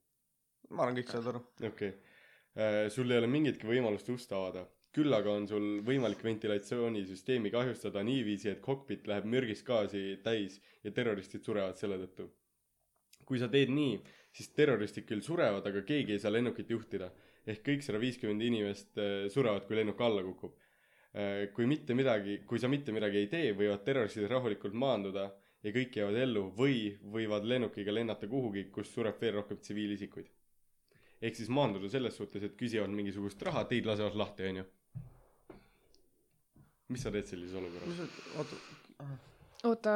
Speaker 3: ma arvan , kõik saavad aru .
Speaker 1: okei okay. . sul ei ole mingitki võimalust ust avada . küll aga on sul võimalik ventilatsioonisüsteemi kahjustada niiviisi , et kokpit läheb mürgist gaasi täis ja terroristid surevad selle tõttu . kui sa teed nii , siis terroristid küll surevad , aga keegi ei saa lennukit juhtida . ehk kõik sada viiskümmend inimest eh, surevad , kui lennuk alla kukub . kui mitte midagi , kui sa mitte midagi ei tee , võivad terroristid rahulikult maanduda ja kõik jäävad ellu või võivad lennukiga lennata kuhugi , kus sureb veel rohkem tsiviilisikuid ehk siis maanduda selles suhtes , et küsivad mingisugust raha , teid lasevad lahti , onju . mis sa teed sellises olukorras ?
Speaker 3: mis see , oota .
Speaker 2: oota ,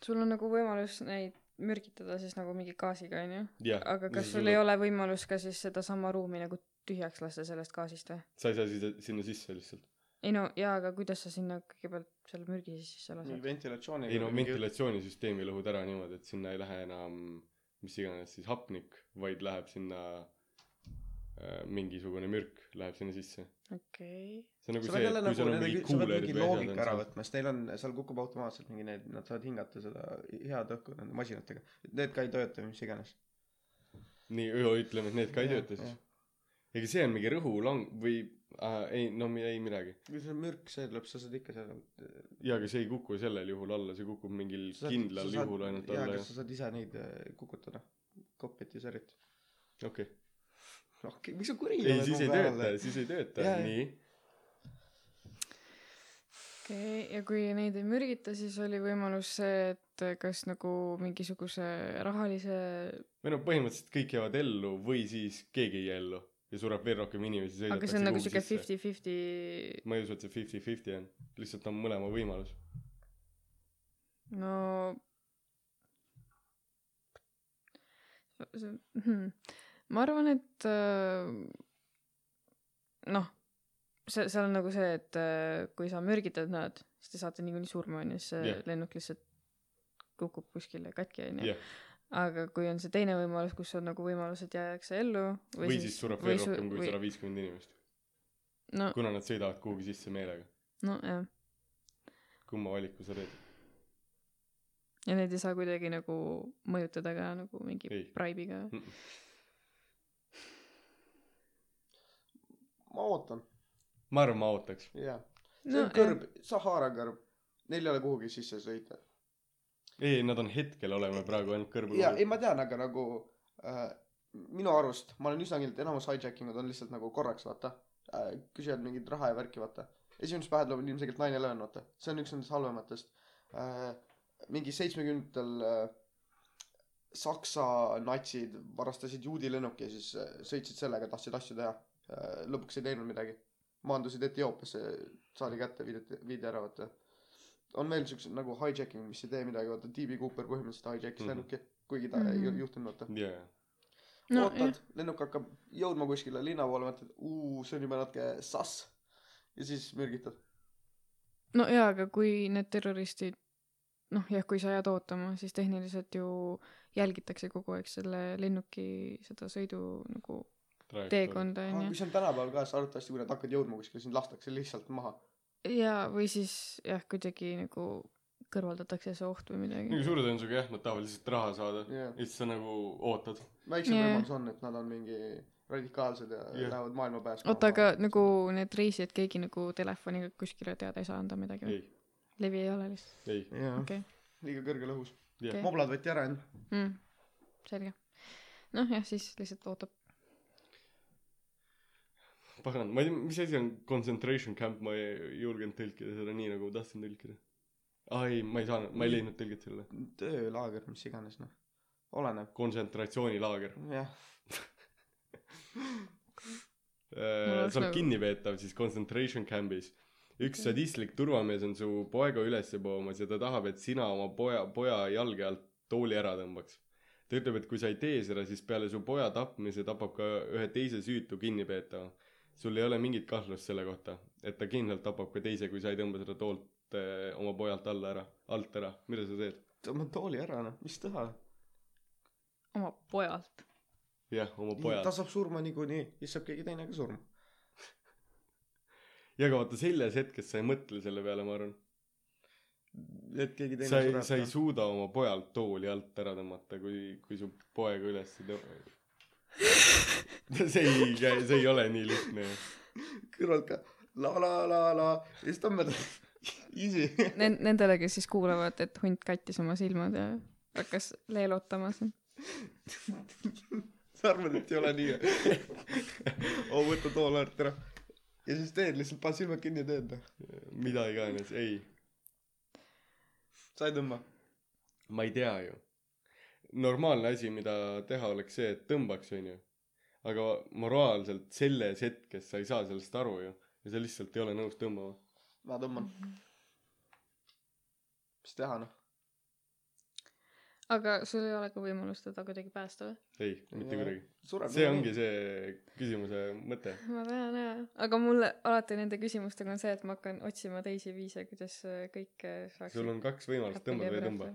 Speaker 2: sul on nagu võimalus neid mürgitada siis nagu mingi gaasiga onju ,
Speaker 1: jah ,
Speaker 2: aga kas sul ei ? ole võimalus ka siis sedasama ruumi nagu tühjaks lasta sellest gaasist või ?
Speaker 1: sa ei saa siis sinna sisse lihtsalt .
Speaker 2: ei no jaa , aga kuidas sa sinna kõigepealt selle mürgi sisse
Speaker 3: mingi
Speaker 2: lased ?
Speaker 3: ventilatsiooniga .
Speaker 1: ei no . ventilatsioonisüsteemi lõhud ära niimoodi , et sinna ei lähe enam mis iganes siis hapnik , vaid läheb sinna äh, mingisugune mürk läheb sinna sisse .
Speaker 2: okei
Speaker 1: see on nagu
Speaker 3: sa
Speaker 1: see ,
Speaker 3: pead jälle
Speaker 1: et kui
Speaker 3: nagu
Speaker 1: sul on
Speaker 3: nende
Speaker 1: mingi
Speaker 3: kü- , sa pead
Speaker 1: kuulerid
Speaker 3: mingi
Speaker 1: või asjad
Speaker 3: loogika ära
Speaker 1: on seal .
Speaker 3: võtma , sest neil on , seal kukub automaatselt mingi need , nad saavad hingata seda head õhku nende masinatega . Need ka ei tööta või mis iganes .
Speaker 1: nii , ütleme , et need ka ei tööta siis .. ega see on mingi rõhulang- või äh, ei , no mi- ei midagi .
Speaker 3: kui see on mürk , see tuleb , sa saad ikka seal .
Speaker 1: jaa , aga see ei kuku sellel juhul alla , see kukub mingil kindlal juhul ainult alla ,
Speaker 3: jaa .
Speaker 1: jah
Speaker 3: äh, sa saad ise neid eh, kukutada , kokpiti särjed .
Speaker 1: okei okay. .
Speaker 3: okei , miks sa kuri
Speaker 1: ei , siis ei tööta , siis ei tööta
Speaker 3: Jaa, , jaa.
Speaker 1: nii .
Speaker 2: okei , ja kui neid ei mürgita , siis oli võimalus see , et kas nagu mingisuguse rahalise
Speaker 1: või noh , põhimõtteliselt kõik jäävad ellu või siis keegi ei jää ellu ja sureb veel rohkem inimesi .
Speaker 2: aga see on nagu siuke . fifty-fifty ,
Speaker 1: ma ei usu , et see fifty-fifty on , lihtsalt on mõlema võimalus .
Speaker 2: no see on , ma arvan , et äh, noh , see , seal on nagu see , et äh, kui sa mürgitad nad , siis te saate niikuinii surma , onju , siis see
Speaker 1: Jah.
Speaker 2: lennuk lihtsalt kukub kuskile katki , onju .
Speaker 1: jah ,
Speaker 2: aga kui on see teine võimalus , kus on nagu võimalus , et jäädakse ellu
Speaker 1: või siis sureb veel rohkem kui sada
Speaker 2: või... .
Speaker 1: viiskümmend inimest ,
Speaker 2: no ,
Speaker 1: kuna nad sõidavad kuhugi sisse meelega .
Speaker 2: nojah ,
Speaker 1: kumma valiku sa teed ?
Speaker 2: ja neid ei saa kuidagi nagu mõjutada ka nagu mingi
Speaker 1: Ei. Mm.
Speaker 2: praibiga .
Speaker 3: ma ootan
Speaker 1: ma arvan , ma ootaks .
Speaker 3: jaa see
Speaker 2: no
Speaker 3: on kõrb Sahara kõrb neil ei ole kuhugi sisse sõita
Speaker 1: ei , nad on hetkel , oleme praegu ainult kõrbe
Speaker 3: jaa ei ma tean aga nagu äh, minu arust ma olen üsna kindel et enamus hijackingud on lihtsalt nagu korraks vaata äh, küsivad mingit raha ja värki vaata esimesest pähe tuleb ilmselgelt naine löön vaata see on üks nendest halvematest äh, mingi seitsmekümnendatel äh, saksa natsid varastasid juudi lennuki ja siis äh, sõitsid sellega tahtsid asju teha äh, lõpuks ei teinud midagi maandusid Etioopiasse saadi kätte viideti viidi ära vaata on veel siukseid nagu hijacking mis ei tee midagi vaata D.B. Cooper põhimõtteliselt hijackis
Speaker 1: Mhm.
Speaker 3: mm -hmm. lennuki kuigi ta ei
Speaker 2: Mhm.
Speaker 3: ju- juhtunud vaata
Speaker 1: jaa ,
Speaker 2: no,
Speaker 3: ootad , lennuk hakkab jõudma kuskile linna poole , mõtled , uu , see on juba natuke sass . ja siis mürgitad .
Speaker 2: no jaa , aga kui need terroristid , noh jah , kui sa jääd ootama , siis tehniliselt ju jälgitakse kogu aeg selle lennuki seda sõidu nagu
Speaker 1: praegu .
Speaker 2: teekonda
Speaker 3: aga
Speaker 2: onju
Speaker 3: kui . see on tänapäeval ka , siis arvatavasti , kui nad hakkavad jõudma kuskile , sind lastakse lihtsalt maha .
Speaker 2: jaa , või siis jah , kuidagi nagu kõrvaldatakse see oht või midagi
Speaker 1: nagu . suure tõenäosusega jah , nad tahavad lihtsalt raha saada ja
Speaker 3: jah ,
Speaker 1: siis sa nagu ootad .
Speaker 3: väiksem
Speaker 2: Jaa.
Speaker 3: võimalus on , et nad on mingi radikaalsed ja
Speaker 1: Jah.
Speaker 3: lähevad maailma päästma .
Speaker 2: oota , aga nagu need reisijad , keegi nagu telefoniga kuskile teada ei saa anda midagi või ?
Speaker 1: ei ,
Speaker 2: levi ei ole lihtsalt ,
Speaker 1: ei ,
Speaker 3: jah ,
Speaker 2: okei .
Speaker 3: liiga kõrgel õhus .
Speaker 2: Okei.
Speaker 1: jah .
Speaker 3: moblad võeti ära enne .
Speaker 2: selge . noh jah , siis lihtsalt ootab .
Speaker 1: pagan , ma ei tea , mis asi on concentration camp , ma ei julgenud tõlkida seda nii , nagu ma tahtsin tõlkida . aa ei , ma ei saanud , ma ei leidnud tõlget sellele .
Speaker 3: töölaager , mis iganes , noh . oleneb .
Speaker 1: kontsentratsioonilaager .
Speaker 3: jah ,
Speaker 2: oleks
Speaker 1: sa oled
Speaker 2: nagu-
Speaker 1: kinnipeetav siis concentration camp'is . üks sadistlik turvamees on su poega üles poomas ja ta tahab , et sina oma poja , poja jalge alt tooli ära tõmbaks . ta ütleb , et kui sa ei tee seda , siis peale su poja tapmise tapab ka ühe teise süütu kinnipeetava . sul ei ole mingit kahtlust selle kohta , et ta kindlalt tapab ka teise , kui sa ei tõmba seda toolt eh, oma pojalt alla ära , alt ära , mida sa teed ?
Speaker 3: tõmba tooli ära , noh , mis teha .
Speaker 2: oma pojalt .
Speaker 1: jah , oma
Speaker 3: ta
Speaker 1: pojalt .
Speaker 3: saab surma niikuinii , siis saab keegi teine ka surma .
Speaker 1: ja aga vaata selles hetkes sa ei mõtle selle peale , ma arvan .
Speaker 3: et keegi teine
Speaker 1: sa ei , sa ei suuda oma pojalt tooli alt ära tõmmata , kui , kui su poega üles ei tõmba . see ei , see ei ole nii lihtne ju .
Speaker 3: kõrvalt ka la la la la ja siis tõmbad easy
Speaker 2: Nen- , nendele , kes siis kuulavad , et hunt kattis oma silmad ja hakkas leelutama siin .
Speaker 3: sa arvad et ei ole nii vä oo võta tool väärt ära ja siis teed lihtsalt paned silmad kinni ja teed noh
Speaker 1: mida iganes , ei ,
Speaker 3: sa ei tõmba
Speaker 1: ma ei tea ju . normaalne asi , mida teha , oleks see , et tõmbaks , onju . aga moraalselt selles hetkes sa ei saa sellest aru ju ja sa lihtsalt ei ole nõus tõmbama .
Speaker 3: ma tõmban
Speaker 2: Mhm.
Speaker 3: mis teha noh
Speaker 2: aga sul ei ole ka võimalust teda kuidagi päästa või ?
Speaker 1: ei , mitte
Speaker 3: Jaa.
Speaker 1: kuidagi .
Speaker 3: sureb
Speaker 1: see ongi see küsimuse mõte .
Speaker 2: ma tean jaa , aga mulle alati nende küsimustega on see , et ma hakkan otsima teisi viise , kuidas äh, kõike saaks .
Speaker 1: sul on kaks võimalust , tõmbad või ei tõmba .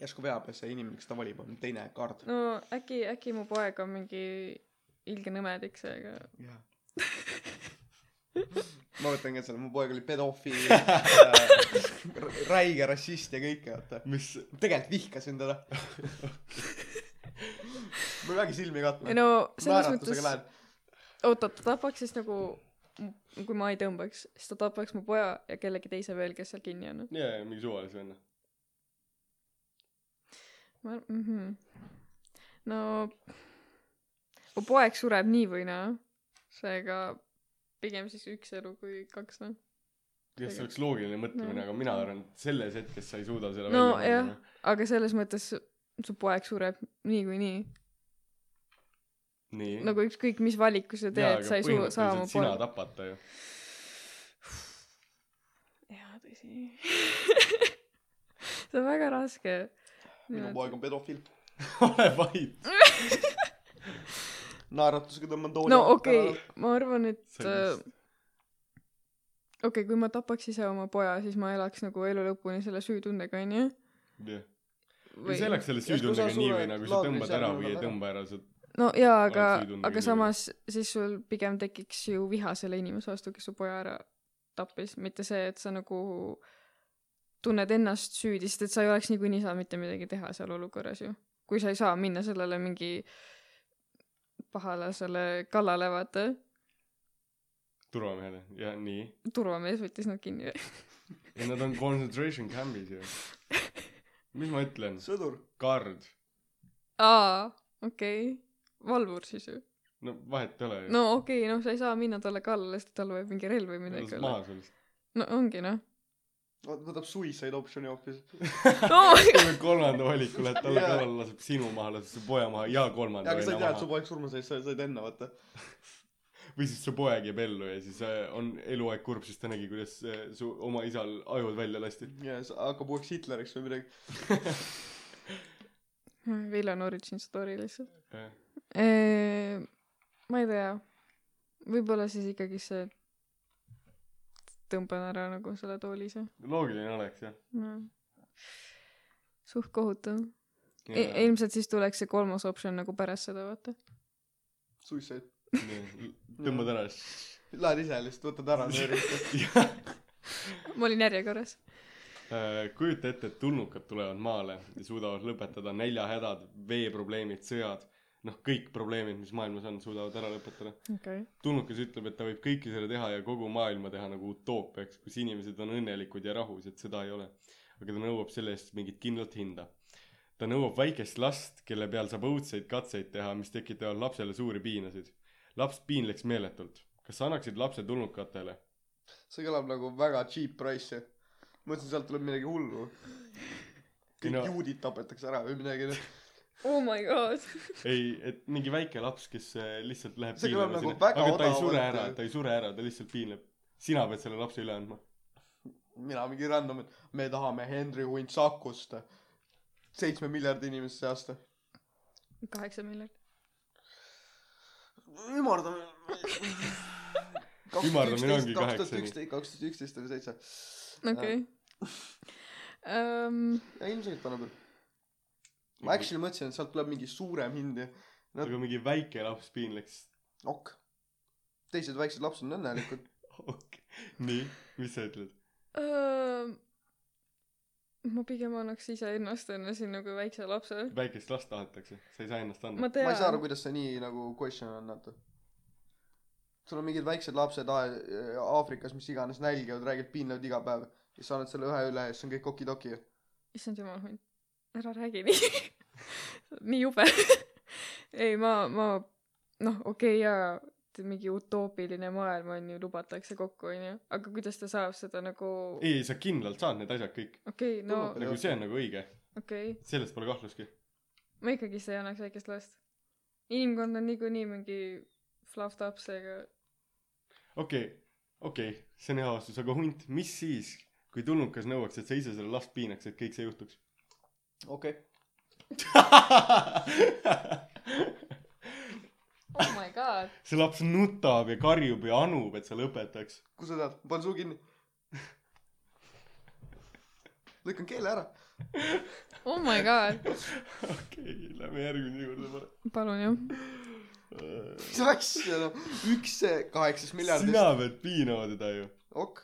Speaker 3: järsku veab ja see inimene kes ta valib on teine kaart
Speaker 2: no äkki , äkki mu poeg on mingi ilge nõmedik , seega
Speaker 3: jah ma võtan ka selle mu poeg oli pedofiil äh, räige rassist ja kõike vaata
Speaker 1: mis
Speaker 3: tegelikult vihkasin teda ma peagi silmi katma
Speaker 2: ei no selles
Speaker 3: naeratusega
Speaker 2: mõttes ,
Speaker 3: lähen
Speaker 2: oota , ta tapaks siis nagu , kui ma ei tõmbaks , siis ta tapaks mu poja ja kellegi teise veel , kes seal kinni on .
Speaker 1: jaa , jaa , mingi suvalise venna .
Speaker 2: ma mm , -hmm. no mu poeg sureb nii või naa , seega pigem siis üks elu kui kaks noh .
Speaker 1: jah , see oleks loogiline mõtlemine , aga mina arvan , et selles hetkes sa ei suuda seda
Speaker 2: Mm. No
Speaker 1: välja noh.
Speaker 2: jah. aga selles mõttes su poeg sureb niikuinii ,
Speaker 1: nii .
Speaker 2: nagu ükskõik mis valiku sa teed , sa ei suu- , saa oma
Speaker 1: sina
Speaker 2: poeg .
Speaker 1: tapata ju .
Speaker 2: jaa , tõsi see on väga raske .
Speaker 3: minu poeg on pedofiil .
Speaker 1: ole vait .
Speaker 3: naeratusega tõmban tooli .
Speaker 2: no okei okay, , ma arvan , et
Speaker 1: See on
Speaker 2: äh, okei okay, , kui ma tapaks ise oma poja , siis ma elaks nagu elu lõpuni selle süütundega , onju .
Speaker 1: jah . see elaks selle
Speaker 3: Ja kui sa
Speaker 1: süütundega nii või naa ,
Speaker 3: sured
Speaker 1: kui sa tõmbad
Speaker 3: laagris
Speaker 1: ära
Speaker 3: järgmine
Speaker 1: või ei
Speaker 3: päev ära.
Speaker 1: tõmba ära , sa
Speaker 2: no jaa , aga
Speaker 1: oled süütundega ,
Speaker 2: aga
Speaker 1: inimene.
Speaker 2: samas siis sul pigem tekiks ju viha selle inimese vastu , kes su poja ära tappis , mitte see , et sa nagu tunned ennast süüdi , sest et sa ei oleks niikuinii saa mitte midagi teha seal olukorras ju . kui sa ei saa minna sellele mingi pahalasele kallale , vaata .
Speaker 1: turvamehele ja nii .
Speaker 2: turvamees võttis nad kinni .
Speaker 1: ja nad on concentration camp'is ju . mis ma ütlen ,
Speaker 3: sõdur .
Speaker 1: kard ,
Speaker 2: aa , okei okay. . valvur siis ju .
Speaker 1: no vahet ei ole ju .
Speaker 2: no okei okay, , noh , sa ei saa minna talle kallale , sest tal võib mingi relv või midagi
Speaker 1: lased
Speaker 2: olla .
Speaker 1: maha sellest .
Speaker 2: no ongi noh .
Speaker 3: võtab suicide optsiooni hoopis .
Speaker 2: no
Speaker 1: teeme kolmanda valiku , lähed talle
Speaker 3: Jaa.
Speaker 1: kallale , laseb sinu maha , laseb su poja maha ja kolmanda
Speaker 3: jaa , aga sa ei
Speaker 1: venna
Speaker 3: tea , et su
Speaker 1: maha .
Speaker 3: poeg surma sai , sa said enne , vaata .
Speaker 1: või siis su poeg jääb ellu ja siis äh, on eluaeg kurb , sest ta nägi , kuidas äh, su oma isal ajud välja lasti .
Speaker 3: ja siis hakkab uueks Hitleriks või midagi .
Speaker 2: Vilja Noricin story lihtsalt .
Speaker 1: jah ,
Speaker 2: ma ei tea , võib-olla siis ikkagi see , tõmban ära nagu selle tooli ise
Speaker 1: loogiline oleks jah
Speaker 2: no. . suht kohutav e .
Speaker 1: Jaa.
Speaker 2: ilmselt siis tuleks see kolmas optsioon nagu pärast seda , vaata .
Speaker 3: Suicide .
Speaker 1: Nii, tõmbad ära .
Speaker 3: Lähed ise lihtsalt , võtad ära nööri .
Speaker 2: ma olin järjekorras .
Speaker 1: äh, kujuta ette , et tulnukad tulevad maale ja suudavad lõpetada näljahädad , veeprobleemid , sõjad , noh , kõik probleemid , mis maailmas on , suudavad ära lõpetada .
Speaker 2: okei okay. .
Speaker 1: tulnukas ütleb , et ta võib kõike selle teha ja kogu maailma teha nagu utoopiaks , kus inimesed on õnnelikud ja rahus , et seda ei ole . aga ta nõuab selle eest mingit kindlat hinda . ta nõuab väikest last , kelle peal saab õudseid katseid teha , mis tekitavad lapsele suuri piinasid . laps piinleks meeletult . kas sa annaksid lapse tulnukatele ?
Speaker 3: see kõlab nagu väga cheap price . mõtlesin , sealt tuleb midagi hullu . kõik
Speaker 1: No.
Speaker 3: no. juudid tapetakse ära või midagi . noh.
Speaker 2: Oh my god .
Speaker 1: ei , et mingi väike laps , kes äh, lihtsalt läheb
Speaker 3: See kõlab
Speaker 1: piinlema
Speaker 3: nagu
Speaker 1: sinna.
Speaker 3: väga
Speaker 1: aga ta ei
Speaker 3: odavalt
Speaker 1: sure
Speaker 3: ja-
Speaker 1: ära , ta ei sure ära , ta lihtsalt piinleb . sina pead selle lapse üle andma .
Speaker 3: mina mingi random , et me tahame Henry Hunt Sakust . seitsme miljardi inimese seast .
Speaker 2: kaheksa miljonit .
Speaker 3: ümardame .
Speaker 1: Ümardamine ongi kaheksani.
Speaker 3: kaks tuhat üksteist oli seitse .
Speaker 2: okei .
Speaker 3: Ehm, ilmselgelt annab üle . ma actually mõtlesin , et sealt tuleb mingi suurem hind ja nad-
Speaker 1: aga mingi väike laps piinleks .
Speaker 3: ok . teised väiksed lapsed on õnnelikud .
Speaker 1: okei , nii , mis sa ütled ?
Speaker 2: Ehm, ma pigem annaks iseennast enne sinna kui väikse lapse .
Speaker 1: väikest last tahetakse , sa ei saa ennast anda
Speaker 2: ma . tean .
Speaker 3: ma ei saa aru , kuidas see nii nagu question on , vaata . sul on mingid väiksed lapsed A- Aafrikas , mis iganes , nälgivad , räägivad , piinlevad iga päev ja sa annad selle ühe üle ja siis on kõik okidoki .
Speaker 2: issand jumal , hunt , ära räägi nii , nii jube . ei , ma , ma , noh , okei okay, , jaa , mingi utoopiline maailm on ju , lubatakse kokku , on ju , aga kuidas ta saab seda nagu , okei
Speaker 1: ei , ei sa kindlalt saad need asjad kõik ,
Speaker 2: okay, , no
Speaker 3: Tundub,
Speaker 2: okei
Speaker 1: nagu see on nagu õige ,
Speaker 2: okay. ,
Speaker 1: selles pole kahtlustki .
Speaker 2: ma ikkagist ei annaks väikest last . inimkond on niikuinii mingi fluff-top , seega
Speaker 1: okei okay, , okei okay, , see on hea vastus , aga hunt , mis siis , kui tulnukas nõuaks , et sa ise selle last piinaks , et kõik see juhtuks ?
Speaker 3: okei okay. .
Speaker 2: oh my god ,
Speaker 1: see laps nutab ja karjub ja anub , et sa lõpetaks .
Speaker 3: kus sa tead , panen suu kinni . lükkan keele ära .
Speaker 2: oh my god ,
Speaker 1: okei , lähme järgmise juurde parem .
Speaker 2: palun jah .
Speaker 3: mis asja , noh . üks kaheksast miljardist .
Speaker 1: sina pead piinama teda ju .
Speaker 3: ok .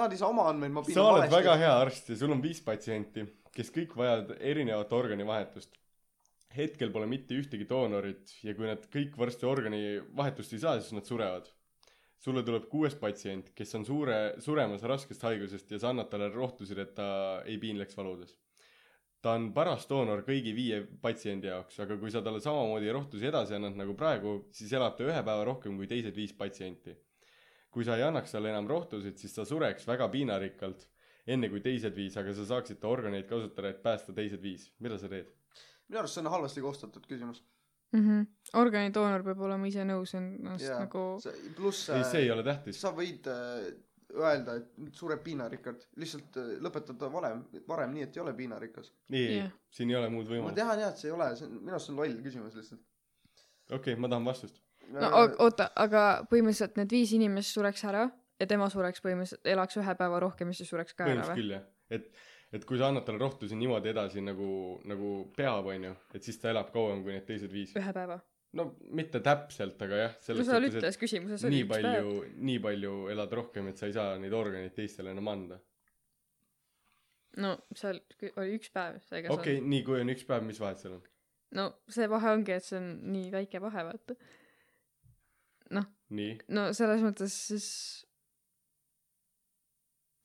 Speaker 3: Nad ei saa oma andmeid , ma
Speaker 1: sa oled väga . hea arst ja sul on viis patsienti , kes kõik vajavad erinevat organivahetust . hetkel pole mitte ühtegi doonorit ja kui nad kõik varsti organivahetust ei saa , siis nad surevad . sulle tuleb kuues patsient , kes on suure , suremas raskest haigusest ja sa annad talle rohtusid , et ta ei piinleks valudes . ta on paras doonor kõigi viie patsiendi jaoks , aga kui sa talle samamoodi rohtusi edasi annad nagu praegu , siis elab ta ühe päeva rohkem kui teised viis patsienti . kui sa ei annaks talle enam rohtusid , siis ta sureks väga piinarikkalt , enne kui teised viis , aga sa saaksid ta organeid kasutada , et päästa teised viis . mida sa teed ?
Speaker 3: minu arust see on halvasti koostatud küsimus
Speaker 2: mm . -hmm. organidoonor peab olema ise nõus , on ennast
Speaker 3: Jaa.
Speaker 2: yeah. nagu
Speaker 3: see pluss
Speaker 1: ei , see ei ole tähtis .
Speaker 3: sa võid äh, öelda , et nüüd sureb piinarikkad , lihtsalt äh, lõpetad ta valem , varem nii , et ei ole piinarikas .
Speaker 1: ei , ei
Speaker 2: Jah. ,
Speaker 1: siin ei ole muud
Speaker 3: ma
Speaker 1: võimalust .
Speaker 3: tean jah , et see ei ole , see on , minu arust see on loll küsimus lihtsalt . Äh,
Speaker 1: okei , ma tahan vastust .
Speaker 2: no o- oota , aga põhimõtteliselt need viis inimest sureks ära ja tema sureks põhimõtteliselt , elaks ühe päeva rohkem ja siis sureks ka ära
Speaker 1: põhimõtteliselt
Speaker 2: või ?
Speaker 1: küll jah , et , et kui sa annad talle rohtusi niimoodi edasi nagu , nagu peab , onju , et siis ta elab kauem kui need teised viis .
Speaker 2: ühe päeva .
Speaker 1: no mitte täpselt , aga jah ,
Speaker 2: no
Speaker 1: selles
Speaker 2: seal
Speaker 1: suhtes ,
Speaker 2: ütles küsimuses
Speaker 1: et nii palju , nii palju elad rohkem , et sa ei saa neid organeid teistele enam anda .
Speaker 2: no seal kü- oli üks päev , seega
Speaker 1: okei okay, , nii kui on üks päev , mis vahet seal on ?
Speaker 2: sa no see vahe ongi , et see on nii väike vahe , vaata .
Speaker 1: nii ,
Speaker 2: no selles mõttes siis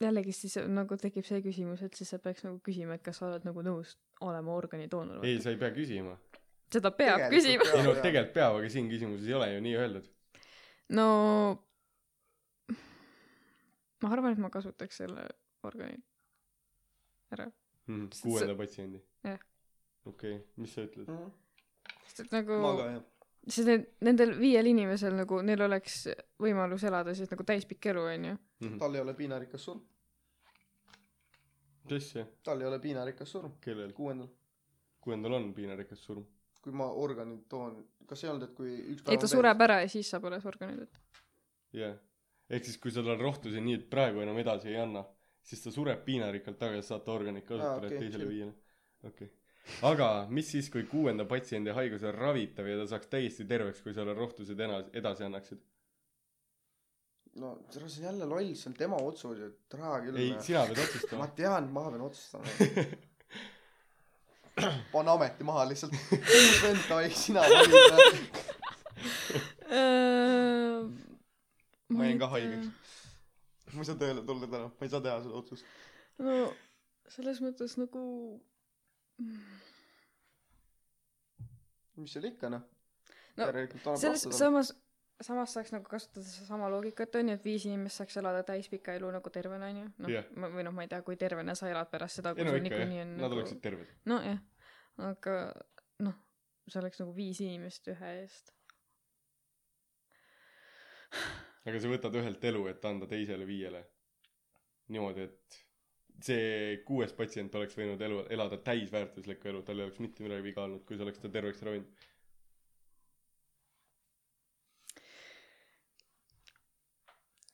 Speaker 2: jällegi siis nagu tekib see küsimus , et siis sa peaks nagu küsima , et kas sa oled nagu nõus olema organidoonor või
Speaker 1: ei ,? sa ei pea küsima .
Speaker 2: seda peab küsima .
Speaker 1: ei no tegelikult peab , aga siin küsimuses ei ole ju nii öeldud .
Speaker 2: no ma arvan , et ma kasutaks selle organi ära , See-
Speaker 1: Mhm, kuuenda patsiendi .
Speaker 2: jah.
Speaker 1: okei , mis sa ütled ?
Speaker 3: ma
Speaker 2: sest et nagu
Speaker 3: Mhm. ka jah .
Speaker 2: sest need nendel viiel inimesel nagu neil oleks võimalus elada siis nagu täispikk elu onju
Speaker 1: Mhm. Mm.
Speaker 3: tal ei ole piinarikas surm ,
Speaker 1: mis asja ,
Speaker 3: tal ei ole piinarikas surm ,
Speaker 1: kellel ?
Speaker 3: kuuendal ,
Speaker 1: kuuendal on piinarikas surm .
Speaker 3: kui ma organid toon , kas ei olnud , et kui üks
Speaker 2: ei ta
Speaker 3: on
Speaker 2: sureb ära ja siis saab alles organid et
Speaker 1: jah yeah. , ehk siis kui sa talle rohtusi nii , et praegu enam edasi ei anna , siis ta sureb piinarikkalt tagasi , saad ta organit
Speaker 3: Aa,
Speaker 1: kasutada
Speaker 3: okei,
Speaker 1: okay, teisele
Speaker 3: chill.
Speaker 1: viiele . okei okay. , aga mis siis , kui kuuenda patsiendi haigus on ravitav ja ta saaks täiesti terveks , kui sa talle rohtused ena- , edasi annaksid ?
Speaker 3: täiesti- no tere, see on jälle loll , see on tema otsus , et raha
Speaker 1: ei ,
Speaker 3: küll .
Speaker 1: sina pead
Speaker 3: ma
Speaker 1: otsustama .
Speaker 3: tean , ma pean otsustama . pane ameti maha lihtsalt . Sven , davai , sina valid .
Speaker 2: Äh,
Speaker 3: Ma jäin ka haigeks. ma ei saa tööle tulla täna , ma ei saa teha seda otsust .
Speaker 2: no selles mõttes nagu
Speaker 3: mis seal ikka noh .
Speaker 2: No,
Speaker 3: järelikult annab
Speaker 2: selles
Speaker 3: vastusele .
Speaker 2: samas samas saaks nagu kasutada sedasama loogikat onju , et viis inimest saaks elada täispika elu nagu tervena onju , noh
Speaker 1: Jah.
Speaker 2: ma või noh , ma ei tea , kui tervena sa elad pärast seda ,
Speaker 1: ei
Speaker 2: kui
Speaker 1: no
Speaker 2: sul
Speaker 1: ikka jah
Speaker 2: niikuinii , on
Speaker 1: nad
Speaker 2: nagu
Speaker 1: oleksid terved .
Speaker 2: nojah , aga noh , see oleks nagu viis inimest ühe eest .
Speaker 1: aga sa võtad ühelt elu , et anda teisele viiele . niimoodi , et see kuues patsient oleks võinud elu , elada täisväärtuslikku elu , tal ei oleks mitte midagi viga olnud , kui sa oleks ta terveks ravinud .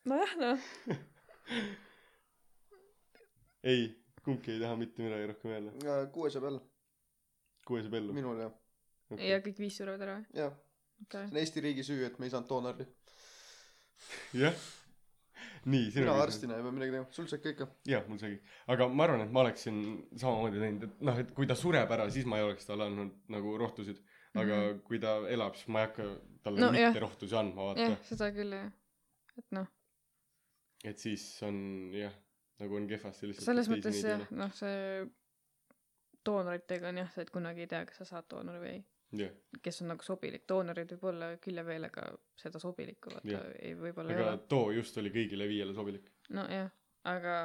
Speaker 2: nojah , noh ,
Speaker 1: ei , kumbki ei taha mitte midagi rohkem öelda .
Speaker 3: kuue saab jälle ,
Speaker 1: kuues pellu .
Speaker 3: minul jah .
Speaker 2: ja kõik viis surevad ära või ?
Speaker 3: jah ,
Speaker 2: okei
Speaker 3: see . on Eesti riigi süü , et me ei saanud doonorit .
Speaker 1: jah . nii ,
Speaker 3: mina . arstina ei pea midagi tegema , sul saab ka ikka .
Speaker 1: jah , mul segi . aga ma arvan , et ma oleksin samamoodi teinud , et noh , et kui ta sureb ära , siis ma ei oleks talle andnud nagu rohtusid . aga mm -hmm. kui ta elab , siis ma ei hakka talle no,
Speaker 2: Mhm. No
Speaker 1: mitte
Speaker 2: jah.
Speaker 1: jah. rohtusi andma , vaata
Speaker 2: jah
Speaker 1: yeah. .,
Speaker 2: seda küll jah . et noh ,
Speaker 1: et siis on jah , nagu on kehvasti lihtsalt .
Speaker 2: selles mõttes jah , noh , see doonoritega on jah see , et kunagi ei tea , kas sa saad doonori või ei .
Speaker 1: jah ,
Speaker 2: kes on nagu sobilik , doonorid võib olla küll ja veel , aga seda sobilikku vaata
Speaker 1: Jah.
Speaker 2: yeah. ei , võib-olla ei
Speaker 1: aga
Speaker 2: ole .
Speaker 1: too just oli kõigile viiele sobilik .
Speaker 2: nojah , aga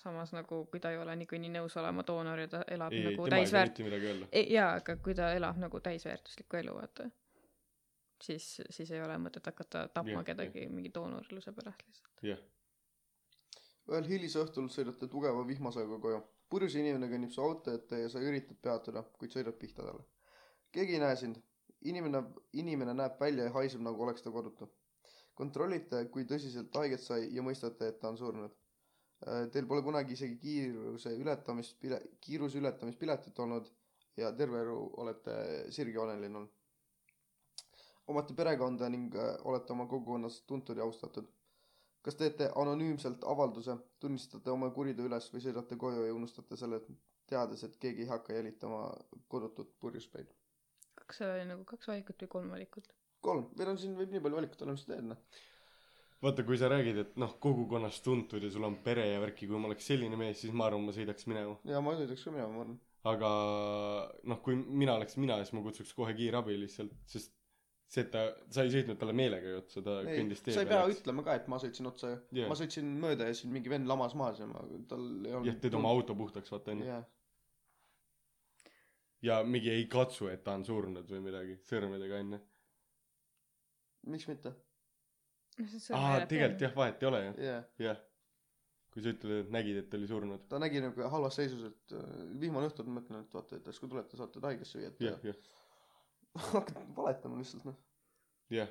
Speaker 2: samas nagu kui ta ei ole niikuinii nõus olema doonor ja ta elab
Speaker 1: ei ,
Speaker 2: nagu
Speaker 1: tema ei saa
Speaker 2: täisväärt- ,
Speaker 1: mitte midagi öelda .
Speaker 2: ei jaa , aga kui ta elab nagu täisväärtuslikku elu , vaata , siis , siis ei ole mõtet hakata tapma
Speaker 1: Jah,
Speaker 2: ja, kedagi ja. mingi doonorluse pärast lihtsalt .
Speaker 1: jah ,
Speaker 3: ühel hilisõhtul sõidate tugeva vihmasajaga koju . purjus inimene kõnnib su auto ette ja sa üritad peatuda , kuid sõidad pihta talle . keegi ei näe sind . inimene , inimene näeb välja ja haiseb , nagu oleks ta kodutu . kontrollite , kui tõsiselt ta haiget sai ja mõistate , et ta on surnud . Teil pole kunagi isegi kiiruse ületamist , kiiruse ületamispiletit olnud ja terve elu olete sirgjooneline olnud . omate perekonda ning äh, olete oma kogukonnas tuntud ja austatud kas teete anonüümselt avalduse , tunnistate oma kuriteo üles või sõidate koju ja unustate selle , teades , et keegi ei hakka jälitama kodutut purjuspäid ?
Speaker 2: kas seal oli nagu kaks valikut või kolm valikut ?
Speaker 3: kolm , meil on siin , võib nii palju valikut olla , mis sa teed , noh .
Speaker 1: vaata , kui sa räägid , et noh , kogukonnas tuntud ja sul on pere ja värki , kui ma oleks selline mees , siis ma arvan , ma sõidaks minema .
Speaker 3: ja ma sõidaks ka minema , ma arvan .
Speaker 1: aga noh , kui mina oleks mina , siis ma kutsuks kohe kiirabi lihtsalt , sest see , et ta , sa ei sõitnud talle meelega ju otsa , ta
Speaker 3: ei ,
Speaker 1: kõndis tee
Speaker 3: sa ei pea . ütlema ka , et ma sõitsin otsa ju
Speaker 1: Jah.
Speaker 3: yeah. . ma sõitsin mööda ja siis mingi vend lamas maas ja ma , tal ei olnud .
Speaker 1: jah , teed oma . auto puhtaks , vaata onju .
Speaker 3: jah ,
Speaker 1: ja mingi ei katsu , et ta on surnud või midagi sõrmedega onju .
Speaker 3: miks mitte ,
Speaker 1: aa , tegelikult . jah , vahet ei ole ju ,
Speaker 3: jah .
Speaker 1: jah . kui sa ütled , et nägid , et ta oli surnud .
Speaker 3: ta nägi nagu halvas seisus , et äh, vihmane õhtu , et ma mõtlen , et vaata , et las kui tulete , saate ta haiglasse viia , et
Speaker 1: jah , jah ,
Speaker 3: hakkad valetama lihtsalt noh .
Speaker 1: jah .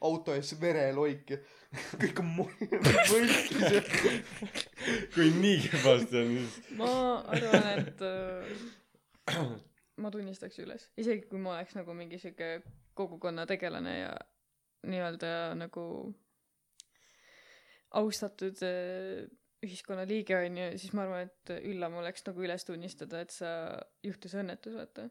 Speaker 3: auto ees vereloik ja kõik on mo- võltsis ja
Speaker 1: kui nii kehvasti on , siis
Speaker 2: ma arvan , et äh, ma tunnistaks üles , isegi kui ma oleks nagu mingi sihuke kogukonna tegelane ja nii-öelda nagu austatud äh, ühiskonnaliige onju , siis ma arvan , et üllam oleks nagu üles tunnistada , et sa , juhtus õnnetus , vaata .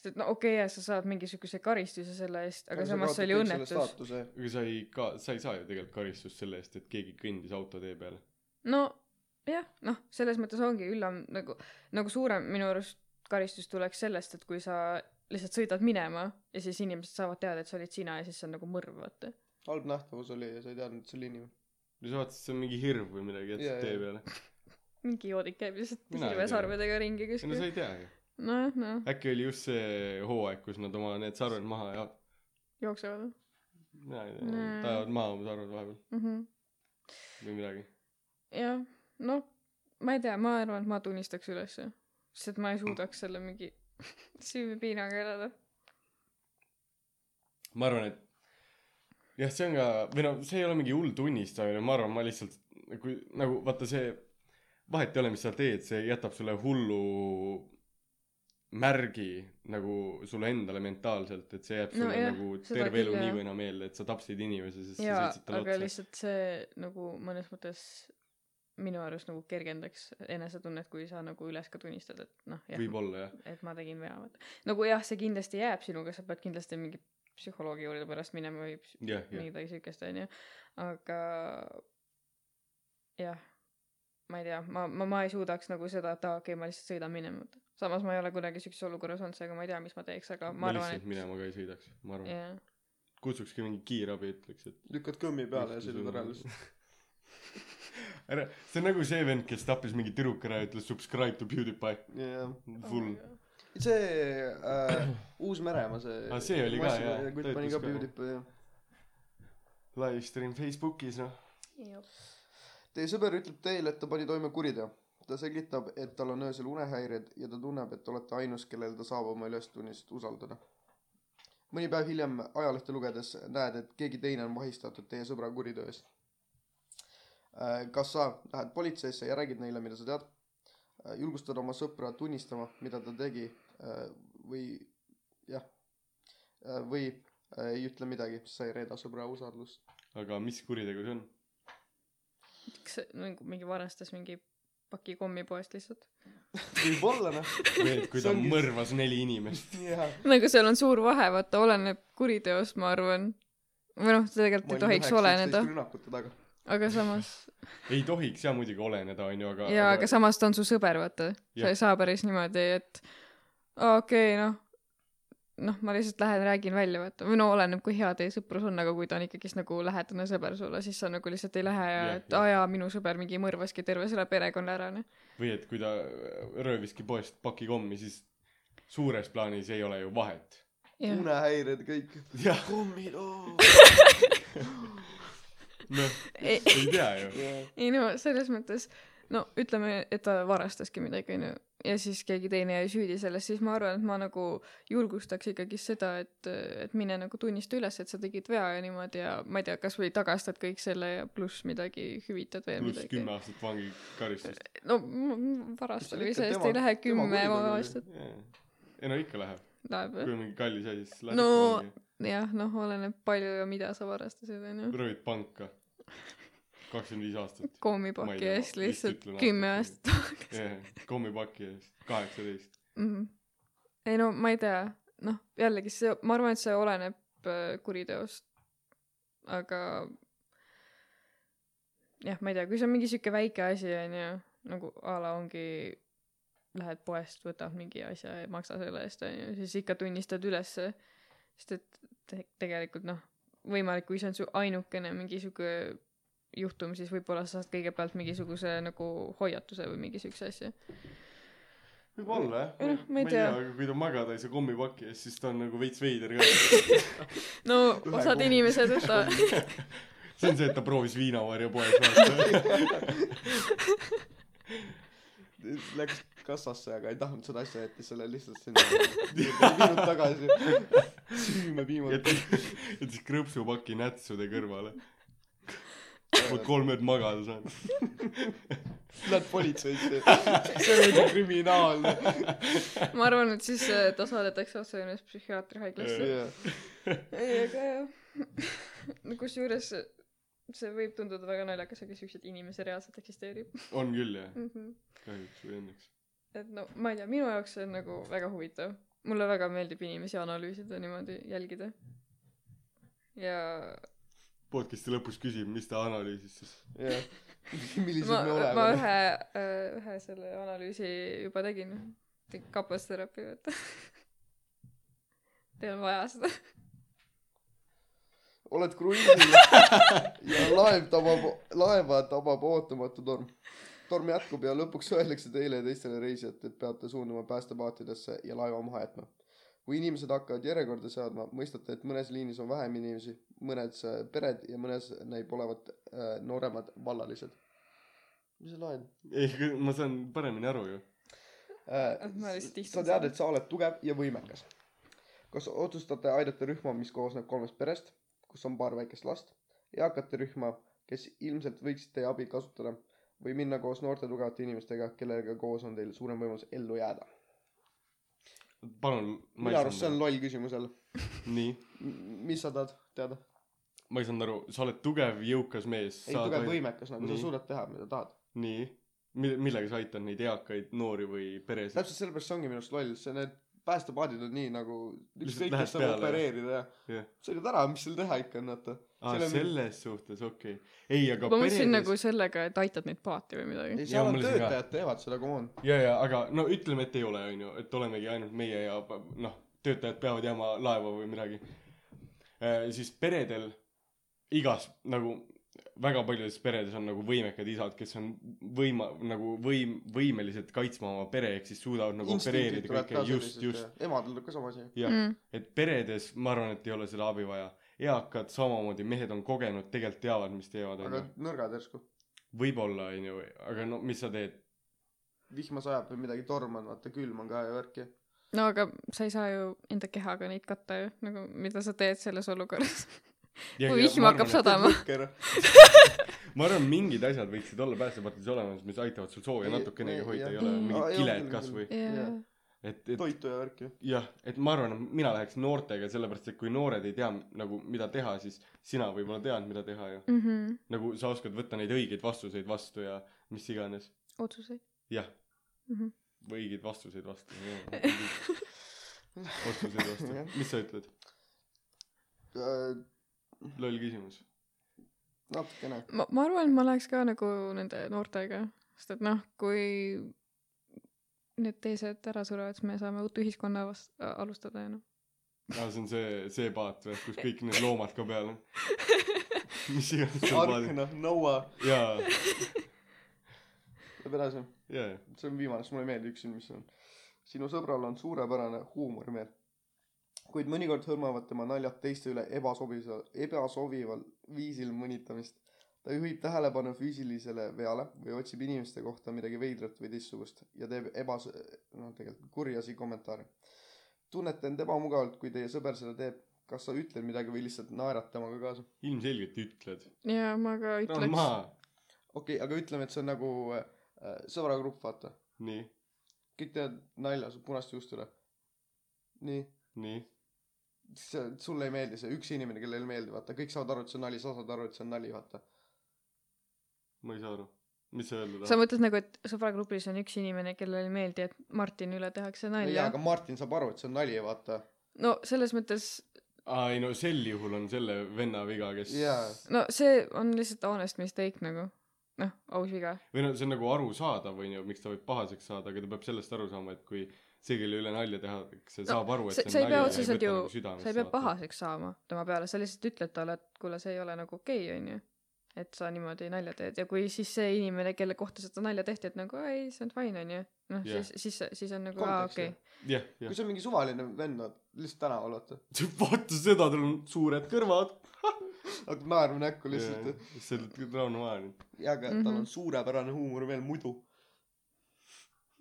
Speaker 2: sest et no okei okay, , sa saad mingisuguse karistuse selle eest , aga samas see oli õnnetus .
Speaker 1: aga sa ei ka , sa ei saa ju tegelikult karistust selle eest , et keegi kõndis auto tee peale .
Speaker 2: nojah , noh , selles mõttes ongi üllam nagu , nagu suurem minu arust karistus tuleks sellest , et kui sa lihtsalt sõidad minema ja siis inimesed saavad teada , et sa olid sina ja siis see on nagu mõrv , vaata .
Speaker 3: halb nähtavus oli ja sa ei teadnud , et see oli inimene
Speaker 1: no sa vaatasid , see on mingi hirv või midagi , et
Speaker 3: Jaa,
Speaker 1: sa tee
Speaker 3: jaa.
Speaker 1: peale .
Speaker 2: mingi joodik käib lihtsalt
Speaker 1: Mina ei tea.
Speaker 2: silmesarvedega ringi
Speaker 1: ei no sa
Speaker 2: kuskil .
Speaker 1: ei tea ju .
Speaker 2: nojah , noh ,
Speaker 1: äkki oli just see hooaeg , kus nad oma need sarved maha ja
Speaker 2: jooksevad
Speaker 1: mina ei tea
Speaker 2: Nee. ,
Speaker 1: ajavad maha oma sarved vahepeal
Speaker 2: mm . -hmm.
Speaker 1: või midagi .
Speaker 2: jah , noh , ma ei tea , ma arvan , et ma tunnistaks ülesse , sest et ma ei suudaks selle mingi süüpiinaga elada .
Speaker 1: ma arvan , et jah , see on ka , või no see ei ole mingi hull tunnistamine , ma arvan , ma lihtsalt kui nagu vaata see , vahet ei ole , mis sa teed , see jätab sulle hullu märgi nagu sulle endale mentaalselt , et see jääb
Speaker 2: No
Speaker 1: sulle no,
Speaker 2: jah,
Speaker 1: nagu
Speaker 2: seda
Speaker 1: terve elu
Speaker 2: küll,
Speaker 1: nii
Speaker 2: jah.
Speaker 1: või naa meelde , et sa tapsid inimese , sest sa
Speaker 2: jaa ,
Speaker 1: sõitsid
Speaker 2: aga
Speaker 1: talle otsa lihtsalt... .
Speaker 2: lihtsalt see nagu mõnes mõttes minu arust nagu kergendaks enesetunnet , kui sa nagu üles ka tunnistad , et noh , jah ,
Speaker 1: võib-olla jah ,
Speaker 2: et ma tegin vea , vaata . nagu jah , see kindlasti jääb sinuga , sa pead kindlasti mingi psühholoogi juurde pärast minema või ps-
Speaker 1: jah , jah ,
Speaker 2: midagi siukest , onju , aga jah , ma ei tea , ma , ma , ma ei suudaks nagu seda , et aa , okei okay, , ma lihtsalt sõidan minema . samas ma ei ole kunagi siukses olukorras olnud , seega ma ei tea , mis ma teeks , aga ma,
Speaker 1: ma
Speaker 2: arvan ,
Speaker 1: lihtsalt
Speaker 2: et
Speaker 1: et... minema ka ei sõidaks , ma arvan yeah. .
Speaker 2: jah ,
Speaker 1: kutsukski mingi kiirabi , ütleks , et
Speaker 3: lükkad kõmmi peale ja sõidad ära lihtsalt
Speaker 1: ära , see on nagu see vend , kes tappis mingi tüdruk ära ja ütles subscribe to PewDiePie ,
Speaker 3: jah
Speaker 1: full .
Speaker 3: see äh, Uus-Meremaa see
Speaker 1: Aa, Ah, see oli ka, jaa,
Speaker 3: kutt
Speaker 1: ta
Speaker 3: pani
Speaker 1: ütles
Speaker 3: ka
Speaker 1: ka.
Speaker 3: PewDiePie jah
Speaker 1: live stream Facebookis noh .
Speaker 2: jah .
Speaker 3: Teie sõber ütleb teile , et ta pani toime kuriteo . ta selgitab , et tal on öösel unehäired ja ta tunneb , et te olete ainus , kellel ta saab oma ülestunnist usaldada . mõni päev hiljem ajalehte lugedes näed , et keegi teine on vahistatud teie sõbra kuriteo eest . kas sa lähed politseisse ja räägid neile , mida sa tead ? julgustad oma sõpra tunnistama , mida ta tegi äh, või jah , või äh, ei ütle midagi , sa ei reeda sõbra usaldust .
Speaker 1: aga mis kuritegu see on ?
Speaker 2: kas see nagu mingi varastas mingi paki kommipoest lihtsalt ?
Speaker 3: võib-olla noh .
Speaker 1: või et kui ta
Speaker 3: See ongi-
Speaker 1: mõrvas neli inimest .
Speaker 3: jah
Speaker 2: no aga Nagu seal on suur vahe , vaata , oleneb kuriteost , ma arvan . või noh , tegelikult ei tohiks oleneda ,
Speaker 3: rünnakute taga .
Speaker 2: aga samas ,
Speaker 1: ei tohiks ja muidugi oleneda , onju , aga .
Speaker 2: jaa , aga samas ta on su sõber , vaata . sa
Speaker 1: Jah.
Speaker 2: ei saa päris niimoodi , et aa, okei okay, , noh , noh , ma lihtsalt lähen räägin välja , vaata . või no oleneb , kui hea teie sõprus on , aga kui ta on ikkagist nagu lähedane sõber sulle , siis sa nagu lihtsalt ei lähe ja
Speaker 1: Jah,
Speaker 2: et
Speaker 1: jah.
Speaker 2: aa jaa , minu sõber mingi mõrvaski terve selle perekonna ära , noh .
Speaker 1: või et kui ta rööviski poest paki kommi , siis suures plaanis ei ole ju vahet .
Speaker 3: unehäired kõik .
Speaker 1: jah ,
Speaker 3: kummid , oo .
Speaker 1: noh ,
Speaker 2: ei ,
Speaker 1: ei tea ju .
Speaker 2: ei no selles mõttes , no ütleme , et ta varastaski midagi , onju , ja siis keegi teine jäi süüdi selles , siis ma arvan , et ma nagu julgustaks ikkagi seda , et , et mine nagu tunnista üles , et sa tegid vea ja niimoodi ja ma ei tea , kasvõi tagastad kõik selle ja pluss midagi hüvitad veel
Speaker 1: pluss
Speaker 2: midagi .
Speaker 1: kümme aastat vangikaristust .
Speaker 2: no m- m-
Speaker 3: Mis seal
Speaker 2: varastamise
Speaker 3: ikka,
Speaker 2: eest ei
Speaker 3: tema-
Speaker 2: lähe
Speaker 3: tema
Speaker 2: kümme
Speaker 3: kuritegu oli.
Speaker 2: aastat ,
Speaker 1: ei no ikka läheb ,
Speaker 2: läheb
Speaker 1: kui
Speaker 2: või ?
Speaker 1: on mingi kallis asi , siis läheb
Speaker 2: No-
Speaker 1: ikka vangi.
Speaker 2: jah , noh , oleneb palju ja mida sa varastasid , onju .
Speaker 1: röövid panka . kakskümmend viis aastat . Ma ei
Speaker 2: kommipaki
Speaker 1: tea,
Speaker 2: eest
Speaker 1: vist
Speaker 2: lihtsalt
Speaker 1: ütlen
Speaker 2: kümme
Speaker 1: aastat
Speaker 2: aastat tagasi .
Speaker 1: kommipaki eest , kaheksateist .
Speaker 2: mm. . ei no ma ei tea , noh jällegi see , ma arvan , et see oleneb äh, kuriteost . aga jah , ma ei tea , kui see on mingi sihuke väike asi onju , nagu a la ongi lähed poest , võtad mingi asja ja ei maksa selle eest , onju , siis ikka tunnistad ülesse . sest et te tegelikult noh , võimalik , kui see on su ainukene mingi sihuke juhtum , siis võib-olla sa saad kõigepealt mingisuguse nagu hoiatuse või mingi siukse asja .
Speaker 1: võib-olla jah
Speaker 2: Ei noh, ma ei tea.
Speaker 1: aga kui ta magada ei saa kommipaki ees siis ta on nagu veits veider ka
Speaker 2: no
Speaker 3: Ühe
Speaker 2: osad
Speaker 3: kuu-
Speaker 2: inimesed võtavad ,
Speaker 1: see on see et ta proovis viinavarja poes vaata
Speaker 3: Läks kassasse , aga ei tahtnud seda asja , jättis selle lihtsalt sinna . ei viinud tagasi . süüme piimad .
Speaker 1: jättis jättis krõpsupaki nätsude kõrvale mul kolm ööd magada saanud
Speaker 3: Lähed politseisse . see on ikka kriminaalne .
Speaker 2: ma arvan , et siis äh, ta saadetakse otse ennast psühhiaatrihaiglasse . ei , aga jah . no kusjuures äh, see võib tunduda väga naljakas , aga siukseid inimesi reaalselt eksisteerib
Speaker 1: on küll jah
Speaker 2: mm . -hmm.
Speaker 1: kahjuks või õnneks
Speaker 2: et no ma ei tea , minu jaoks see on nagu väga huvitav . mulle väga meeldib inimesi analüüsida , niimoodi jälgida . ja
Speaker 1: podcast'i lõpus küsib mis ta analüüsis siis
Speaker 3: jah . millised
Speaker 2: ma
Speaker 3: me ,
Speaker 2: ma
Speaker 3: oleme .
Speaker 2: ühe , ühe selle analüüsi juba tegin . tegin kaposterapi , vaata . Teil on vaja seda .
Speaker 3: oled kruiisil ja laev tabab , laeva tabab ootamatu torm . torm jätkub ja lõpuks öeldakse teile ja teistele reisijatele , et peate suunduma päästepaatidesse ja laeva maha jätma . kui inimesed hakkavad järjekorda seadma , mõistate , et mõnes liinis on vähem inimesi , mõnes äh, pered ja mõnes näib olevat äh, nooremad vallalised . mis see laen
Speaker 1: ei kõ- ma saan paremini aru ju
Speaker 2: Ah, Ma lihtsalt
Speaker 3: äh, ? sa
Speaker 2: istun
Speaker 3: tead ,
Speaker 2: siin.
Speaker 3: et sa oled tugev ja võimekas . kas otsustate aidata rühma , mis koosneb kolmest perest , kus on paar väikest last , eakate rühma , kes ilmselt võiksid teie abi kasutada või minna koos noorte tugevate inimestega , kellega koos on teil suurem võimalus ellu jääda ?
Speaker 1: palun ma
Speaker 3: minu
Speaker 1: ei
Speaker 3: arust see on
Speaker 1: saanud
Speaker 3: loll küsimus jälle .
Speaker 1: aru nii
Speaker 3: mis sa tahad teada ?
Speaker 1: ma ei saanud aru sa oled tugev jõukas mees
Speaker 3: ei ,
Speaker 1: sa
Speaker 3: tugev
Speaker 1: tohi-
Speaker 3: võimekas nagu ,
Speaker 1: Nii.
Speaker 3: sa suudad teha , mida tahad .
Speaker 1: nii mi- millega sa aitad neid eakaid noori või peresid
Speaker 3: täpselt sellepärast see ongi minu arust loll , see need päästepaadid on nii nagu
Speaker 1: Lihtsalt
Speaker 3: ükskõik ,
Speaker 1: lähed
Speaker 3: kes saab
Speaker 1: peale, jah?
Speaker 3: opereerida ja
Speaker 1: Jah.
Speaker 3: sõidad ära , mis seal teha ikka on , vaata .
Speaker 1: aa
Speaker 3: selle-
Speaker 1: Ah, selles suhtes okei okay. ei aga
Speaker 2: ma mõtlesin
Speaker 1: peredes-
Speaker 2: nagu sellega , et aitad neid paati või midagi .
Speaker 3: ei ,
Speaker 1: Jaa,
Speaker 3: seal on
Speaker 1: mul isegi ka.
Speaker 3: töötajad teevad seda , come on .
Speaker 1: ja ja aga no ütleme et ei ole onju et olemegi ainult meie ja pa- noh töötajad peavad jääma laeva või midagi Eh, siis peredel igas nagu väga paljudes peredes on nagu võimekad isad kes on võima- nagu võim- võimelised kaitsma oma pere ehk siis suudavad nagu opereerida kõike just just
Speaker 3: emadel on ka sama asi .
Speaker 1: jah
Speaker 2: Mm.
Speaker 1: et peredes ma arvan , et ei ole seda abi vaja . eakad samamoodi , mehed on kogenud , tegelikult teavad , mis teevad ,
Speaker 3: aga
Speaker 1: onju .
Speaker 3: nõrgad järsku .
Speaker 1: võib-olla onju , aga no mis sa teed ?
Speaker 3: vihma sajab või midagi , torm on , vaata külm on ka ja värki .
Speaker 2: no aga sa ei saa ju enda kehaga neid katta ju , nagu mida sa teed selles olukorras . Kui vihm hakkab sadama.
Speaker 1: ma arvan , mingid asjad võiksid olla päästepatis olemas , mis aitavad sul sooja
Speaker 3: Ei-
Speaker 1: natukenegi
Speaker 3: ei-
Speaker 1: hoida ,
Speaker 3: jah.
Speaker 1: ei ole
Speaker 2: Mm.
Speaker 3: Aa,
Speaker 1: mingid
Speaker 3: ei, on
Speaker 1: kiled
Speaker 3: küll,
Speaker 1: kasvõi .
Speaker 2: jaa
Speaker 3: Jaa. ,
Speaker 1: et , et
Speaker 3: toitu ja värki .
Speaker 1: jah , et ma arvan , et mina läheks noortega , sellepärast et kui noored ei tea nagu mida teha , siis sina võib-olla tead , mida teha ju .
Speaker 2: mhm,
Speaker 1: nagu sa oskad võtta neid õigeid vastuseid vastu ja mis iganes .
Speaker 2: otsuseid . mhm.
Speaker 1: jah , või õigeid vastuseid vastu . otsuseid vastu
Speaker 3: Jah. .
Speaker 1: mis sa ütled ?
Speaker 3: Äh,
Speaker 1: loll küsimus .
Speaker 3: natukene .
Speaker 2: ma , ma arvan , et ma läheks ka nagu nende noortega , sest et noh , kui need teised ära surevad , siis me saame uut ühiskonna vast- , alustada ja noh .
Speaker 1: aa , Ah, see on see , see paat või , kus kõik need loomad ka peal on . mis iganes see paat .
Speaker 3: Arkna , Noa ,
Speaker 1: jaa ,
Speaker 3: läheb edasi .
Speaker 1: jaa ,
Speaker 3: see on viimane , sest mulle ei meeldi üks film , mis see on . sinu sõbral on suurepärane huumorimeel , kuid mõnikord hõlmavad tema naljad teiste üle ebasobival , ebasobival viisil mõnitamist . ta juhib tähelepanu füüsilisele veale või otsib inimeste kohta midagi veidrat või teistsugust ja teeb ebas- , noh tegelikult kurjasi kommentaare . tunnete end ebamugavalt , kui teie sõber seda teeb , kas sa ütled midagi või lihtsalt naerad temaga kaasa ?
Speaker 1: ilmselgelt ütled .
Speaker 2: ja ma ka
Speaker 1: no
Speaker 2: ütleks
Speaker 1: ma ,
Speaker 3: okei okay, , aga ütleme , et see on nagu äh, sõbragrupp , vaata .
Speaker 1: nii ,
Speaker 3: kõik teevad nalja su punaste juuste üle . nii
Speaker 1: nii ,
Speaker 3: see , sulle ei meeldi see üks inimene , kellele ei meeldi , vaata , kõik saavad aru , et see on nali , sa saad aru , et see on nali , vaata .
Speaker 1: ma ei saa aru . mis sa öelda
Speaker 2: sa
Speaker 1: tahad ?
Speaker 2: mõtled nagu , et sõbragrupis on üks inimene , kellele ei meeldi , et Martini üle tehakse
Speaker 3: jaa ,
Speaker 2: nalja
Speaker 3: aga ? Martin saab aru , et see on nali , vaata .
Speaker 2: no selles mõttes ,
Speaker 1: aa , ei no sel juhul on selle venna viga , kes
Speaker 3: jaa ,
Speaker 2: no see on lihtsalt honest mistake nagu . noh , aus viga .
Speaker 1: või no see on nagu arusaadav onju miks ta võib pahaseks saada aga ta peab sellest aru saama et kui see kelle üle nalja tehakse
Speaker 2: No,
Speaker 1: saab aru et
Speaker 2: sa sa
Speaker 1: see
Speaker 2: ei
Speaker 1: on
Speaker 2: pea
Speaker 1: nali ja
Speaker 2: otseselt ju
Speaker 1: võta , nagu südamesse
Speaker 2: sa ei pea
Speaker 1: vaata.
Speaker 2: pahaseks saama tema peale , sa lihtsalt ütled talle , et kuule , see ei ole nagu okei , onju . et sa niimoodi nalja teed ja kui siis see inimene , kelle kohta seda nalja tehti , et nagu "Aa, ei , see on fine , onju . noh ,
Speaker 1: Jah.
Speaker 2: siis , siis , siis on nagu aa ,
Speaker 3: Kontekst,
Speaker 2: okei
Speaker 3: jah. .
Speaker 1: jah jah
Speaker 3: kui see on mingi suvaline vend , vaat lihtsalt tänaval vaata ,
Speaker 1: vaata seda tal on suured kõrvad
Speaker 3: hakkab naerma näkku
Speaker 1: lihtsalt
Speaker 3: lihtsalt .
Speaker 1: see nagu Raun Vaani
Speaker 3: ja aga
Speaker 2: Mhm.
Speaker 3: tal on suurepärane huumor veel muidu .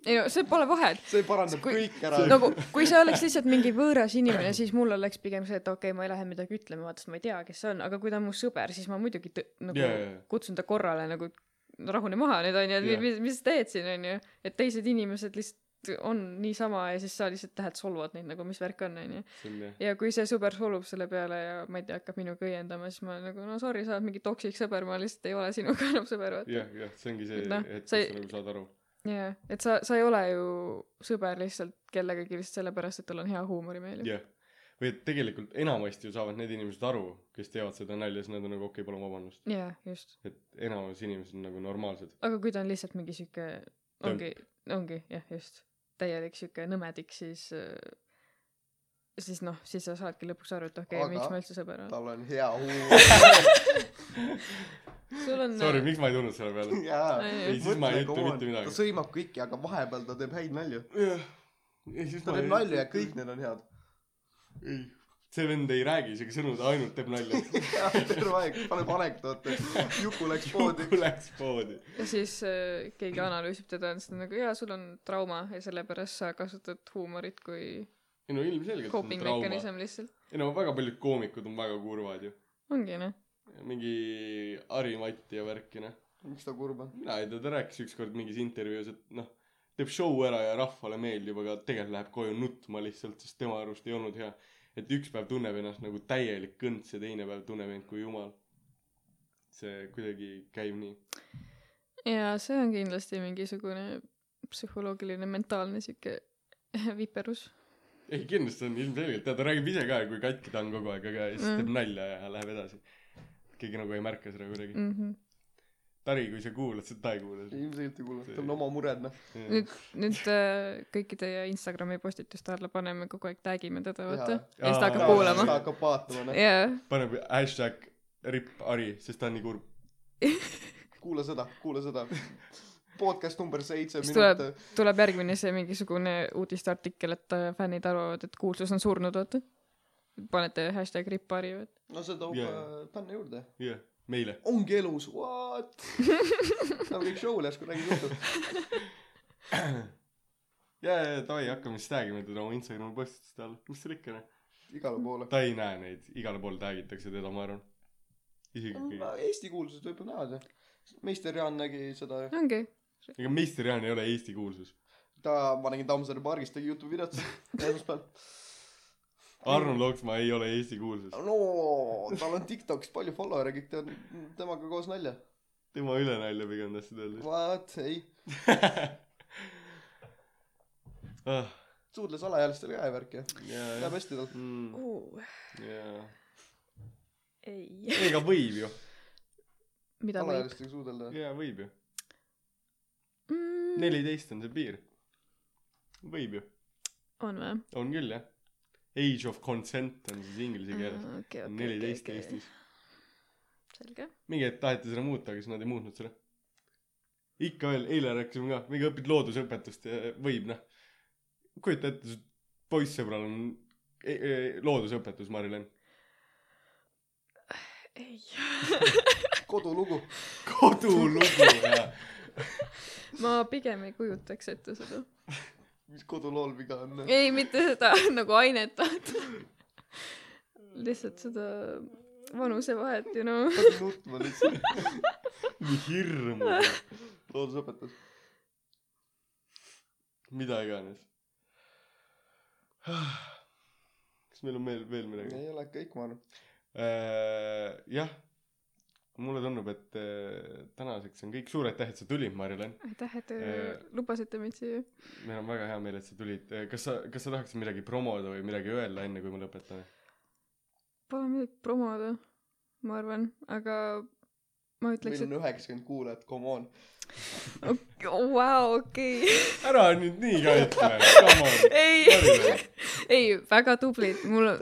Speaker 2: ei no see pole vahet .
Speaker 3: see parandab
Speaker 2: Kui-
Speaker 3: kõik ära .
Speaker 2: nagu , kui see oleks lihtsalt mingi võõras inimene , siis mul oleks pigem see , et okei okay, , ma ei lähe midagi ütlema , vaata , sest ma ei tea , kes see on , aga kui ta on mu sõber , siis ma muidugi tõ- nagu
Speaker 1: Jaa, jaa, jaa.
Speaker 2: kutsun ta korrale nagu "No rahune maha nüüd onju , et
Speaker 1: Jah.
Speaker 2: mi- mis , mis sa teed siin onju , et teised inimesed lihtsalt on niisama ja siis sa lihtsalt lähed solvad neid nagu , mis värk on onju .
Speaker 1: see on jah
Speaker 2: ja kui see sõber solvub selle peale ja ma ei tea , hakkab minuga õiendama , siis ma olen nagu no sorry , sa oled mingi toksik sõber , ma lihtsalt ei ole sinuga enam sõber vaata .
Speaker 1: jah jah see ongi see
Speaker 2: Noh,
Speaker 1: hetk kus
Speaker 2: sa
Speaker 1: sa
Speaker 2: ei-
Speaker 1: nagu saad aru
Speaker 2: jaa , et sa , sa ei ole ju sõber lihtsalt kellegagi lihtsalt sellepärast , et tal on hea huumorimeel ju .
Speaker 1: jah või et tegelikult enamasti ju saavad need inimesed aru kes teevad seda nalja siis nad on nagu okei palun vabandust
Speaker 2: jaa , just .
Speaker 1: et enamus inimesed on nagu normaalsed
Speaker 2: aga kui ta on lihtsalt mingi sihuke , ongi , ongi jah , just , täielik sihuke nõmedik , siis , siis noh , siis sa saadki lõpuks aru , et okei okay, ,
Speaker 3: Aga-
Speaker 2: miks ma üldse sõber olen .
Speaker 3: tal on hea huumor .
Speaker 2: sul on äh,
Speaker 1: sorry miks ma ei tulnud selle peale
Speaker 3: jaa
Speaker 2: Ei,
Speaker 1: ei siis ma ei ütle mitte
Speaker 3: ta
Speaker 1: midagi
Speaker 3: sõimab kõiki , aga vahepeal ta teeb häid nalju .
Speaker 1: jah ei siis
Speaker 3: ta teeb nalju ja kõik need on head .
Speaker 1: ei see vend ei räägi isegi sõnu ta ainult teeb nalja
Speaker 3: terve aeg paneb anekdoote . Juku läks poodi .
Speaker 1: Kuku läks poodi
Speaker 2: ja siis äh, keegi analüüsib teda ja siis ta on nagu jaa , sul on trauma ja sellepärast sa kasutad huumorit kui
Speaker 1: ei no ilmselgelt on
Speaker 2: coping
Speaker 1: trauma
Speaker 2: mechanism lihtsalt .
Speaker 1: ei no väga paljud koomikud on väga kurvad ju
Speaker 2: ongi noh ,
Speaker 1: mingi Ari Matti ja värki noh
Speaker 3: miks ta kurb on ?
Speaker 1: mina ei tea ta rääkis ükskord mingis intervjuus et noh teeb show ära ja rahvale meeldib aga tegelikult läheb koju nutma lihtsalt sest tema arust ei olnud hea et üks päev tunneb ennast nagu täielik kõnts ja teine päev tunneb end kui jumal see kuidagi käib nii
Speaker 2: ja see on kindlasti mingisugune psühholoogiline mentaalne sihuke viperus .
Speaker 1: ei kindlasti on ilmselgelt ja ta räägib ise ka kui katki ta on kogu aeg aga siis
Speaker 2: Mm.
Speaker 1: teeb nalja ja läheb edasi keegi nagu ei märka seda kuidagi
Speaker 2: Mm -hmm.
Speaker 1: Tari kui sa kuulad seda ta ei kuule seda
Speaker 3: ilmselgelt ei kuule , tal on oma mured noh .
Speaker 1: Jaa.
Speaker 2: nüüd , nüüd äh, kõiki teie Instagrami postituste alla paneme kogu aeg , tagime teda , vaata .
Speaker 3: Jaa.
Speaker 2: ja siis ta hakkab
Speaker 1: Jaa.
Speaker 2: kuulama
Speaker 3: ta . hakkab vaatama noh .
Speaker 2: jaa ,
Speaker 1: paneb hashtag ripp Ari sest ta on nii kurb
Speaker 3: kuula seda , kuula seda . podcast number seitse ,
Speaker 2: Siis
Speaker 3: minut .
Speaker 2: tuleb järgmine see mingisugune uudisteartikkel , et äh, fännid arvavad , et kuulsus on surnud , vaata . panete hashtag rippari , vaata .
Speaker 3: no see toob
Speaker 1: Jaa.
Speaker 3: yeah. fänne juurde .
Speaker 1: jah yeah. meile
Speaker 3: ongi elus , what ? nagu kõik show'l järsku räägib juttu .
Speaker 1: ja ja ja davai hakkame siis tagima teda oma Instagrami postituste all mis seal ikka noh
Speaker 3: igale poole .
Speaker 1: ta ei näe neid igale poole tagitakse teda ma arvan isegi kui
Speaker 3: Eesti kuulsused võib-olla näevad jah . meister Jaan nägi seda ju .
Speaker 2: ongi .
Speaker 1: ega meister Jaan ei ole Eesti kuulsus
Speaker 3: ta , ma nägin Tammsaare pargis tegi Youtube'i videot esmaspäeval .
Speaker 1: Arnold Oksmaa ei ole Eesti kuulsus
Speaker 3: no tal on Tiktokis palju follower'e , kõik teevad temaga koos nalja .
Speaker 1: tema üle nalja pigem tahtsid öelda
Speaker 3: What , ei .
Speaker 1: ah
Speaker 3: suudles alaealistele ka ja värki ju .
Speaker 1: jaa jah
Speaker 3: Läheb hästi tal .
Speaker 1: mm, jaa
Speaker 2: ei .
Speaker 1: ega võib ju
Speaker 2: mida võib ?
Speaker 3: alaealistega suudelda .
Speaker 1: jaa võib ju
Speaker 2: Mm,
Speaker 1: neliteist on see piir võib ju
Speaker 2: on või ?
Speaker 1: on küll jah age of consent on siis inglise keeles
Speaker 2: okei ,
Speaker 1: on
Speaker 2: okei ,
Speaker 1: neliteist
Speaker 2: okei .
Speaker 1: Eestis
Speaker 2: selge .
Speaker 1: mingi hetk taheti seda muuta aga siis nad ei muutnud seda ikka veel eile rääkisime ka mingi õpid loodusõpetust ja võib noh kujuta ette su poissõbral on e e loodusõpetus Mari-Len
Speaker 2: ei .
Speaker 3: kodulugu .
Speaker 1: kodulugu ja
Speaker 2: ma pigem ei kujutaks ette seda .
Speaker 3: mis kodulool viga on ?
Speaker 2: ei , mitte seda nagu ainet , vaata . lihtsalt seda vanusevahet ju noh .
Speaker 3: hakkan nutma lihtsalt .
Speaker 1: nii hirmu
Speaker 3: loodusõpetus .
Speaker 1: mida iganes kas meil on veel veel midagi
Speaker 3: ei ole kõik , ma arvan .
Speaker 1: Äh, jah , mulle tundub , et äh, tänaseks on kõik suured tähed , sa tulid , Mari-Len .
Speaker 2: aitäh , et te
Speaker 1: Eh.
Speaker 2: lubasite mind siia .
Speaker 1: meil on väga hea meel , et sa tulid . kas sa , kas sa tahaksid midagi promoda või midagi öelda , enne kui me lõpetame ?
Speaker 2: Pole midagi promoda , ma arvan , aga ma
Speaker 3: meil
Speaker 2: ütleks ,
Speaker 3: on üheksakümmend kuulajat , come on .
Speaker 2: et vau , okei .
Speaker 1: ära nüüd nii ka ütle , come on .
Speaker 2: ei , ei , väga tublid , mul on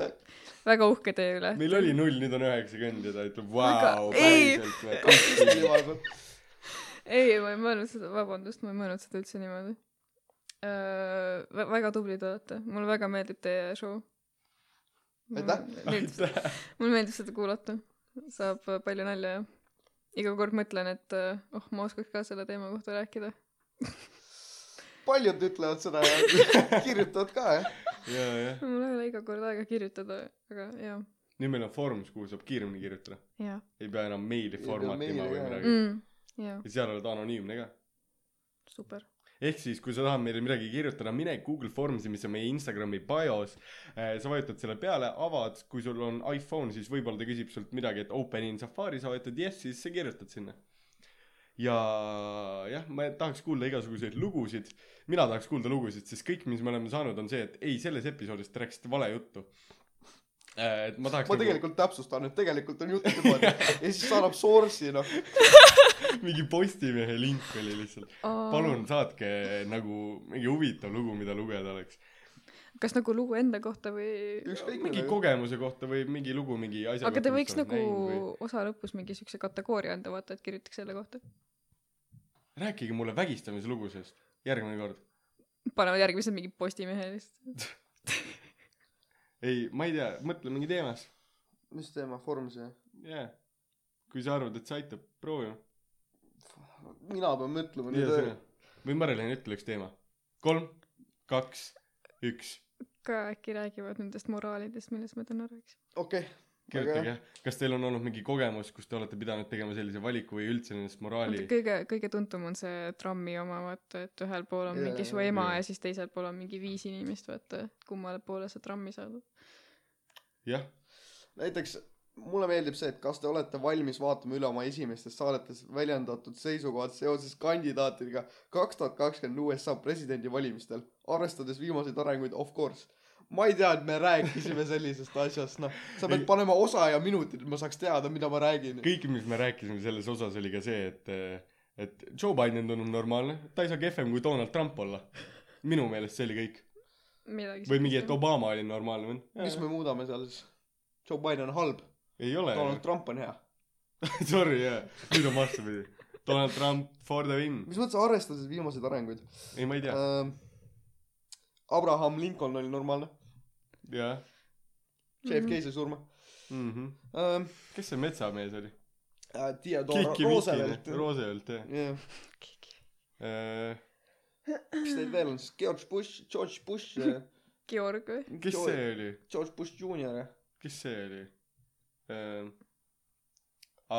Speaker 2: väga uhke teie üle .
Speaker 1: meil oli null , nüüd on üheksakümmend ja ta ütleb
Speaker 2: Aga
Speaker 1: vau ,
Speaker 2: ei.
Speaker 1: päriselt või ?
Speaker 2: ei , ma ei mõelnud seda , vabandust , ma ei mõelnud seda üldse niimoodi . väga tublid olete , mulle väga meeldib teie show .
Speaker 3: Aitäh.
Speaker 1: aitäh ,
Speaker 2: mulle meeldib seda kuulata , saab äh, palju nalja ja iga kord mõtlen , et äh, oh , ma oskaks ka selle teema kohta rääkida .
Speaker 3: paljud ütlevad seda ja kirjutavad ka , jah .
Speaker 1: ja , jah .
Speaker 2: mul ei ole iga kord aega kirjutada , aga jaa ,
Speaker 1: nüüd meil on Foorumis , kuhu saab kiiremini kirjutada .
Speaker 2: jaa
Speaker 1: ei pea enam meili
Speaker 3: Ei pea
Speaker 1: formatima
Speaker 3: meili,
Speaker 1: või
Speaker 3: jah.
Speaker 1: midagi .
Speaker 2: mm, , jaa ,
Speaker 1: ja seal oled anonüümne ka .
Speaker 2: super .
Speaker 1: ehk siis , kui sa tahad meile midagi kirjutada , mine Google Formsi , mis on meie Instagrami bios . sa vajutad selle peale , avad , kui sul on iPhone , siis võib-olla ta küsib sult midagi , et open in Safari , sa vajutad yes , siis sa kirjutad sinna . ja jah , ma tahaks kuulda igasuguseid lugusid , mina tahaks kuulda lugusid , sest kõik , mis me oleme saanud , on see , et ei , selles episoodis te rääkisite vale juttu . et ma tahaks nagu
Speaker 3: ma tegelikult täpsustan , et tegelikult on juttu niimoodi ja siis saadab source'i , noh .
Speaker 1: mingi Postimehe link oli lihtsalt . palun . saatke nagu mingi huvitav lugu , mida lugeda oleks .
Speaker 2: kas nagu lugu enda kohta või ?
Speaker 3: ükskõik
Speaker 1: mingi
Speaker 3: millega .
Speaker 1: kogemuse kohta või mingi lugu mingi asja
Speaker 2: aga te võiks
Speaker 1: mis sa oled
Speaker 2: nagu
Speaker 1: näinud või...
Speaker 2: osa lõpus mingi siukse kategooria anda , vaata , et kirjutaks selle kohta .
Speaker 1: rääkige mulle vägistamise lugusest järgmine kord
Speaker 2: panevad järgmised mingi Postimehe lihtsalt .
Speaker 1: ei ma ei tea mõtle mingi teemas
Speaker 3: mis teema , Form see ?
Speaker 1: jaa yeah. kui sa arvad et see aitab proovi noh
Speaker 3: mina pean mõtlema
Speaker 1: ja
Speaker 3: nüüd
Speaker 1: sina . või Marilyn ütle üks teema kolm kaks üks
Speaker 2: ka äkki räägivad nendest moraalidest , millest me täna rääkisime .
Speaker 3: okei .
Speaker 1: kirjutage kas teil on olnud mingi kogemus kus te olete pidanud tegema sellise valiku või üldse nendest moraali
Speaker 2: kõige , kõige tuntum on see trammi oma , vaata , et ühel pool on
Speaker 3: Jaa,
Speaker 2: mingi su
Speaker 3: jaa,
Speaker 2: ema
Speaker 1: jaa.
Speaker 2: ja siis teisel pool on mingi viis inimest , vaata , kummale poole sa trammi saad .
Speaker 1: jah
Speaker 3: näiteks mulle meeldib see , et kas te olete valmis vaatama üle oma esimestes saadetes väljendatud seisukohad seoses kandidaatidega kaks tuhat kakskümmend USA presidendivalimistel , arvestades viimaseid arenguid of course . ma ei tea , et me rääkisime sellisest asjast , noh , sa pead
Speaker 1: Ei.
Speaker 3: panema osa ja minutid , et ma saaks teada , mida ma räägin .
Speaker 1: kõik , mis me rääkisime selles osas , oli ka see , et , et Joe Biden tundub normaalne , ta ei saa kehvem kui Donald Trump olla . minu meelest see oli kõik .
Speaker 2: midagi .
Speaker 1: või mingi , et . Obama oli normaalne
Speaker 3: mis
Speaker 1: vend .
Speaker 3: me muudame seal siis ? Joe Biden on halb ,
Speaker 1: ei ole .
Speaker 3: Donald Trump on hea .
Speaker 1: Sorry , jaa . nüüd on vastupidi . Donald Trump for the win .
Speaker 3: mis mõttes arvestades viimaseid arenguid ?
Speaker 1: ei , ma ei
Speaker 3: Äh.
Speaker 1: tea .
Speaker 3: Abraham Lincoln oli normaalne ,
Speaker 1: jah .
Speaker 3: JFK sai surma .
Speaker 1: Mhm.
Speaker 3: Ähm,
Speaker 1: kes see metsamees oli ?
Speaker 3: Äh, Theodore
Speaker 1: Kiki
Speaker 3: Roosevelt
Speaker 1: Miki ., Roosevelt , jah . Äh,
Speaker 3: jah . mis neid veel on siis , George Bush , George Bush ,
Speaker 2: Georg või ?
Speaker 1: kes
Speaker 3: Joe-
Speaker 1: see oli ?
Speaker 3: George Bush Junior ,
Speaker 1: kes see oli ?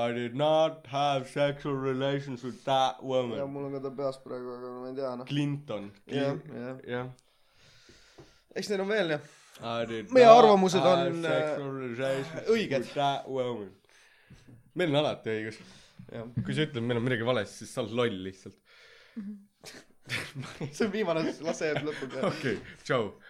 Speaker 1: I did not have sexual relations with that
Speaker 3: ja
Speaker 1: woman .
Speaker 3: mul on ka ta peas praegu , aga ma ei tea noh .
Speaker 1: Clinton .
Speaker 3: jah , jah ,
Speaker 1: jah .
Speaker 3: eks neid on veel jah .
Speaker 1: meie
Speaker 3: Meie arvamused on, äh, õiged.
Speaker 1: meil on alati õigus
Speaker 3: jah ,
Speaker 1: kui sa ütled meil on midagi valesti siis sa oled loll lihtsalt
Speaker 3: see on viimane , las see jääb lõpuni .
Speaker 1: okei tšau